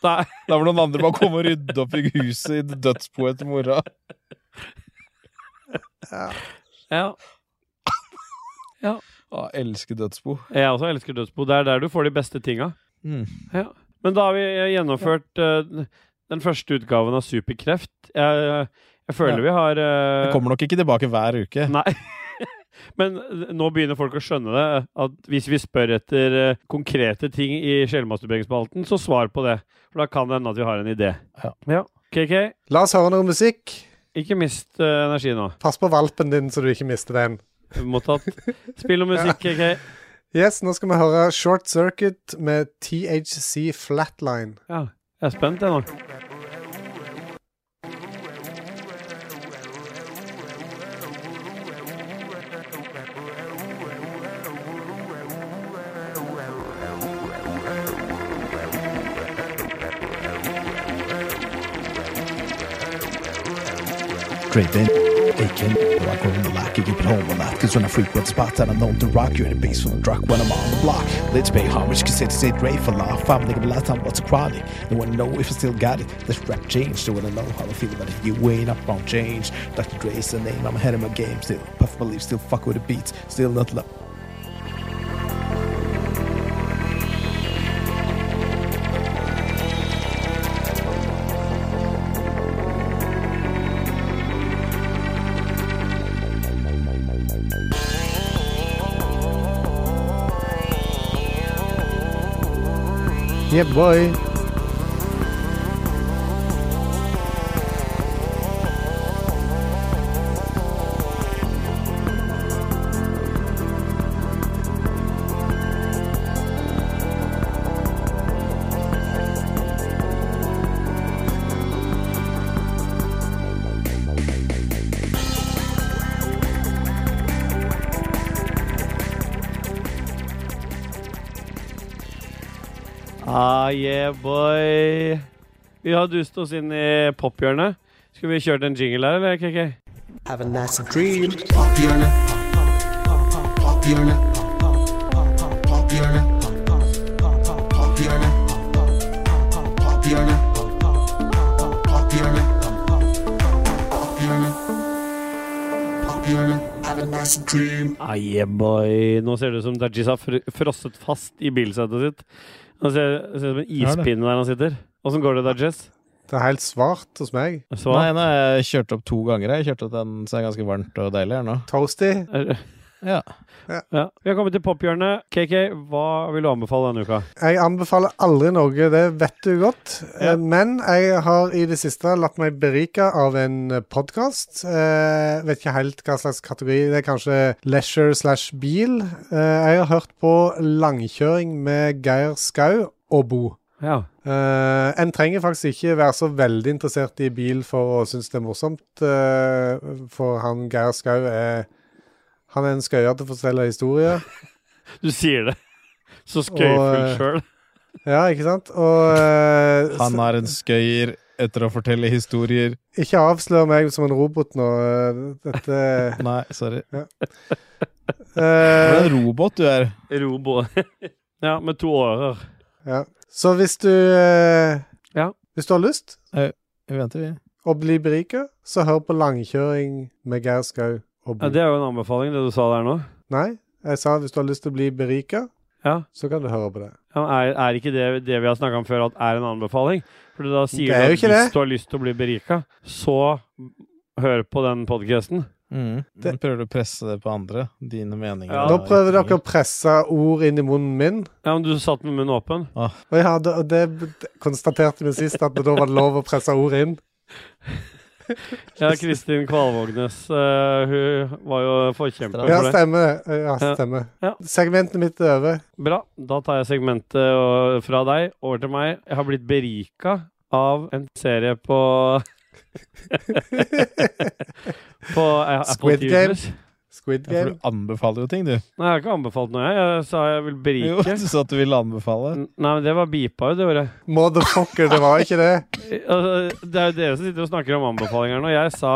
[SPEAKER 1] da er-
[SPEAKER 3] Da må noen andre bare komme og rydde opp i huset i dødsboet til mora.
[SPEAKER 1] ja.
[SPEAKER 3] Å, elsker dødsbo.
[SPEAKER 1] Jeg også elsker dødsbo. Det er der du får de beste tinga.
[SPEAKER 3] Mm.
[SPEAKER 1] Ja. Men da har vi gjennomført eh, den første utgaven av Superkreft. Jeg, jeg føler
[SPEAKER 3] Ja.
[SPEAKER 1] vi har eh,
[SPEAKER 3] Jeg kommer nok ikke tilbake hver uke.
[SPEAKER 1] Nei. Men eh, nå begynner folk å skjønne det. At hvis vi spør etter eh, konkrete ting i sjelmasturberingsspalten, så svar på det. For da kan det hende at vi har en idé.
[SPEAKER 3] Ja.
[SPEAKER 1] KK,
[SPEAKER 2] La oss høre noe musikk.
[SPEAKER 1] ikke mist eh, energi nå.
[SPEAKER 2] Pass på valpen din, så du ikke mister den.
[SPEAKER 1] Mottatt. Spill noe musikk, KK.
[SPEAKER 2] Yes, nå skal vi høre Short Circuit med THC Flatline.
[SPEAKER 1] Ja. Jeg er spent, jeg nå.
[SPEAKER 8] straight in. Aching, though I grown a lot, get you home a lot. Cause when I frequent spots, I don't know to rock. You're the bass from the truck when I'm on the block. Let's pay homage, cause it's a rave for life. I'm thinking last time what's a chronic. They wanna know if I still got it. This rap change, they wanna know how I feel. But if you ain't up on change, Dr. Dre's the name, I'm ahead of my game still. Puff my leaves, still fuck with the beats, still not love.
[SPEAKER 2] Yeah, boy.
[SPEAKER 1] Ah, yeah, boy. Vi har dust oss inn i pophjørnet. Skulle vi kjørt en jingle her, eller, KK?
[SPEAKER 6] Have a nice dream.
[SPEAKER 1] Ah, yeah, boy. Nå ser det ut som Dajis har fr frosset fast i bilsetet sitt. Han ser, ser ut som en
[SPEAKER 3] Ja, det.
[SPEAKER 1] ispinne der han sitter. Åssen går det, Dajis?
[SPEAKER 2] Det er helt svart hos meg.
[SPEAKER 1] Svar?
[SPEAKER 3] Nei, nei, jeg kjørte opp to ganger. Jeg kjørte opp den, så det er ganske varmt og deilig her nå.
[SPEAKER 2] Toasty.
[SPEAKER 1] Er-
[SPEAKER 3] Ja.
[SPEAKER 1] Ja. Vi har kommet til pophjørnet. KK, hva vil du anbefale denne uka?
[SPEAKER 2] Jeg anbefaler aldri noe, det vet du godt.
[SPEAKER 1] Ja.
[SPEAKER 2] Eh, Men jeg har i det siste latt meg berike av en podkast. Eh, vet ikke helt hva slags kategori. Det er kanskje leisure slash bil. Eh, jeg har hørt på langkjøring med Geir Skau og Bo.
[SPEAKER 1] Ja.
[SPEAKER 2] Eh, en trenger faktisk ikke være så veldig interessert i bil for å synes det er morsomt, eh, for han Geir Skau er Han er en skøyer til å fortelle historier.
[SPEAKER 1] Du sier det. Så
[SPEAKER 2] Og,
[SPEAKER 1] skøyfull
[SPEAKER 2] eh,
[SPEAKER 1] sjøl.
[SPEAKER 2] Ja, ikke sant? Og eh,
[SPEAKER 3] Han er en skøyer etter å fortelle historier.
[SPEAKER 2] Ikke avslør meg som en robot nå. øh, Dette
[SPEAKER 3] Nei, sorry. Du er
[SPEAKER 2] øh,
[SPEAKER 3] en robot, du er.
[SPEAKER 1] Robo. ja, med to årer.
[SPEAKER 2] ja. Så hvis du øh,
[SPEAKER 1] Ja.
[SPEAKER 2] Hvis du har lyst
[SPEAKER 3] Vi venter, vi.
[SPEAKER 2] å bli berika, så hør på langkjøring med Geir Skau og Bo.
[SPEAKER 1] Ja, det er jo en anbefaling, det du sa der nå.
[SPEAKER 2] Nei, jeg sa hvis du har lyst til å bli berika,
[SPEAKER 1] Ja.
[SPEAKER 2] så kan du høre på det.
[SPEAKER 1] Ja, men er, er ikke det, det vi har snakka om før, at er en anbefaling? For da sier
[SPEAKER 2] Det er
[SPEAKER 1] du
[SPEAKER 2] jo
[SPEAKER 1] at
[SPEAKER 2] ikke det.
[SPEAKER 1] hvis du har lyst til å bli berika, så hør på den podkasten.
[SPEAKER 3] Mm.
[SPEAKER 2] Det-
[SPEAKER 3] Nå prøver du å presse det på andre. Dine meninger.
[SPEAKER 1] Ja.
[SPEAKER 2] Nå
[SPEAKER 3] og
[SPEAKER 2] prøver dere
[SPEAKER 3] ytringer.
[SPEAKER 2] å presse ord inn i munnen min.
[SPEAKER 1] Ja, men du satt med munnen åpen.
[SPEAKER 2] Og ja, det, og det konstaterte vi sist, at da var det lov å presse ord inn.
[SPEAKER 1] Ja, Kristin Kvalvågnes, eh, hun var jo forkjemper for
[SPEAKER 2] Ja,
[SPEAKER 1] det.
[SPEAKER 2] stemmer det. Ja,
[SPEAKER 1] Ja.
[SPEAKER 2] stemmer.
[SPEAKER 1] Ja.
[SPEAKER 2] Segmentet mitt er over.
[SPEAKER 1] Bra. Da tar jeg segmentet og, fra deg over til meg. Jeg har blitt berika av en serie på På eh, Apple
[SPEAKER 2] Squid
[SPEAKER 1] TV+.
[SPEAKER 2] Game. Squid
[SPEAKER 3] Ja, for
[SPEAKER 2] Game.
[SPEAKER 3] du anbefaler jo ting, du.
[SPEAKER 1] Nei, jeg har ikke anbefalt noe, jeg. Jeg sa jeg vil
[SPEAKER 3] Jo,
[SPEAKER 1] berike.
[SPEAKER 3] du sa at du ville anbefale.
[SPEAKER 1] N- Nei, men det var beepa jo det året.
[SPEAKER 2] Motherfucker, det var ikke det.
[SPEAKER 1] Altså, Det er jo dere som sitter og snakker om anbefalinger nå. Jeg sa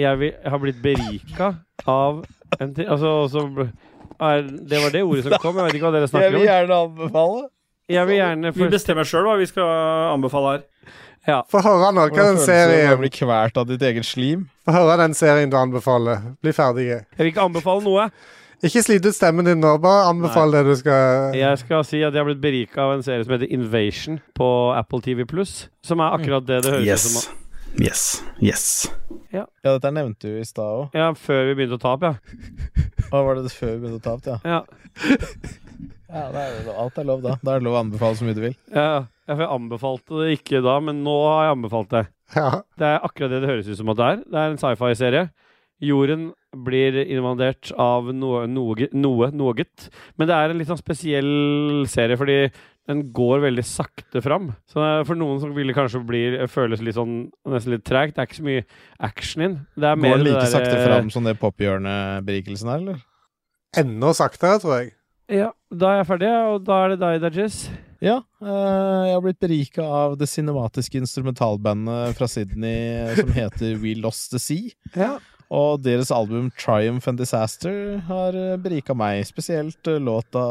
[SPEAKER 1] jeg, vil, jeg har blitt berika av en ting Altså, og så ble- er, Det var det ordet som kom. Jeg vet ikke hva dere snakker om.
[SPEAKER 3] gjerne anbefale.
[SPEAKER 1] Jeg vil gjerne
[SPEAKER 9] Vi
[SPEAKER 1] først
[SPEAKER 9] bestemmer sjøl hva vi skal anbefale her.
[SPEAKER 2] Få høre nå, hva er den
[SPEAKER 3] Å
[SPEAKER 2] serien
[SPEAKER 3] bli kvert av ditt eget slim.
[SPEAKER 2] Få høre den serien du anbefaler. Bli ferdige.
[SPEAKER 1] Jeg vil ikke anbefale noe.
[SPEAKER 2] Ikke slit ut stemmen din nå, bare anbefal det du skal
[SPEAKER 1] Jeg skal si at jeg har blitt berika av en serie som heter Invasion på Apple TV Som er akkurat det det høres ut
[SPEAKER 9] Yes.
[SPEAKER 1] som.
[SPEAKER 9] Yes. Yes.
[SPEAKER 3] Ja, dette nevnte du i stad òg.
[SPEAKER 1] Ja, før vi begynte å ta opp, ja.
[SPEAKER 3] Hva var det før vi begynte å ta opp? Ja.
[SPEAKER 1] ja.
[SPEAKER 3] Ja, da er det lov. Alt er lov, da. Da er det lov å anbefale så mye du vil.
[SPEAKER 1] ja. ja, for Jeg anbefalte det ikke da, men nå har jeg anbefalt det.
[SPEAKER 2] Ja.
[SPEAKER 1] Det er akkurat det det høres ut som at det er. Det er en sci-fi-serie. Jorden blir invadert av noe, noe, noe, noget. Men det er en litt sånn spesiell serie, fordi den går veldig sakte fram. Så det er for noen som ville kanskje bli, føles litt sånn nesten litt tregt. Det er ikke så mye action inn. Det er mer
[SPEAKER 3] Går den
[SPEAKER 1] det
[SPEAKER 3] like
[SPEAKER 1] der,
[SPEAKER 3] sakte fram som det pophjørneberikelsen her, eller?
[SPEAKER 2] Enda saktere, tror jeg.
[SPEAKER 1] eh, Ja, da er jeg ferdig, og da er det deg, Dajis.
[SPEAKER 3] Ja, eh, jeg har blitt berika av det cinematiske instrumentalbandet fra Sydney eh, som heter We Lost The Sea.
[SPEAKER 2] Ja.
[SPEAKER 3] Og deres album Triumph and Disaster har eh, berika meg, spesielt eh, låta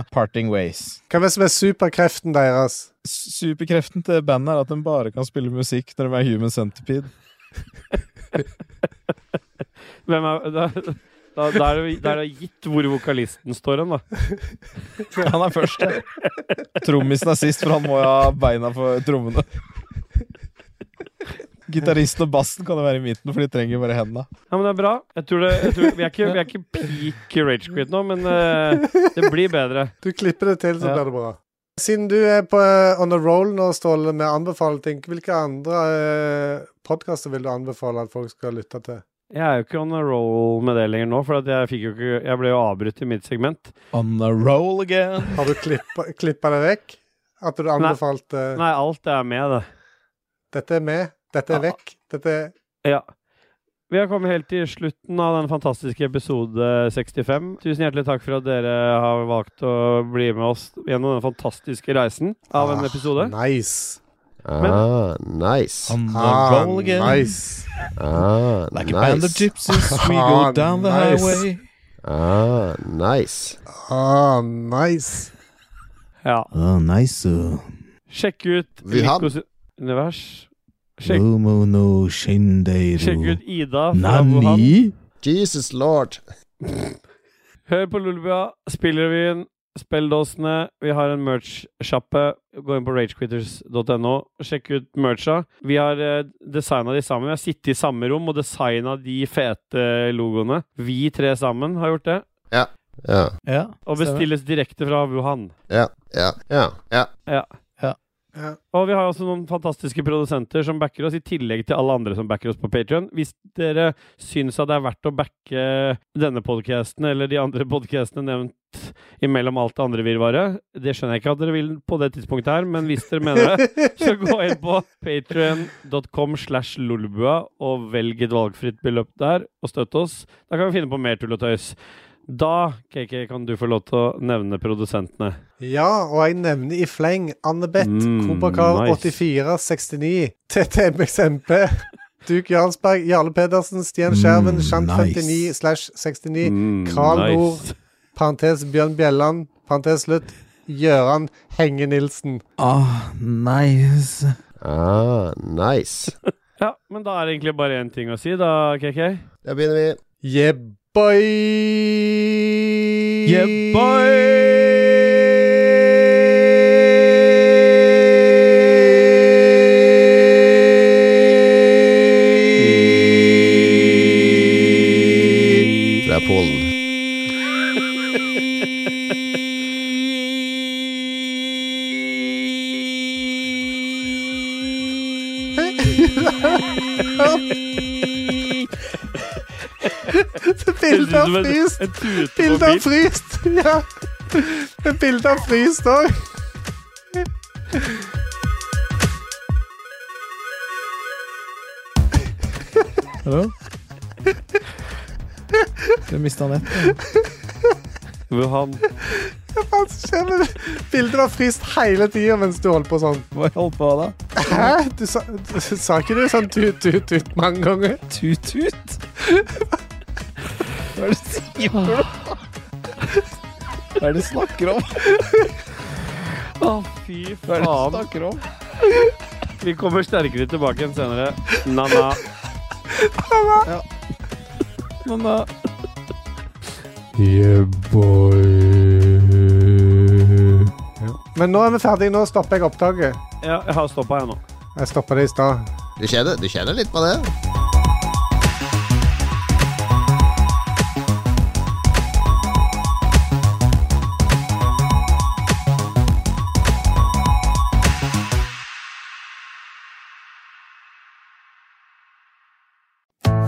[SPEAKER 3] eh, Parting Ways.
[SPEAKER 2] Hva er det som er superkreften deres?
[SPEAKER 3] Superkreften til bandet er at de bare kan spille musikk når de er Human Centipede.
[SPEAKER 1] Hvem er, da, da, da er det, da er det gitt hvor vokalisten står hen, da.
[SPEAKER 3] Han er først, ja. Trommisen er sist, for han må jo ha beina for trommene. Gitaristen og bassen kan jo være i midten, for de trenger bare henda.
[SPEAKER 1] Ja, men det er bra. Jeg tror det, jeg tror, vi, er ikke, vi er ikke peak rage quit nå, men eh, det blir bedre.
[SPEAKER 2] Du klipper det til, så
[SPEAKER 1] Ja.
[SPEAKER 2] blir det bra. Siden du er på eh, on a roll nå, Ståle, med å anbefale ting, hvilke andre eh, podkaster vil du anbefale at folk skal lytte til?
[SPEAKER 1] Jeg er jo ikke on a roll med det lenger nå, for at jeg, fikk jo ikke, jeg ble jo avbrutt i mitt segment.
[SPEAKER 3] On the roll again.
[SPEAKER 2] Har du klippa, klippa det vekk? At du anbefalte
[SPEAKER 1] Nei, alt er med, det.
[SPEAKER 2] Dette er med, dette er vekk, dette er
[SPEAKER 1] Ja. Vi har kommet helt til slutten av den fantastiske episode 65. Tusen hjertelig takk for at dere har valgt å bli med oss gjennom denne fantastiske reisen av en
[SPEAKER 2] Ah,
[SPEAKER 1] episode.
[SPEAKER 2] Nice.
[SPEAKER 10] Ah, nice.
[SPEAKER 3] On the
[SPEAKER 2] Ah,
[SPEAKER 3] roll again.
[SPEAKER 2] nice.
[SPEAKER 10] Ah,
[SPEAKER 3] Like a band of
[SPEAKER 10] nice.
[SPEAKER 3] gypsies, we
[SPEAKER 2] Ah,
[SPEAKER 3] go down the
[SPEAKER 2] nice.
[SPEAKER 3] highway.
[SPEAKER 10] Ah, nice.
[SPEAKER 2] Ah, nice.
[SPEAKER 1] Ja.
[SPEAKER 3] Oh, nice. Uh,
[SPEAKER 1] Sjekk ut
[SPEAKER 10] Vi har-
[SPEAKER 1] Mikos univers. Sjekk,
[SPEAKER 3] Umo no shinderu.
[SPEAKER 1] sjekk ut Ida fra Wuhan.
[SPEAKER 10] Jesus lord.
[SPEAKER 1] Hør på Lulebua, spillrevyen, spelldåsene. Vi har en merch-sjappe. Gå inn på ragequitters.no. Sjekk ut mercha. Vi har eh, designa de sammen. Vi har sittet i samme rom og designa de fete logoene. Vi tre sammen har gjort det.
[SPEAKER 10] Ja,
[SPEAKER 3] Ja,
[SPEAKER 1] Og bestilles direkte fra Wuhan.
[SPEAKER 10] ja, ja, ja. ja.
[SPEAKER 1] Og vi har også noen fantastiske produsenter som backer oss, i tillegg til alle andre som backer oss på Patreon. Hvis dere syns at det er verdt å backe denne podkasten eller de andre podkastene nevnt imellom alt det andre virvaret Det skjønner jeg ikke at dere vil på det tidspunktet her, men hvis dere mener det, så gå inn på patrion.com slash lolbua og velg et valgfritt beløp der, og støtt oss. Da kan vi finne på mer tull og tøys. Da, KK, kan du få lov til å nevne produsentene.
[SPEAKER 2] Ja, og jeg nevner i fleng Annebeth,
[SPEAKER 1] Mm,
[SPEAKER 2] Kobrakar
[SPEAKER 1] nice.
[SPEAKER 2] 8469, TTMXMP, Duke Jarlsberg, Jarle Pedersen, Stian Skjerven,
[SPEAKER 3] Mm,
[SPEAKER 2] Shant
[SPEAKER 3] nice.
[SPEAKER 2] 59 slash 69,
[SPEAKER 1] Mm,
[SPEAKER 2] Kral parentes Bjørn Bjelland, parentes slutt, Gjøran Henge Nilsen.
[SPEAKER 3] Ah, nice.
[SPEAKER 10] Ah, nice.
[SPEAKER 1] Ja, men da er det egentlig bare én ting å si, da, KK.
[SPEAKER 10] Da begynner vi.
[SPEAKER 2] Yeah, boy!
[SPEAKER 3] Yeah,
[SPEAKER 10] Fra Polen.
[SPEAKER 2] Bildet av fryst!
[SPEAKER 1] En tute på
[SPEAKER 2] Bilde av
[SPEAKER 1] bil.
[SPEAKER 2] fryst! Ja. Et bilde av fryst òg.
[SPEAKER 3] Hallo? Du mista nett.
[SPEAKER 1] Wuhan.
[SPEAKER 2] Hva skjer med det? Bildet var fryst hele tida mens du holdt på sånn.
[SPEAKER 3] Hva holdt på da?
[SPEAKER 2] Hæ? Du sa, du, sa ikke du sånn tut-tut-tut mange ganger?
[SPEAKER 3] Tut-tut? Hva er det du sier for noe? Hva er det du snakker om?
[SPEAKER 1] Å, fy
[SPEAKER 3] Hva er det du
[SPEAKER 1] faen.
[SPEAKER 3] snakker om?
[SPEAKER 1] Vi kommer sterkere tilbake igjen senere. Na-na.
[SPEAKER 3] Men da
[SPEAKER 2] Men nå er vi ferdige. Nå stopper jeg opptaket.
[SPEAKER 1] Ja, jeg har stoppa, jeg nå.
[SPEAKER 2] Jeg stoppa det i stad.
[SPEAKER 10] Du kjenner, du kjenner litt på det?